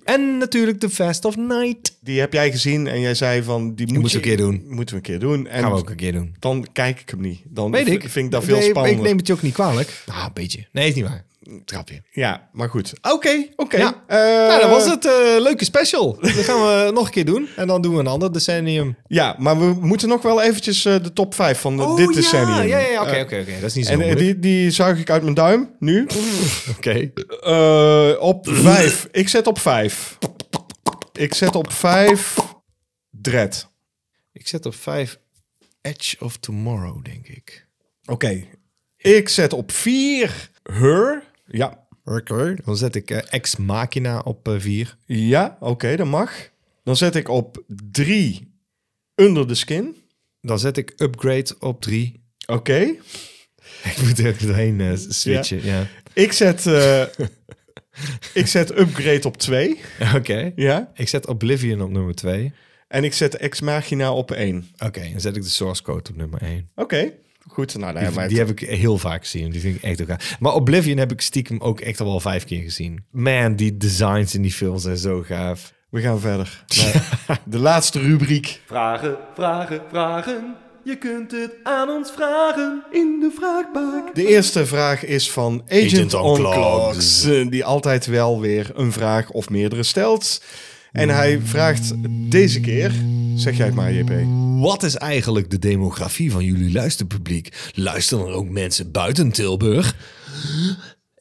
Speaker 2: En natuurlijk The Fast of Night.
Speaker 1: die heb jij gezien en jij zei van... Die moet
Speaker 2: moet
Speaker 1: je
Speaker 2: ze een keer doen.
Speaker 1: Moeten we een keer doen. En
Speaker 2: Gaan we ook een keer doen.
Speaker 1: dan kijk ik hem niet. Dan
Speaker 2: Weet
Speaker 1: v-
Speaker 2: ik.
Speaker 1: vind ik dat veel
Speaker 2: Nee,
Speaker 1: spannender.
Speaker 2: Ik neem het je ook niet kwalijk. Ah, een beetje. Nee, is niet waar. Trapje.
Speaker 1: Ja, maar goed. Oké, oké.
Speaker 2: Ja.
Speaker 1: Eh,
Speaker 2: nou, dat was het. eh, leuke special. Dat gaan we nog een keer doen. En dan doen we een ander decennium.
Speaker 1: Ja, maar we moeten nog wel eventjes eh, de top 5 van de, dit decennium.
Speaker 2: Oh, Ja, ja, ja.
Speaker 1: Eh,
Speaker 2: Oké, oké, oké. Dat is niet zo
Speaker 1: En eh,
Speaker 2: moeilijk.
Speaker 1: die, die zuig ik uit mijn duim nu.
Speaker 2: Oké.
Speaker 1: Eh, op vijf. Ik zet op vijf. Ik zet op vijf. Dread.
Speaker 2: Ik zet op 5 Edge of Tomorrow, denk ik.
Speaker 1: Oké. Ik zet op vier. Her. Ja.
Speaker 2: Oké. Dan zet ik eh, Ex Machina op eh, 4.
Speaker 1: Ja, oké, dat mag. Dan zet ik op drie. Under the skin.
Speaker 2: Dan zet ik upgrade op 3.
Speaker 1: Oké.
Speaker 2: Ik moet er even doorheen eh, switchen. Ja.
Speaker 1: Ik zet. eh, ik zet upgrade op twee.
Speaker 2: Oké.
Speaker 1: Ja.
Speaker 2: Ik zet Oblivion op nummer 2.
Speaker 1: En ik zet ex machina op één.
Speaker 2: Oké. Dan zet ik de source code op nummer 1.
Speaker 1: Oké. Goed. Nou, daar
Speaker 2: Die,
Speaker 1: hebben wij
Speaker 2: die
Speaker 1: het.
Speaker 2: heb ik heel vaak gezien. Die vind ik echt ook gaaf. Maar Oblivion heb ik stiekem ook echt al wel vijf keer gezien. Man, die designs in die films zijn zo gaaf.
Speaker 1: We gaan verder. naar de laatste rubriek.
Speaker 6: Vragen, vragen, vragen. Je kunt het aan ons vragen in de vraagbak.
Speaker 1: De eerste vraag is van Agent,
Speaker 2: Agent
Speaker 1: on,
Speaker 2: on
Speaker 1: Clocks, eh, die altijd wel weer een vraag of meerdere stelt. En hij vraagt deze keer, zeg jij het maar JP.
Speaker 2: Wat is eigenlijk de demografie van jullie luisterpubliek? Luisteren er ook mensen buiten Tilburg?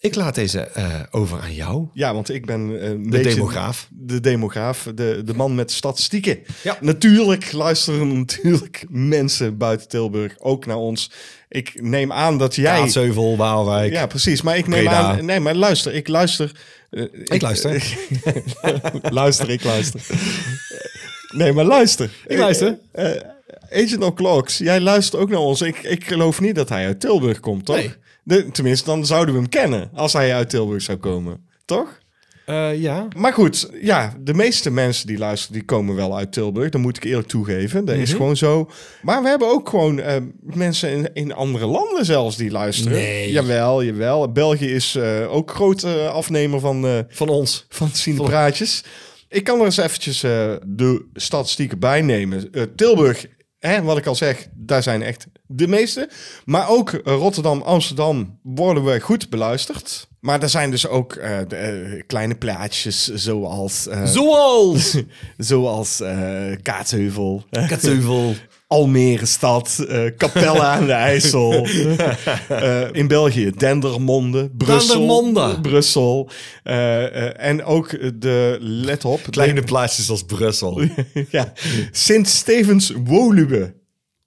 Speaker 2: Ik laat deze eh, over aan jou.
Speaker 1: Ja, want ik ben eh, een
Speaker 2: De
Speaker 1: beetje
Speaker 2: demograaf.
Speaker 1: de demograaf, de, de man met statistieken.
Speaker 2: Ja.
Speaker 1: Natuurlijk luisteren natuurlijk mensen buiten Tilburg ook naar ons. Ik neem aan dat jij...
Speaker 2: Kaatsheuvel, Waalwijk.
Speaker 1: Ja, precies. Maar ik neem
Speaker 2: Breda.
Speaker 1: aan... Nee, maar luister, ik luister... eh,
Speaker 2: Ik luister.
Speaker 1: luister, ik luister. Nee, maar luister.
Speaker 2: Ik luister.
Speaker 1: Eh, eh, Agent O'Clocks, jij luistert ook naar ons. Ik, ik geloof niet dat hij uit Tilburg komt, toch?
Speaker 2: Nee.
Speaker 1: De- tenminste, dan zouden we hem kennen als hij uit Tilburg zou komen, toch?
Speaker 2: Eh, ja.
Speaker 1: Maar goed, ja, de meeste mensen die luisteren, die komen wel uit Tilburg. Dat moet ik eerlijk toegeven. Dat is gewoon zo. Maar we hebben ook gewoon eh, mensen in, in andere landen zelfs die luisteren.
Speaker 2: Nee.
Speaker 1: Jawel, jawel. België is eh, ook groot eh, afnemer van eh,
Speaker 2: Van ons.
Speaker 1: van Cinepraatjes. Ik kan er eens eventjes eh, de statistieken bij nemen. Eh, Tilburg, hè, wat ik al zeg, daar zijn echt de meeste. Maar ook eh, Rotterdam, Amsterdam worden we goed beluisterd. Maar er zijn dus ook eh, de, eh, kleine plaatjes zoals, eh,
Speaker 2: Zoals!
Speaker 1: zoals eh, Kaatsheuvel, eh,
Speaker 2: Kaatsheuvel.
Speaker 1: Almere stad, eh Capella aan de IJssel. Eh, in België Dendermonde, Brussel.
Speaker 2: Dendermonde.
Speaker 1: Brussel. Eh, eh, en ook de, let op,
Speaker 2: Kleine plaatsjes als Brussel.
Speaker 1: ja, Sint-Stevens-Woluwe.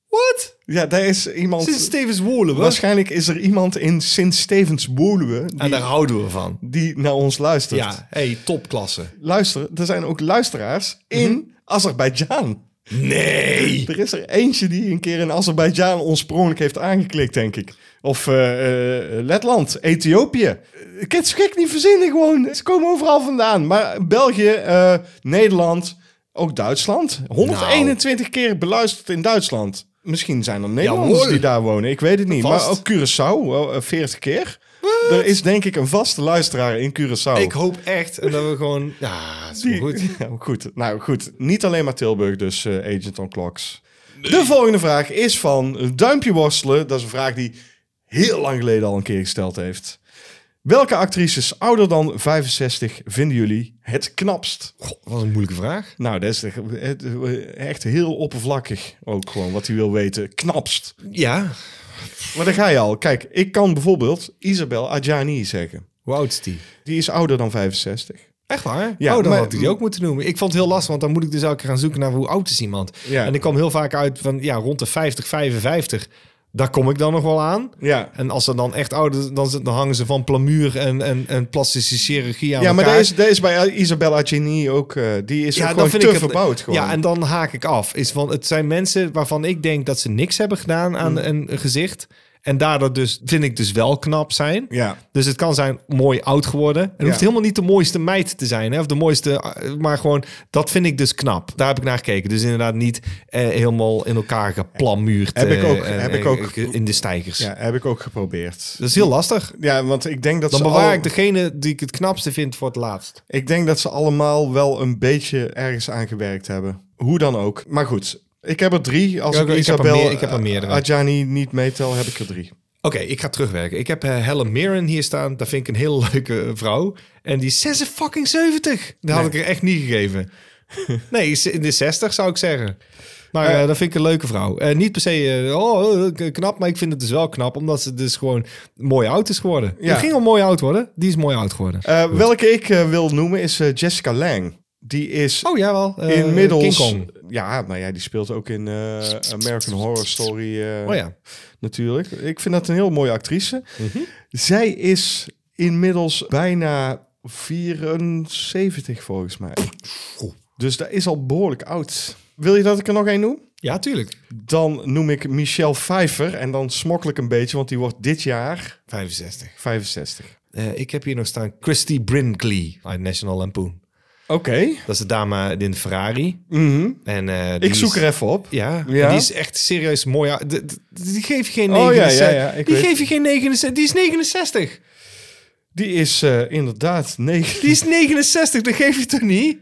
Speaker 2: Wat?
Speaker 1: Ja, daar is iemand...
Speaker 2: Sint Stevens Wolen,
Speaker 1: waarschijnlijk is er iemand in Sint-Stevens-Woluwe
Speaker 2: En
Speaker 1: die,
Speaker 2: Ah, daar houden we van.
Speaker 1: die naar ons luistert.
Speaker 2: Ja, hey, topklasse. Mhm.
Speaker 1: Luister, er zijn ook luisteraars in Azerbeidzjan.
Speaker 2: Nee!
Speaker 1: Er is er eentje die een keer in Azerbeidzjan oorspronkelijk heeft aangeklikt, denk ik. Of eh, eh, Letland, Ethiopië. Ik kan het zo gek niet verzinnen gewoon. Ze komen overal vandaan. Maar België, eh, Nederland, ook Duitsland. 121 keer beluisterd in Duitsland. Misschien zijn er Nederlanders
Speaker 2: Nou. Jawohl.
Speaker 1: die daar wonen. Ik weet het niet.
Speaker 2: Vast.
Speaker 1: Maar ook Curaçao, wel, eh, 40 keer. Er is denk ik een vaste luisteraar in Curaçao.
Speaker 2: Ik hoop echt en dat we gewoon... Ja, het is wel
Speaker 1: Die-
Speaker 2: goed.
Speaker 1: Ja, goed. Nou goed, niet alleen maar Tilburg, dus eh, Agent on Clocks. De volgende vraag is van Duimpje Worstelen. Dat is een vraag die heel lang geleden al een keer gesteld heeft. Welke actrices ouder dan 65 vinden jullie het knapst?
Speaker 2: God, wat een moeilijke vraag.
Speaker 1: Nou, dat is echt- echt heel oppervlakkig ook gewoon wat hij wil weten. Knapst.
Speaker 2: Ja.
Speaker 1: Maar daar ga je al. Kijk, ik kan bijvoorbeeld Isabel Adjani zeggen.
Speaker 2: Hoe oud is die?
Speaker 1: Die is ouder dan 65.
Speaker 2: Echt waar?
Speaker 1: Ja,
Speaker 2: oh, dan
Speaker 1: maar-
Speaker 2: had ik die ook moeten noemen. Ik vond het heel lastig, want dan moet ik dus elke keer gaan zoeken naar hoe oud is iemand.
Speaker 1: Ja.
Speaker 2: En ik kwam heel vaak uit van ja, rond de 50, 55. Daar kom ik dan nog wel aan.
Speaker 1: Ja,
Speaker 2: En als ze dan echt ouder dan, zit- dan hangen ze van plamuur en, en, en plastische chirurgie aan
Speaker 1: ja maar
Speaker 2: elkaar.
Speaker 1: daar is, daar is bij Isabel Adjani ook... eh, die is ook gewoon te
Speaker 2: het-
Speaker 1: verbouwd gewoon.
Speaker 2: Ja, en dan haak ik af. Is van, het zijn mensen waarvan ik denk dat ze niks hebben gedaan
Speaker 1: Hmm.
Speaker 2: aan een gezicht. En daardoor dus, vind ik dus wel knap zijn.
Speaker 1: Ja.
Speaker 2: Dus het kan zijn mooi oud geworden. En het hoeft helemaal niet de mooiste meid te zijn. Hè? Of de mooiste, eh, maar gewoon, dat vind ik dus knap. Daar heb ik naar gekeken. Dus inderdaad niet eh, helemaal in elkaar geplamuurd.
Speaker 1: Heb ik
Speaker 2: eh,
Speaker 1: ook-
Speaker 2: en-
Speaker 1: heb ik
Speaker 2: en-
Speaker 1: ook-
Speaker 2: In de stijgers.
Speaker 1: ja, heb ik ook geprobeerd.
Speaker 2: Dat is heel lastig.
Speaker 1: Ja, want ik denk dat
Speaker 2: Dus- Dan
Speaker 1: ze
Speaker 2: bewaar
Speaker 1: al-
Speaker 2: ik degene die ik het knapste vind voor het laatst.
Speaker 1: ik denk dat ze allemaal wel een beetje ergens aan gewerkt hebben. Hoe dan ook. Maar goed, ik heb er drie. Als
Speaker 2: Ja,
Speaker 1: ik,
Speaker 2: ik heb er
Speaker 1: Isabel
Speaker 2: meer- ik heb er meerdere.
Speaker 1: Adjani niet meetel, heb ik er drie.
Speaker 2: Oké, ik ga terugwerken. Ik heb eh, Helen Mirren hier staan. Dat vind ik een hele leuke eh, vrouw. En die is 76. fucking 70. Dat had ik er echt niet gegeven. nee, ze- in de 60 zou ik zeggen. Maar eh, dat vind ik een leuke vrouw. Eh, niet per se eh, oh, eh, knap, maar ik vind het dus wel knap. Omdat ze dus gewoon mooi oud is geworden.
Speaker 1: Ja.
Speaker 2: Die ging al mooi oud worden. Die is mooi oud geworden.
Speaker 1: Eh, welke ik eh, wil noemen is eh, Jessica Lang. Die is
Speaker 2: oh, jawel. Eh,
Speaker 1: inmiddels...
Speaker 2: King Kong.
Speaker 1: Ja, maar ja, die speelt ook in eh, American Horror Story eh,
Speaker 2: Oh ja.
Speaker 1: natuurlijk. Ik vind dat een heel mooie actrice. Zij is inmiddels bijna 74 volgens mij. Dus dat is al behoorlijk oud. Wil je dat ik er nog één noem?
Speaker 2: Ja, tuurlijk.
Speaker 1: Dan noem ik Michelle Pfeiffer. En dan smokkel ik een beetje, want die wordt dit jaar
Speaker 2: 65.
Speaker 1: 65.
Speaker 2: Eh, ik heb hier nog staan Christy Brinkley uit National Lampoon.
Speaker 1: Oké.
Speaker 2: Dat is de dame in de Ferrari.
Speaker 1: Mhm.
Speaker 2: En, eh, die
Speaker 1: Ik zoek
Speaker 2: is-
Speaker 1: er even op.
Speaker 2: Ja,
Speaker 1: Ja.
Speaker 2: maar die is echt serieus mooi. uit. De- de- Die geef je geen
Speaker 1: Oh, ja,
Speaker 2: 69.
Speaker 1: ja, ja, ik
Speaker 2: die
Speaker 1: weet.
Speaker 2: geef je geen 69. Die is 69.
Speaker 1: Die is eh, inderdaad 9.
Speaker 2: Die is 69. Dat geef je toch niet?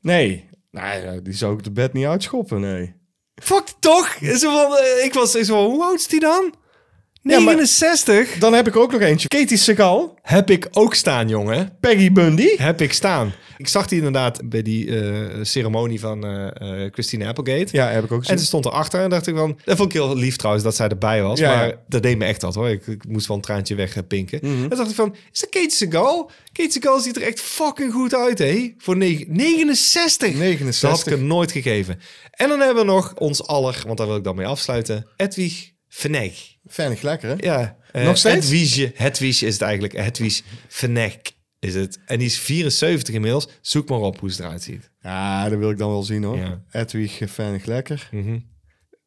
Speaker 1: Nee. Nou ja, die zou ik de bed niet uitschoppen, nee.
Speaker 2: Fuck toch? Zo van, eh, ik was ik zo van, hoe oud is die dan?
Speaker 1: maar-
Speaker 2: 69?
Speaker 1: Dan heb ik er ook nog eentje. Katie Segal,
Speaker 2: Heb ik ook staan, jongen.
Speaker 1: Peggy Bundy.
Speaker 2: Heb ik staan. Ik zag die inderdaad bij die eh, ceremonie van eh, eh, Christine Applegate.
Speaker 1: Ja, heb ik ook
Speaker 2: En
Speaker 1: gezien.
Speaker 2: ze stond erachter en dacht ik van... Dat vond ik heel lief trouwens dat zij erbij was.
Speaker 1: Ja,
Speaker 2: maar
Speaker 1: ja.
Speaker 2: dat deed me echt wat hoor. Ik, ik moest wel een traantje wegpinken.
Speaker 1: Mhm.
Speaker 2: En toen dacht ik van, is dat Kate Segal? Kate Segal ziet er echt fucking goed uit hè. Voor negen- 69.
Speaker 1: 69.
Speaker 2: Dat had ik hem nooit gegeven. En dan hebben we nog ons aller, want daar wil ik dan mee afsluiten. Edwig Veneg.
Speaker 1: Fijnig lekker, hè?
Speaker 2: Ja. eh,
Speaker 1: Nog steeds?
Speaker 2: Hedwige, Hedwige is het eigenlijk. Hedwig Veneg is het. En die is 74 inmiddels. Zoek maar op hoe ze eruit ziet.
Speaker 1: Ja, dat wil ik dan wel zien hoor.
Speaker 2: Ja. Mhm.
Speaker 1: Edwig eh, Fijnig Lekker.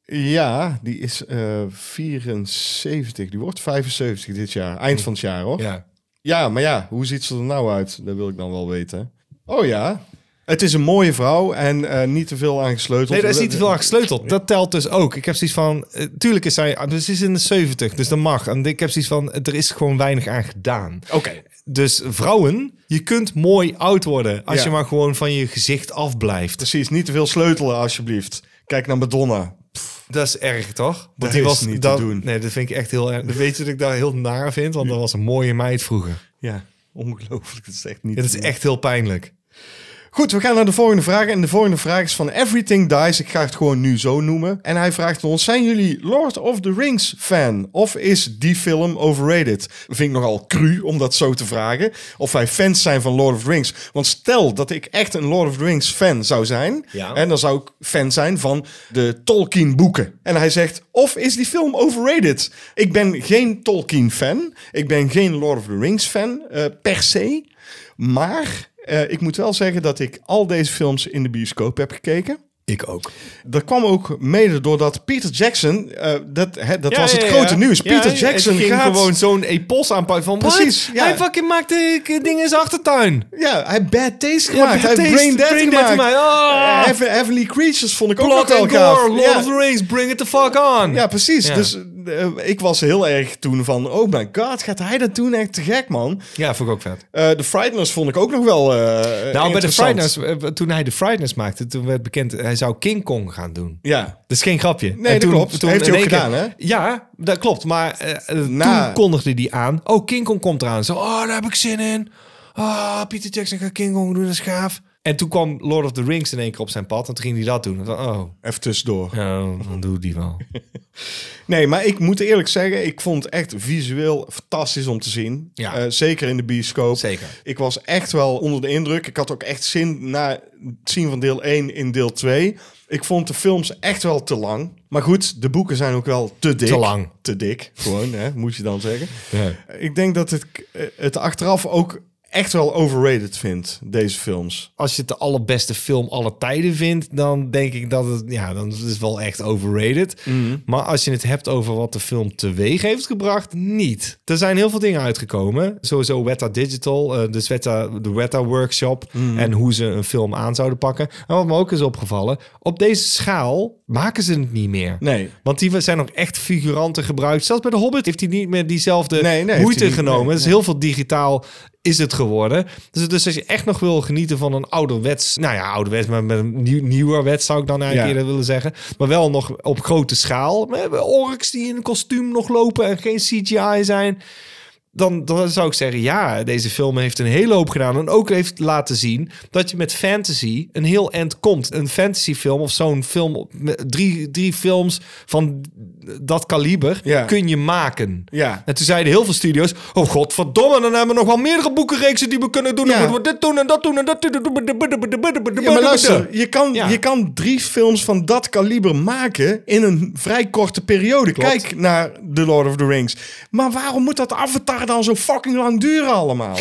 Speaker 1: Ja, die is eh 74. Die wordt 75 dit jaar. Eind van het jaar hoor. Ja.
Speaker 2: Ja.
Speaker 1: maar ja, hoe ziet ze er nou uit? Dat wil ik dan wel weten. Oh ja. Het is een mooie vrouw en eh, niet te veel aan gesleuteld.
Speaker 2: Nee, daar is niet te veel aan gesleuteld. Dat telt dus ook. Ik heb zoiets van, eh, tuurlijk is zij, ah, ze is in de 70, dus dat mag. En ik heb zoiets van, er is gewoon weinig aan gedaan.
Speaker 1: Oké.
Speaker 2: Dus vrouwen, je kunt mooi oud worden als
Speaker 1: Ja.
Speaker 2: je maar gewoon van je gezicht afblijft.
Speaker 1: Precies, niet te veel sleutelen alsjeblieft. Kijk naar Madonna.
Speaker 2: Dat is erg, toch? Want
Speaker 1: Dat is niet te
Speaker 2: dat,
Speaker 1: doen.
Speaker 2: Nee, dat vind ik echt heel erg. Dat weet je dat ik daar heel naar vind, want dat was een mooie meid vroeger.
Speaker 1: Ja, ongelooflijk. Dat is echt niet.
Speaker 2: Dat is echt heel pijnlijk.
Speaker 1: Goed, we gaan naar de volgende vraag. En de volgende vraag is van Everything Dies. Ik ga het gewoon nu zo noemen. En hij vraagt ons: Zijn jullie Lord of the Rings fan? Of is die film overrated? Vind ik nogal cru om dat zo te vragen. Of wij fans zijn van Lord of the Rings. Want stel dat ik echt een Lord of the Rings fan zou zijn.
Speaker 2: Ja.
Speaker 1: En dan zou ik fan zijn van de Tolkien boeken. En hij zegt: Of is die film overrated? Ik ben geen Tolkien fan. Ik ben geen Lord of the Rings fan eh, per se. Maar eh, ik moet wel zeggen dat ik al deze films in de bioscoop heb gekeken.
Speaker 2: Ik ook.
Speaker 1: Dat kwam ook mede doordat Peter Jackson, eh, dat, hè, dat
Speaker 2: Ja,
Speaker 1: was het
Speaker 2: ja,
Speaker 1: grote
Speaker 2: ja.
Speaker 1: nieuws.
Speaker 2: Ja,
Speaker 1: Peter
Speaker 2: het
Speaker 1: Jackson
Speaker 2: ging
Speaker 1: gaat
Speaker 2: gewoon zo'n epos aanpakken van...
Speaker 1: Precies,
Speaker 2: Precies.
Speaker 1: ja.
Speaker 2: Hij fucking maakte eh, dingen in zijn achtertuin.
Speaker 1: Ja, hij heeft Bad Taste
Speaker 2: Ja,
Speaker 1: gemaakt. hij heeft
Speaker 2: Taste,
Speaker 1: Brain Dead
Speaker 2: Brain Dead
Speaker 1: gemaakt.
Speaker 2: gemaakt. Ah.
Speaker 1: Heaven- Heavenly Creatures vond ik ook nog
Speaker 2: Blood
Speaker 1: wel
Speaker 2: and
Speaker 1: gaaf.
Speaker 2: gore, Lord
Speaker 1: ja.
Speaker 2: of the Rings, bring it the fuck on.
Speaker 1: ja, precies.
Speaker 2: Ja.
Speaker 1: Dus eh, ik was heel erg toen van... Oh my god, gaat hij dat doen? Echt te gek, man.
Speaker 2: ja vond ik ook vet.
Speaker 1: Eh, de Frighteners vond ik ook nog wel eh
Speaker 2: Nou, bij de
Speaker 1: interessant.
Speaker 2: Frighteners, eh, toen hij de Frighteners maakte, toen werd bekend, eh, hij zou King Kong gaan doen.
Speaker 1: Ja.
Speaker 2: Dat is geen grapje.
Speaker 1: Nee, dat
Speaker 2: toen,
Speaker 1: klopt. Heeft hij
Speaker 2: in
Speaker 1: ook
Speaker 2: één keer-
Speaker 1: gedaan, hè?
Speaker 2: Ja, dat klopt. Maar eh, eh,
Speaker 1: Na-
Speaker 2: toen kondigde hij aan, oh, King Kong komt eraan. Zo, oh, daar heb ik zin in. Ah, Peter Jackson gaat King Kong doen, dat is gaaf. En toen kwam Lord of the Rings in één keer op zijn pad en toen ging hij dat doen. En toen, oh,
Speaker 1: Even tussendoor.
Speaker 2: ja, dan doe die wel.
Speaker 1: Nee, maar ik moet eerlijk zeggen, ik vond het echt visueel fantastisch om te zien.
Speaker 2: Ja.
Speaker 1: Eh, zeker in de bioscoop.
Speaker 2: Zeker.
Speaker 1: Ik was echt wel onder de indruk. Ik had ook echt zin na het zien van deel 1 in deel 2. Ik vond de films echt wel te lang. Maar goed, de boeken zijn ook wel te dik.
Speaker 2: Te lang.
Speaker 1: Te dik, gewoon, hè, moet je dan zeggen.
Speaker 2: Ja.
Speaker 1: Ik denk dat het, eh, het achteraf ook echt wel overrated vindt, deze films.
Speaker 2: Als je het de allerbeste film aller tijden vindt, dan denk ik dat het, ja, dan is het wel echt overrated. Maar als je het hebt over wat de film teweeg heeft gebracht, niet. Er zijn heel veel dingen uitgekomen. Sowieso Weta Digital, eh, dus Weta, de Weta Workshop en hoe ze een film aan zouden pakken. En wat me ook is opgevallen, op deze schaal maken ze het niet meer.
Speaker 1: Nee.
Speaker 2: Want die zijn nog echt figuranten gebruikt. Zelfs bij de Hobbit heeft hij niet meer diezelfde
Speaker 1: Nee, nee, heeft
Speaker 2: moeite
Speaker 1: hij niet.
Speaker 2: genomen.
Speaker 1: Nee,
Speaker 2: Het is heel veel digitaal is het geworden. Dus, dus als je echt nog wil genieten van een ouderwets... Nou ja, ouderwets, maar met een nieuw, nieuwerwets zou ik dan eigenlijk
Speaker 1: Ja.
Speaker 2: eerder willen zeggen. Maar wel nog op grote schaal. We hebben orks die in een kostuum nog lopen en geen CGI zijn. Dan, dan zou ik zeggen, ja, deze film heeft een hele hoop gedaan. En ook heeft laten zien dat je met fantasy een heel eind komt. Een fantasyfilm of zo'n film, op- met drie, drie films van dat kaliber
Speaker 1: Ja.
Speaker 2: kun je maken.
Speaker 1: Ja.
Speaker 2: En toen zeiden heel veel studio's: Oh godverdomme, dan hebben we nog wel meerdere boekenreeksen die we kunnen doen.
Speaker 1: Ja.
Speaker 2: Dan moeten we dit doen en dat doen en dat doen.
Speaker 1: Ja, maar luister, je kan,
Speaker 2: Ja.
Speaker 1: je kan drie films van dat kaliber maken in een vrij korte periode.
Speaker 2: Klopt.
Speaker 1: Kijk naar The Lord of the Rings. Maar waarom moet dat avatar dan zo fucking lang duren allemaal?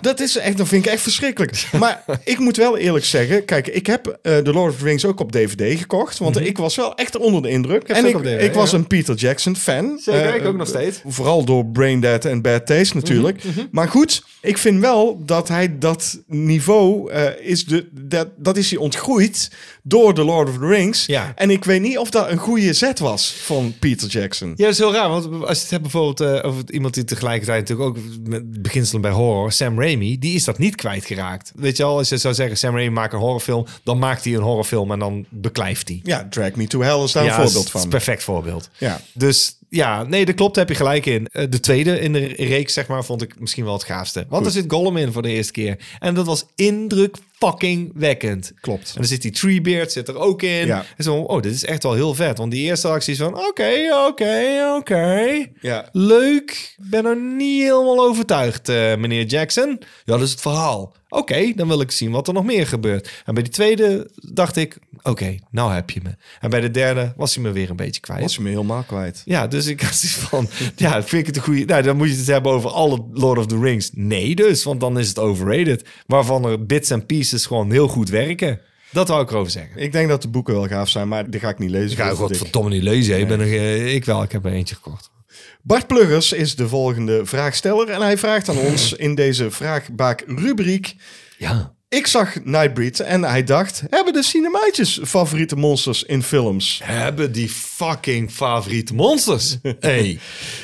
Speaker 1: Dat is echt, dat vind ik echt verschrikkelijk. Maar ik moet wel eerlijk zeggen, kijk, ik heb eh The Lord of the Rings ook op DVD gekocht, want ik was wel echt onder de indruk.
Speaker 2: Mhm. ze
Speaker 1: En
Speaker 2: ook
Speaker 1: ik,
Speaker 2: op DVD,
Speaker 1: ik was
Speaker 2: ja.
Speaker 1: een Peter Jackson fan.
Speaker 2: Zeker,
Speaker 1: Eh,
Speaker 2: ik ook nog steeds.
Speaker 1: Vooral door Brain Dead en Bad Taste natuurlijk.
Speaker 2: Mhm,
Speaker 1: Maar goed, ik vind wel dat hij dat niveau eh, is de, dat, dat is hij ontgroeid door The Lord of the Rings.
Speaker 2: Ja.
Speaker 1: En ik weet niet of dat een goede zet was van Peter Jackson.
Speaker 2: Ja, dat is heel raar, want als je het hebt bijvoorbeeld eh, over iemand die tegelijkertijd natuurlijk ook met beginselen bij horror, Sam Raimi, die is dat niet kwijtgeraakt. Weet je al, als je zou zeggen Sam Raimi maakt een horrorfilm, dan maakt hij een horrorfilm en dan beklijft hij.
Speaker 1: Ja, Drag Me to Hell is daar
Speaker 2: Ja,
Speaker 1: een
Speaker 2: dat
Speaker 1: voorbeeld
Speaker 2: is- dat
Speaker 1: van.
Speaker 2: is een perfect voorbeeld.
Speaker 1: Ja.
Speaker 2: Dus ja, nee, dat klopt, daar heb je gelijk in. Eh, De tweede in de reeks, zeg maar, vond ik misschien wel het gaafste. Want er zit Gollum in voor de eerste keer. En dat was indruk fucking wekkend.
Speaker 1: Klopt.
Speaker 2: En dan zit die Treebeard zit er ook in.
Speaker 1: Ja.
Speaker 2: En zo, oh, dit is echt wel heel vet. Want die eerste actie is van, oké, oké, oké.
Speaker 1: Ja.
Speaker 2: Leuk. Ik ben er niet helemaal overtuigd, eh, meneer Jackson. Ja, dat is het verhaal. Oké, dan wil ik zien wat er nog meer gebeurt. En bij die tweede dacht ik, oké, nou heb je me. En bij de derde was hij me weer een beetje kwijt.
Speaker 1: Was hij me helemaal kwijt.
Speaker 2: Ja, dus ik had zoiets van, ja, vind ik het een goede... Nou, dan moet je het hebben over alle Lord of the Rings. Nee dus, want dan is het overrated. Waarvan er bits en pieces gewoon heel goed werken. Dat wou ik erover zeggen.
Speaker 1: Ik denk dat de boeken wel gaaf zijn, maar die ga ik niet lezen.
Speaker 2: Ik ga
Speaker 1: Dat is dik.
Speaker 2: godverdomme niet lezen. hè. Ik, ben er, eh, ik wel, ik heb er eentje gekocht.
Speaker 1: Bart Pluggers is de volgende vraagsteller. En hij vraagt aan ons in deze vraagbaak rubriek...
Speaker 2: Ja.
Speaker 1: Ik zag Nightbreed en hij dacht... Hebben de cinemaatjes favoriete monsters in films?
Speaker 2: Hebben die fucking favoriete monsters. Hey.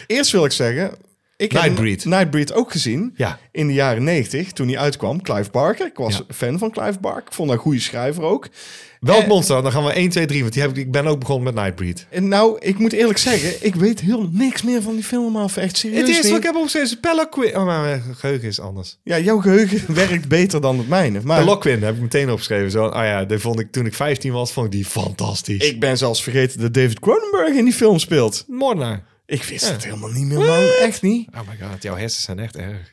Speaker 1: Eerst wil ik zeggen... Ik heb
Speaker 2: Nightbreed.
Speaker 1: Nightbreed ook gezien
Speaker 2: Ja.
Speaker 1: in de jaren 90 toen hij uitkwam. Clive Barker. Ik was fan van Clive Barker. Ik vond hij een goede schrijver ook.
Speaker 2: Welk
Speaker 1: Eh,
Speaker 2: monster? Dan gaan we 1, 2, 3. Want die heb ik, ik ben ook begonnen met Nightbreed.
Speaker 1: En nou, ik moet eerlijk zeggen... Ik weet heel niks meer van die film af. Echt serieus
Speaker 2: Het eerste
Speaker 1: niet.
Speaker 2: wat ik heb opgeschreven is Peliquin. Oh, maar mijn geheugen is anders.
Speaker 1: Ja, jouw geheugen werkt beter dan het mijne. Maar
Speaker 2: Peliquin heb ik meteen opgeschreven. Zo, ah ja, die vond ik, toen ik 15 was, vond ik die fantastisch.
Speaker 1: ik ben zelfs vergeten dat David Cronenberg in die film speelt.
Speaker 2: Moordenaar.
Speaker 1: Ik wist het helemaal niet meer, man. Echt niet.
Speaker 2: Oh my god, jouw hersens zijn echt erg.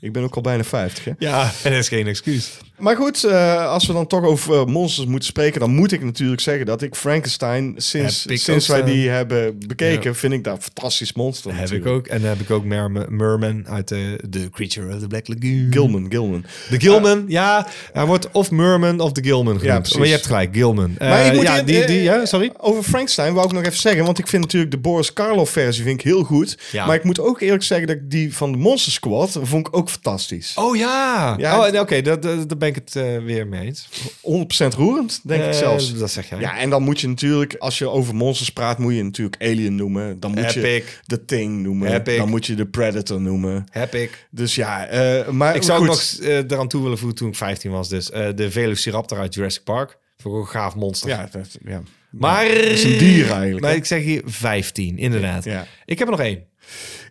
Speaker 1: Ik ben ook al bijna 50. Hè?
Speaker 2: Ja, en dat is geen excuus.
Speaker 1: Maar goed, eh, als we dan toch over eh, monsters moeten spreken, dan moet ik natuurlijk zeggen dat ik Frankenstein, sinds,
Speaker 2: Heb ik
Speaker 1: sinds
Speaker 2: ook,
Speaker 1: wij
Speaker 2: eh,
Speaker 1: die hebben bekeken, vind ik dat een fantastisch monster.
Speaker 2: Heb ik
Speaker 1: natuurlijk.
Speaker 2: ook. En dan heb ik ook Merma- Merman uit de The Creature of the Black Lagoon.
Speaker 1: Gilman, Gilman.
Speaker 2: De Gilman, ja. Hij wordt of Merman of de Gilman genoemd.
Speaker 1: precies.
Speaker 2: maar je hebt gelijk, Gilman. Eh,
Speaker 1: Maar ik moet
Speaker 2: ja,
Speaker 1: hier-
Speaker 2: die,
Speaker 1: eh,
Speaker 2: die, ja, sorry.
Speaker 1: Over Frankenstein wou ik nog even zeggen, want ik vind natuurlijk de Boris Karloff versie vind ik heel goed.
Speaker 2: Ja.
Speaker 1: Maar ik moet ook eerlijk zeggen dat ik die van de Monster Squad vond ik ook fantastisch.
Speaker 2: Oh ja.
Speaker 1: Ja,
Speaker 2: oh,
Speaker 1: het-
Speaker 2: Oké, daar dat, dat ben ik het eh, weer mee eens.
Speaker 1: 100% roerend, denk ik
Speaker 2: Eh,
Speaker 1: zelfs.
Speaker 2: Dat zeg jij.
Speaker 1: Ja, en dan moet je natuurlijk, als je over monsters praat, moet je natuurlijk Alien noemen. Dan moet je
Speaker 2: Epic.
Speaker 1: The Thing noemen.
Speaker 2: Epic.
Speaker 1: Dan moet je de Predator noemen.
Speaker 2: Heb ik.
Speaker 1: Dus ja, eh, maar
Speaker 2: Ik zou ook
Speaker 1: goed.
Speaker 2: nog eh eraan toe willen voegen toen ik 15 was. Dus eh, de Velociraptor uit Jurassic Park. Voor een gaaf monster.
Speaker 1: Ja, dat, ja.
Speaker 2: Maar...
Speaker 1: is een dier eigenlijk,
Speaker 2: Maar
Speaker 1: hè?
Speaker 2: ik zeg hier 15, inderdaad.
Speaker 1: Ja.
Speaker 2: Ik heb er nog één.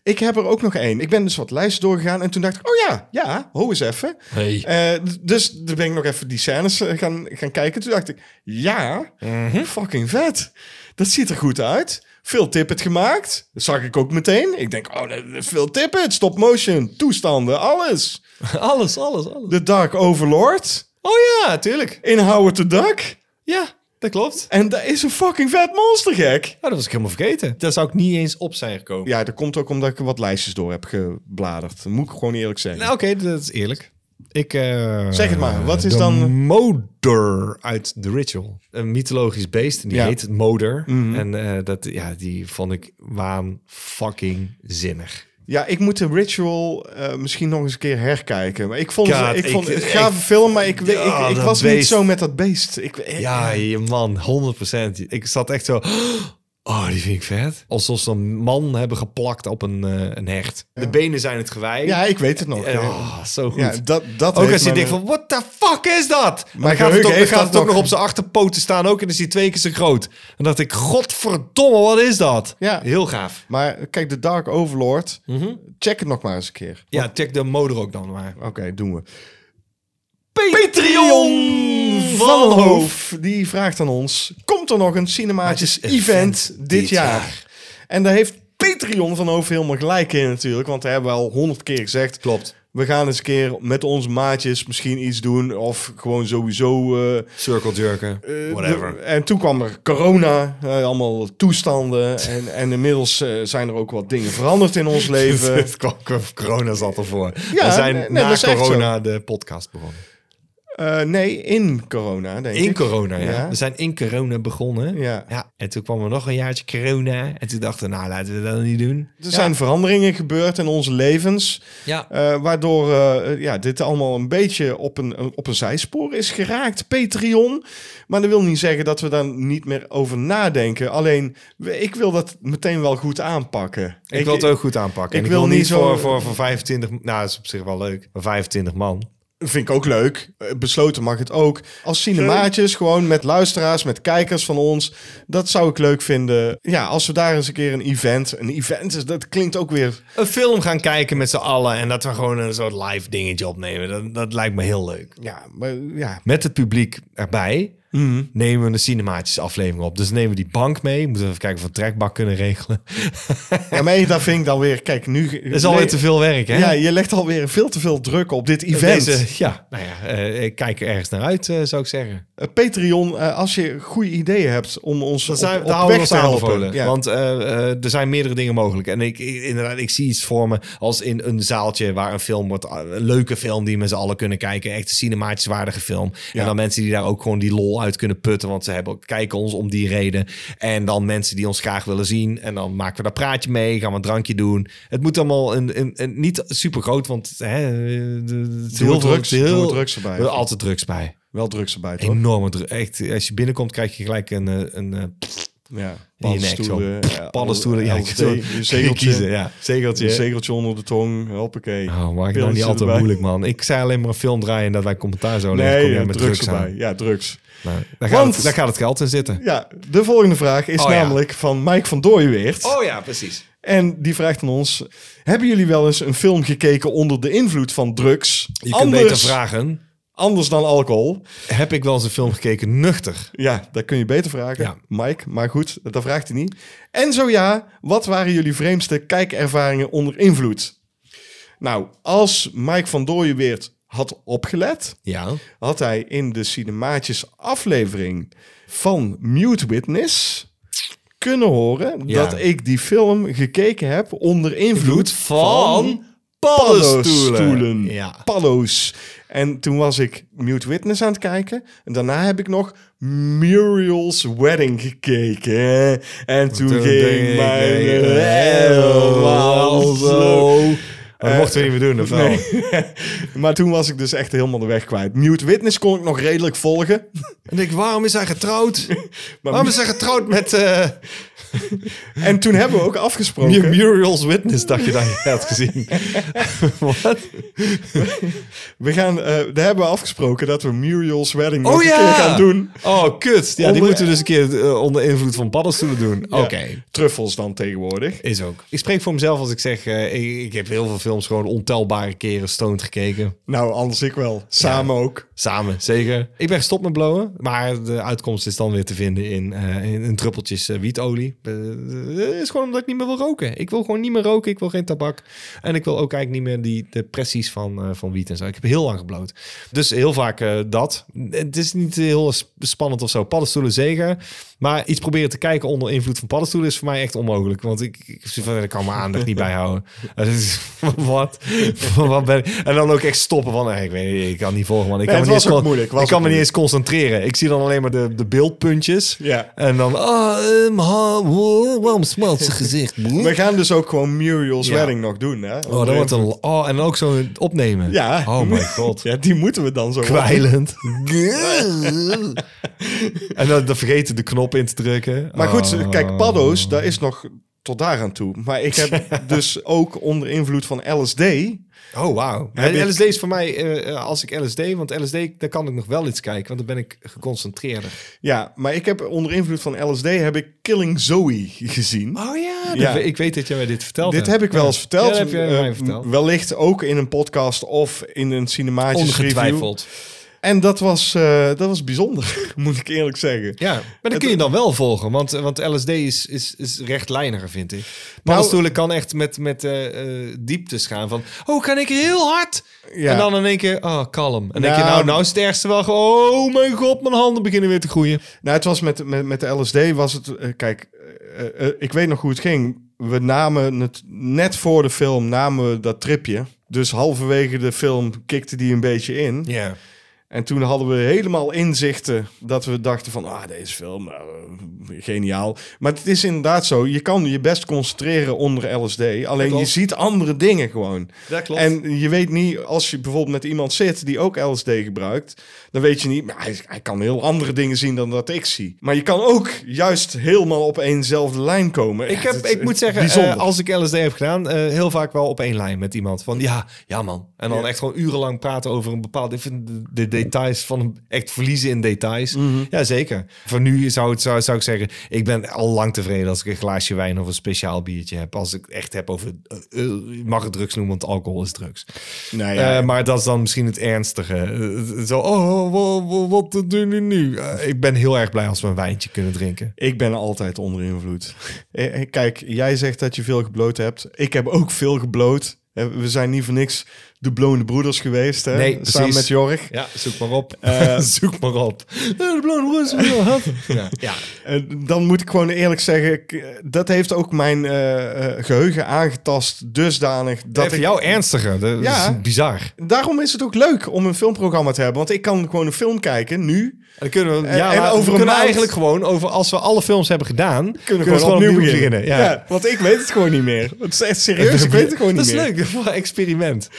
Speaker 1: Ik heb er ook nog één. Ik ben dus wat lijsten doorgegaan en toen dacht ik, oh ja, ja, ho eens even.
Speaker 2: Hey.
Speaker 1: Eh, d- dus toen ben ik nog even die scènes eh, gaan, gaan kijken. Toen dacht ik, ja,
Speaker 2: Mhm.
Speaker 1: fucking vet. Dat ziet er goed uit. Veel tippet gemaakt. Dat zag ik ook meteen. Ik denk, oh, veel tippet, stop motion, toestanden, alles.
Speaker 2: Alles, alles, alles.
Speaker 1: The Dark Overlord
Speaker 2: Oh ja, tuurlijk.
Speaker 1: in Howard the Duck.
Speaker 2: Ja, dat klopt.
Speaker 1: En dat is een fucking vet monster, gek.
Speaker 2: Nou, dat was ik helemaal vergeten. Daar zou ik niet eens op zijn gekomen.
Speaker 1: Ja, dat komt ook omdat ik wat lijstjes door heb gebladerd. Dat moet ik gewoon eerlijk zeggen.
Speaker 2: Nou, oké, dat is eerlijk. Ik, eh,
Speaker 1: Zeg het maar, wat is
Speaker 2: de
Speaker 1: dan-
Speaker 2: Moder uit The Ritual. Een mythologisch beest, en die
Speaker 1: Ja.
Speaker 2: heet het Moder. En eh, dat, ja, die vond ik waan fucking zinnig.
Speaker 1: Ja, ik moet de ritual eh, misschien nog eens een keer herkijken. Maar ik vond, het-
Speaker 2: God,
Speaker 1: ik vond
Speaker 2: ik-
Speaker 1: het een gave film, maar ik, weet-
Speaker 2: Ja,
Speaker 1: ik, ik
Speaker 2: dat
Speaker 1: was niet
Speaker 2: beest.
Speaker 1: zo met dat beest. Ik, eh,
Speaker 2: Ja, je man, 100%. Ik zat echt zo... Oh, die vind ik vet. Alsof ze een man hebben geplakt op een, eh, een hecht. De benen zijn het gewei.
Speaker 1: ja, ik weet het nog.
Speaker 2: Eh,
Speaker 1: Ja,
Speaker 2: oh, zo goed.
Speaker 1: ja, dat, dat
Speaker 2: Ook
Speaker 1: heeft
Speaker 2: als je
Speaker 1: me-
Speaker 2: denkt van, what the fuck is dat? Maar dan
Speaker 1: Mijn
Speaker 2: gaat het
Speaker 1: geheugen
Speaker 2: ook, dan
Speaker 1: heeft
Speaker 2: gaat
Speaker 1: dat
Speaker 2: het ook
Speaker 1: nog.
Speaker 2: nog op zijn achterpoten staan ook. En dan is hij twee keer zo groot. En dan dacht ik, godverdomme, wat is dat?
Speaker 1: Ja.
Speaker 2: Heel gaaf.
Speaker 1: Maar kijk, de Dark Overlord,
Speaker 2: Mhm.
Speaker 1: check het nog maar eens een keer.
Speaker 2: Ja, check de mode er ook dan maar.
Speaker 1: Oké, doen we.
Speaker 2: Patreon
Speaker 1: Van Hoof, die vraagt aan ons... Komt er nog een cinematisch
Speaker 2: Maar het is
Speaker 1: event
Speaker 2: event
Speaker 1: dit
Speaker 2: dit
Speaker 1: jaar?
Speaker 2: jaar.
Speaker 1: En daar heeft Patreon van Hoof helemaal gelijk in natuurlijk. Want daar hebben we al honderd keer gezegd.
Speaker 2: Klopt.
Speaker 1: We gaan eens een keer met onze maatjes misschien iets doen. Of gewoon sowieso... eh,
Speaker 2: Circle jerken,
Speaker 1: eh,
Speaker 2: whatever.
Speaker 1: de- en toen kwam er corona, eh, allemaal toestanden. En, en inmiddels eh, zijn er ook wat dingen veranderd in ons leven.
Speaker 2: Het kwam- corona zat ervoor.
Speaker 1: Ja,
Speaker 2: We zijn
Speaker 1: nee, nee,
Speaker 2: na
Speaker 1: dat is echt
Speaker 2: corona de podcast begonnen.
Speaker 1: Eh, nee, in corona, denk ik.
Speaker 2: In corona, ja.
Speaker 1: Ja.
Speaker 2: We zijn in corona begonnen.
Speaker 1: Ja.
Speaker 2: En toen kwam er nog een jaartje corona. En toen dachten we, nou, laten we dat niet doen.
Speaker 1: Er zijn veranderingen gebeurd in onze levens.
Speaker 2: Ja.
Speaker 1: eh, waardoor eh, ja, dit allemaal een beetje op een, een- op een zijspoor is geraakt. Patreon. Maar dat wil niet zeggen dat we daar niet meer over nadenken. Alleen, we- ik wil dat meteen wel goed aanpakken.
Speaker 2: Ik, wil het ook goed aanpakken.
Speaker 1: ik
Speaker 2: En Ik,
Speaker 1: wil
Speaker 2: wil,
Speaker 1: niet
Speaker 2: niet
Speaker 1: zo-
Speaker 2: voor, voor, voor 25... Nou, dat is op zich wel leuk. Maar 25 man.
Speaker 1: Vind ik ook leuk. Eh, Besloten mag het ook. Als cinemaatjes, gewoon met luisteraars, met kijkers van ons. Dat zou ik leuk vinden. Ja, als we daar eens een keer een event... Een event, is- dat klinkt ook weer...
Speaker 2: Een film gaan kijken met z'n allen. En dat we gewoon een soort live dingetje opnemen. Dat, dat lijkt me heel leuk.
Speaker 1: Ja, maar, ja.
Speaker 2: Met het publiek erbij nemen we een cinematische aflevering op. Dus nemen we die bank mee. Moeten we even kijken of we een trekbak kunnen regelen.
Speaker 1: ja maar dat vind ik dan weer... Kijk, nu...
Speaker 2: Dat is alweer te veel werk, hè?
Speaker 1: Ja, je legt alweer veel te veel druk op dit event.
Speaker 2: Deze, ja, nou ja, eh, ik kijk er ergens naar uit, eh, zou ik zeggen.
Speaker 1: Eh, Patreon, eh, als je goede ideeën hebt om ons
Speaker 2: Dat
Speaker 1: op,
Speaker 2: zijn,
Speaker 1: op
Speaker 2: daar houden
Speaker 1: weg
Speaker 2: we ons
Speaker 1: te
Speaker 2: aan
Speaker 1: helpen.
Speaker 2: bevolen.
Speaker 1: Ja.
Speaker 2: Want eh, eh, er zijn meerdere dingen mogelijk. En ik, ik- inderdaad, ik zie iets voor me als in een zaaltje waar een film wordt... eh, Een leuke film die met z'n allen kunnen kijken. Echt een cinematisch waardige film.
Speaker 1: Ja.
Speaker 2: En dan mensen die daar ook gewoon die lol uit kunnen putten. Want ze hebben, ook- kijken ons om die reden. En dan mensen die ons graag willen zien. En dan maken we daar praatje mee. Gaan we een drankje doen. Het moet allemaal een, een, een- niet super groot. Want hè, eh, de- de- het is
Speaker 1: Doe
Speaker 2: heel
Speaker 1: er drugs-
Speaker 2: veel-
Speaker 1: doe er drugs erbij.
Speaker 2: We hebben altijd drugs bij.
Speaker 1: Wel drugs erbij, toch?
Speaker 2: Enorme druk. Echt, als je binnenkomt krijg je gelijk een, eh, een eh,
Speaker 1: Ja. eh,
Speaker 2: paddenstoelen.
Speaker 1: ja,
Speaker 2: Paddenstoelen, ja.
Speaker 1: LSD,
Speaker 2: ik zou-
Speaker 1: een
Speaker 2: kun je kiezen,
Speaker 1: zegeltje.
Speaker 2: ja. Zegeltje.
Speaker 1: Een zegeltje onder de tong, hoppakee.
Speaker 2: Oh, maak het nou
Speaker 1: Pilletje
Speaker 2: niet altijd
Speaker 1: erbij.
Speaker 2: moeilijk, man. Ik zei alleen maar een film draaien en dat wij commentaar zouden
Speaker 1: Nee,
Speaker 2: leveren. Kom
Speaker 1: ja,
Speaker 2: jij met drugs, aan.
Speaker 1: erbij. Ja, drugs.
Speaker 2: Nou, daar, gaat
Speaker 1: Want-
Speaker 2: het, daar gaat het geld in zitten.
Speaker 1: Ja, de volgende vraag is
Speaker 2: Oh, ja. Oh.
Speaker 1: namelijk van Mike van Dooyeweert.
Speaker 2: ja, precies.
Speaker 1: En die vraagt aan ons... Hebben jullie wel eens een film gekeken onder de invloed van drugs?
Speaker 2: Je kunt beter vragen.
Speaker 1: anders dan alcohol.
Speaker 2: Heb ik wel eens een film gekeken nuchter?
Speaker 1: Ja, dat kun je beter vragen,
Speaker 2: Ja.
Speaker 1: Mike. Maar goed, dat vraagt hij niet. En zo ja, wat waren jullie vreemdste kijkervaringen onder invloed? Nou, als Mike van Dooyeweert had opgelet,
Speaker 2: Ja.
Speaker 1: had hij in de Cinemaatjes aflevering van Mute Witness kunnen horen
Speaker 2: Ja.
Speaker 1: dat ik die film gekeken heb onder invloed van paddenstoelen.
Speaker 2: Ja.
Speaker 1: Paddo's. En toen was ik Mute Witness aan het kijken. En daarna heb ik nog Muriel's Wedding gekeken. En toen,
Speaker 2: Toen
Speaker 1: ging
Speaker 2: denk
Speaker 1: mijn
Speaker 2: ik, eh,
Speaker 1: helemaal zo.
Speaker 2: Maar dat mochten we niet meer doen, of wel?
Speaker 1: Eh, Maar toen was ik dus echt helemaal de weg kwijt. Mute Witness kon ik nog redelijk volgen.
Speaker 2: En ik, waarom is hij getrouwd?
Speaker 1: Maar
Speaker 2: waarom is hij getrouwd met eh,
Speaker 1: En toen hebben we ook afgesproken.
Speaker 2: Mu- Muriel's Witness, dacht je dat je had gezien? Wat?
Speaker 1: We gaan, eh, daar hebben we afgesproken dat we Muriel's Wedding
Speaker 2: Oh
Speaker 1: nog een
Speaker 2: ja!
Speaker 1: keer gaan doen.
Speaker 2: Oh, kut. Ja, die
Speaker 1: Onder-
Speaker 2: moeten we dus een keer eh, onder invloed van paddenstoelen doen. Oké.
Speaker 1: Ja, truffels dan tegenwoordig.
Speaker 2: Is ook. Ik spreek voor mezelf als ik zeg, eh, ik, ik heb heel veel films gewoon ontelbare keren stoned gekeken.
Speaker 1: Nou, anders ik wel. Samen ook.
Speaker 2: Samen, zeker. Ik ben gestopt met blowen, maar de uitkomst is dan weer te vinden in, eh in, in druppeltjes eh, wietolie. Eh, Het is gewoon omdat ik niet meer wil roken. Ik wil gewoon niet meer roken, ik wil geen tabak. En ik wil ook eigenlijk niet meer die de pressies van, eh, van wiet en zo. Ik heb heel lang gebloot. Dus heel vaak eh, dat. Het is niet heel sp- spannend of zo. Paddenstoelen zeker. Maar iets proberen te kijken onder invloed van paddenstoelen is voor mij echt onmogelijk. Want ik, ik, ik kan mijn aandacht niet bijhouden. Het is- dus, wat? wat ben ik? En dan ook echt stoppen van, eh, ik weet niet, ik kan niet volgen. Man. Ik
Speaker 1: Nee,
Speaker 2: kan
Speaker 1: het
Speaker 2: me niet
Speaker 1: was ook
Speaker 2: eens con-
Speaker 1: moeilijk, was
Speaker 2: Ik kan
Speaker 1: ook
Speaker 2: me niet eens concentreren. Ik zie dan alleen maar de, de beeldpuntjes.
Speaker 1: Ja.
Speaker 2: En dan, ah, ehm, ha, wow, waarom smelt zijn gezicht?
Speaker 1: We gaan dus ook gewoon Muriel's
Speaker 2: Ja.
Speaker 1: Wedding nog doen. Hè?
Speaker 2: Oh, dat wordt een, oh, en ook zo'n opnemen.
Speaker 1: Ja.
Speaker 2: Oh my god.
Speaker 1: Ja, die moeten we dan zo...
Speaker 2: Kwijlend. en dan, dan vergeten de knop in te drukken.
Speaker 1: Maar goed,
Speaker 2: Oh.
Speaker 1: kijk, paddo's, daar is nog tot daar aan toe. Maar ik heb dus ook onder invloed van LSD...
Speaker 2: Oh, wauw.
Speaker 1: Heb ik-
Speaker 2: LSD is voor mij, eh, eh, als ik LSD, want LSD, daar kan ik nog wel iets kijken, want dan ben ik geconcentreerder.
Speaker 1: Ja, maar ik heb onder invloed van LSD heb ik Killing Zoe gezien.
Speaker 2: Oh ja,
Speaker 1: Ja.
Speaker 2: ik weet dat jij mij dit verteld
Speaker 1: Dit
Speaker 2: hebt.
Speaker 1: heb ik wel eens verteld.
Speaker 2: Ja, dat heb jij mij
Speaker 1: Eh,
Speaker 2: verteld.
Speaker 1: Wellicht ook in een podcast of in een cinematisch review.
Speaker 2: Ongetwijfeld.
Speaker 1: En dat was, eh, dat was bijzonder, moet ik eerlijk zeggen.
Speaker 2: Ja, maar dat kun je dan wel volgen, want, eh, want LSD is, is, is rechtlijniger, vind ik. Paddenstoelen kan echt met, met eh, eh, dieptes gaan van, oh, kan ik heel hard?
Speaker 1: Ja.
Speaker 2: En dan in één keer, oh, kalm. En dan denk je,
Speaker 1: Nou,
Speaker 2: nou, nou is het ergste wel, gewoon, oh mijn god, mijn handen beginnen weer te groeien.
Speaker 1: Nou, het was met, met, met de LSD was het... eh, kijk, eh, eh, ik weet nog hoe het ging. We namen het net voor de film namen we dat tripje. Dus halverwege de film kikte die een beetje in.
Speaker 2: Ja.
Speaker 1: En toen hadden we helemaal inzichten dat we dachten van, ah, deze film, nou, eh, geniaal. Maar het is inderdaad zo, je kan je best concentreren onder LSD, alleen je
Speaker 2: klopt.
Speaker 1: ziet andere dingen gewoon.
Speaker 2: Dat klopt.
Speaker 1: En je weet niet, als je bijvoorbeeld met iemand zit die ook LSD gebruikt, dan weet je niet, maar hij, hij kan heel andere dingen zien dan dat ik zie. Maar je kan ook juist helemaal op éénzelfde lijn komen.
Speaker 2: Ik,
Speaker 1: Oh Ja,
Speaker 2: heb,
Speaker 1: het-
Speaker 2: ik moet zeggen,
Speaker 1: bijzonder.
Speaker 2: eh, als ik LSD heb gedaan, eh, heel vaak wel op één lijn met iemand. Van ja, ja man. En dan echt gewoon urenlang praten over een bepaald... Ik vind de, de details van hem echt verliezen in details.
Speaker 1: Mhm.
Speaker 2: Ja, zeker. Voor nu zou, het, zou, zou ik zeggen, ik ben al lang tevreden als ik een glaasje wijn of een speciaal biertje heb. Als ik echt heb over... eh, eh, je mag het drugs noemen, want alcohol is drugs.
Speaker 1: Nou ja.
Speaker 2: Eh, maar dat is dan misschien het ernstige. Eh, zo, oh, wa- wa- wat, doen we nu? Eh, ik ben heel erg blij als we een wijntje kunnen drinken.
Speaker 1: Ik ben altijd onder invloed. Eh, eh, Kijk, jij zegt dat je veel gebloot hebt. Ik heb ook veel gebloot. Eh, We zijn niet voor niks de blonde broeders geweest. Hè?
Speaker 2: Nee,
Speaker 1: Samen
Speaker 2: precies.
Speaker 1: met Jorg.
Speaker 2: Ja, zoek maar op.
Speaker 1: Eh,
Speaker 2: zoek maar op. De blauwe roos wil je hadden. Ja. ja.
Speaker 1: En Eh, dan moet ik gewoon eerlijk zeggen, ik, eh, dat heeft ook mijn eh, eh, geheugen aangetast dusdanig.
Speaker 2: Dat
Speaker 1: Dat
Speaker 2: voor
Speaker 1: ik,
Speaker 2: jou ernstiger. Dat
Speaker 1: Ja.
Speaker 2: is bizar.
Speaker 1: Daarom is het ook leuk om een filmprogramma te hebben. Want ik kan gewoon een film kijken nu.
Speaker 2: Dan kunnen we, ja,
Speaker 1: en
Speaker 2: maar
Speaker 1: over een
Speaker 2: we kunnen
Speaker 1: maand-
Speaker 2: eigenlijk gewoon over als we alle films hebben gedaan, kunnen,
Speaker 1: Kunnen we gewoon opnieuw, beginnen.
Speaker 2: Ja.
Speaker 1: Ja, want ik weet het gewoon niet meer. Het is echt serieus, ik weet het gewoon niet
Speaker 2: dat
Speaker 1: meer.
Speaker 2: is leuk, voor een experiment.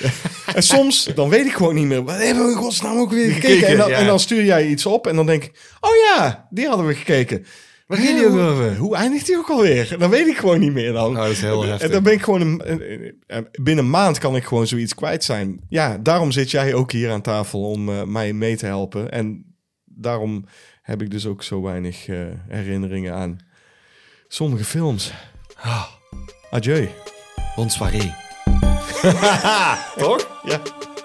Speaker 1: En soms, dan weet ik gewoon niet meer. Wat hebben we in godsnaam ook weer gekeken?
Speaker 2: Gekeken,
Speaker 1: en, dan,
Speaker 2: ja.
Speaker 1: en dan stuur jij iets op en dan denk ik... Oh ja, die hadden we gekeken.
Speaker 2: Waar ging die ook
Speaker 1: Hoe-
Speaker 2: over?
Speaker 1: Hoe eindigt die ook alweer? Dan weet ik gewoon niet meer dan.
Speaker 2: Oh, dat is heel
Speaker 1: En-
Speaker 2: heftig.
Speaker 1: En dan ben ik gewoon... Een, een- een- binnen een maand kan ik gewoon zoiets kwijt zijn. Ja, daarom zit jij ook hier aan tafel om eh, mij mee te helpen. En daarom heb ik dus ook zo weinig eh, herinneringen aan sommige films.
Speaker 2: Ah.
Speaker 1: Adieu.
Speaker 2: Bonsoiré. Toch?
Speaker 1: Ja.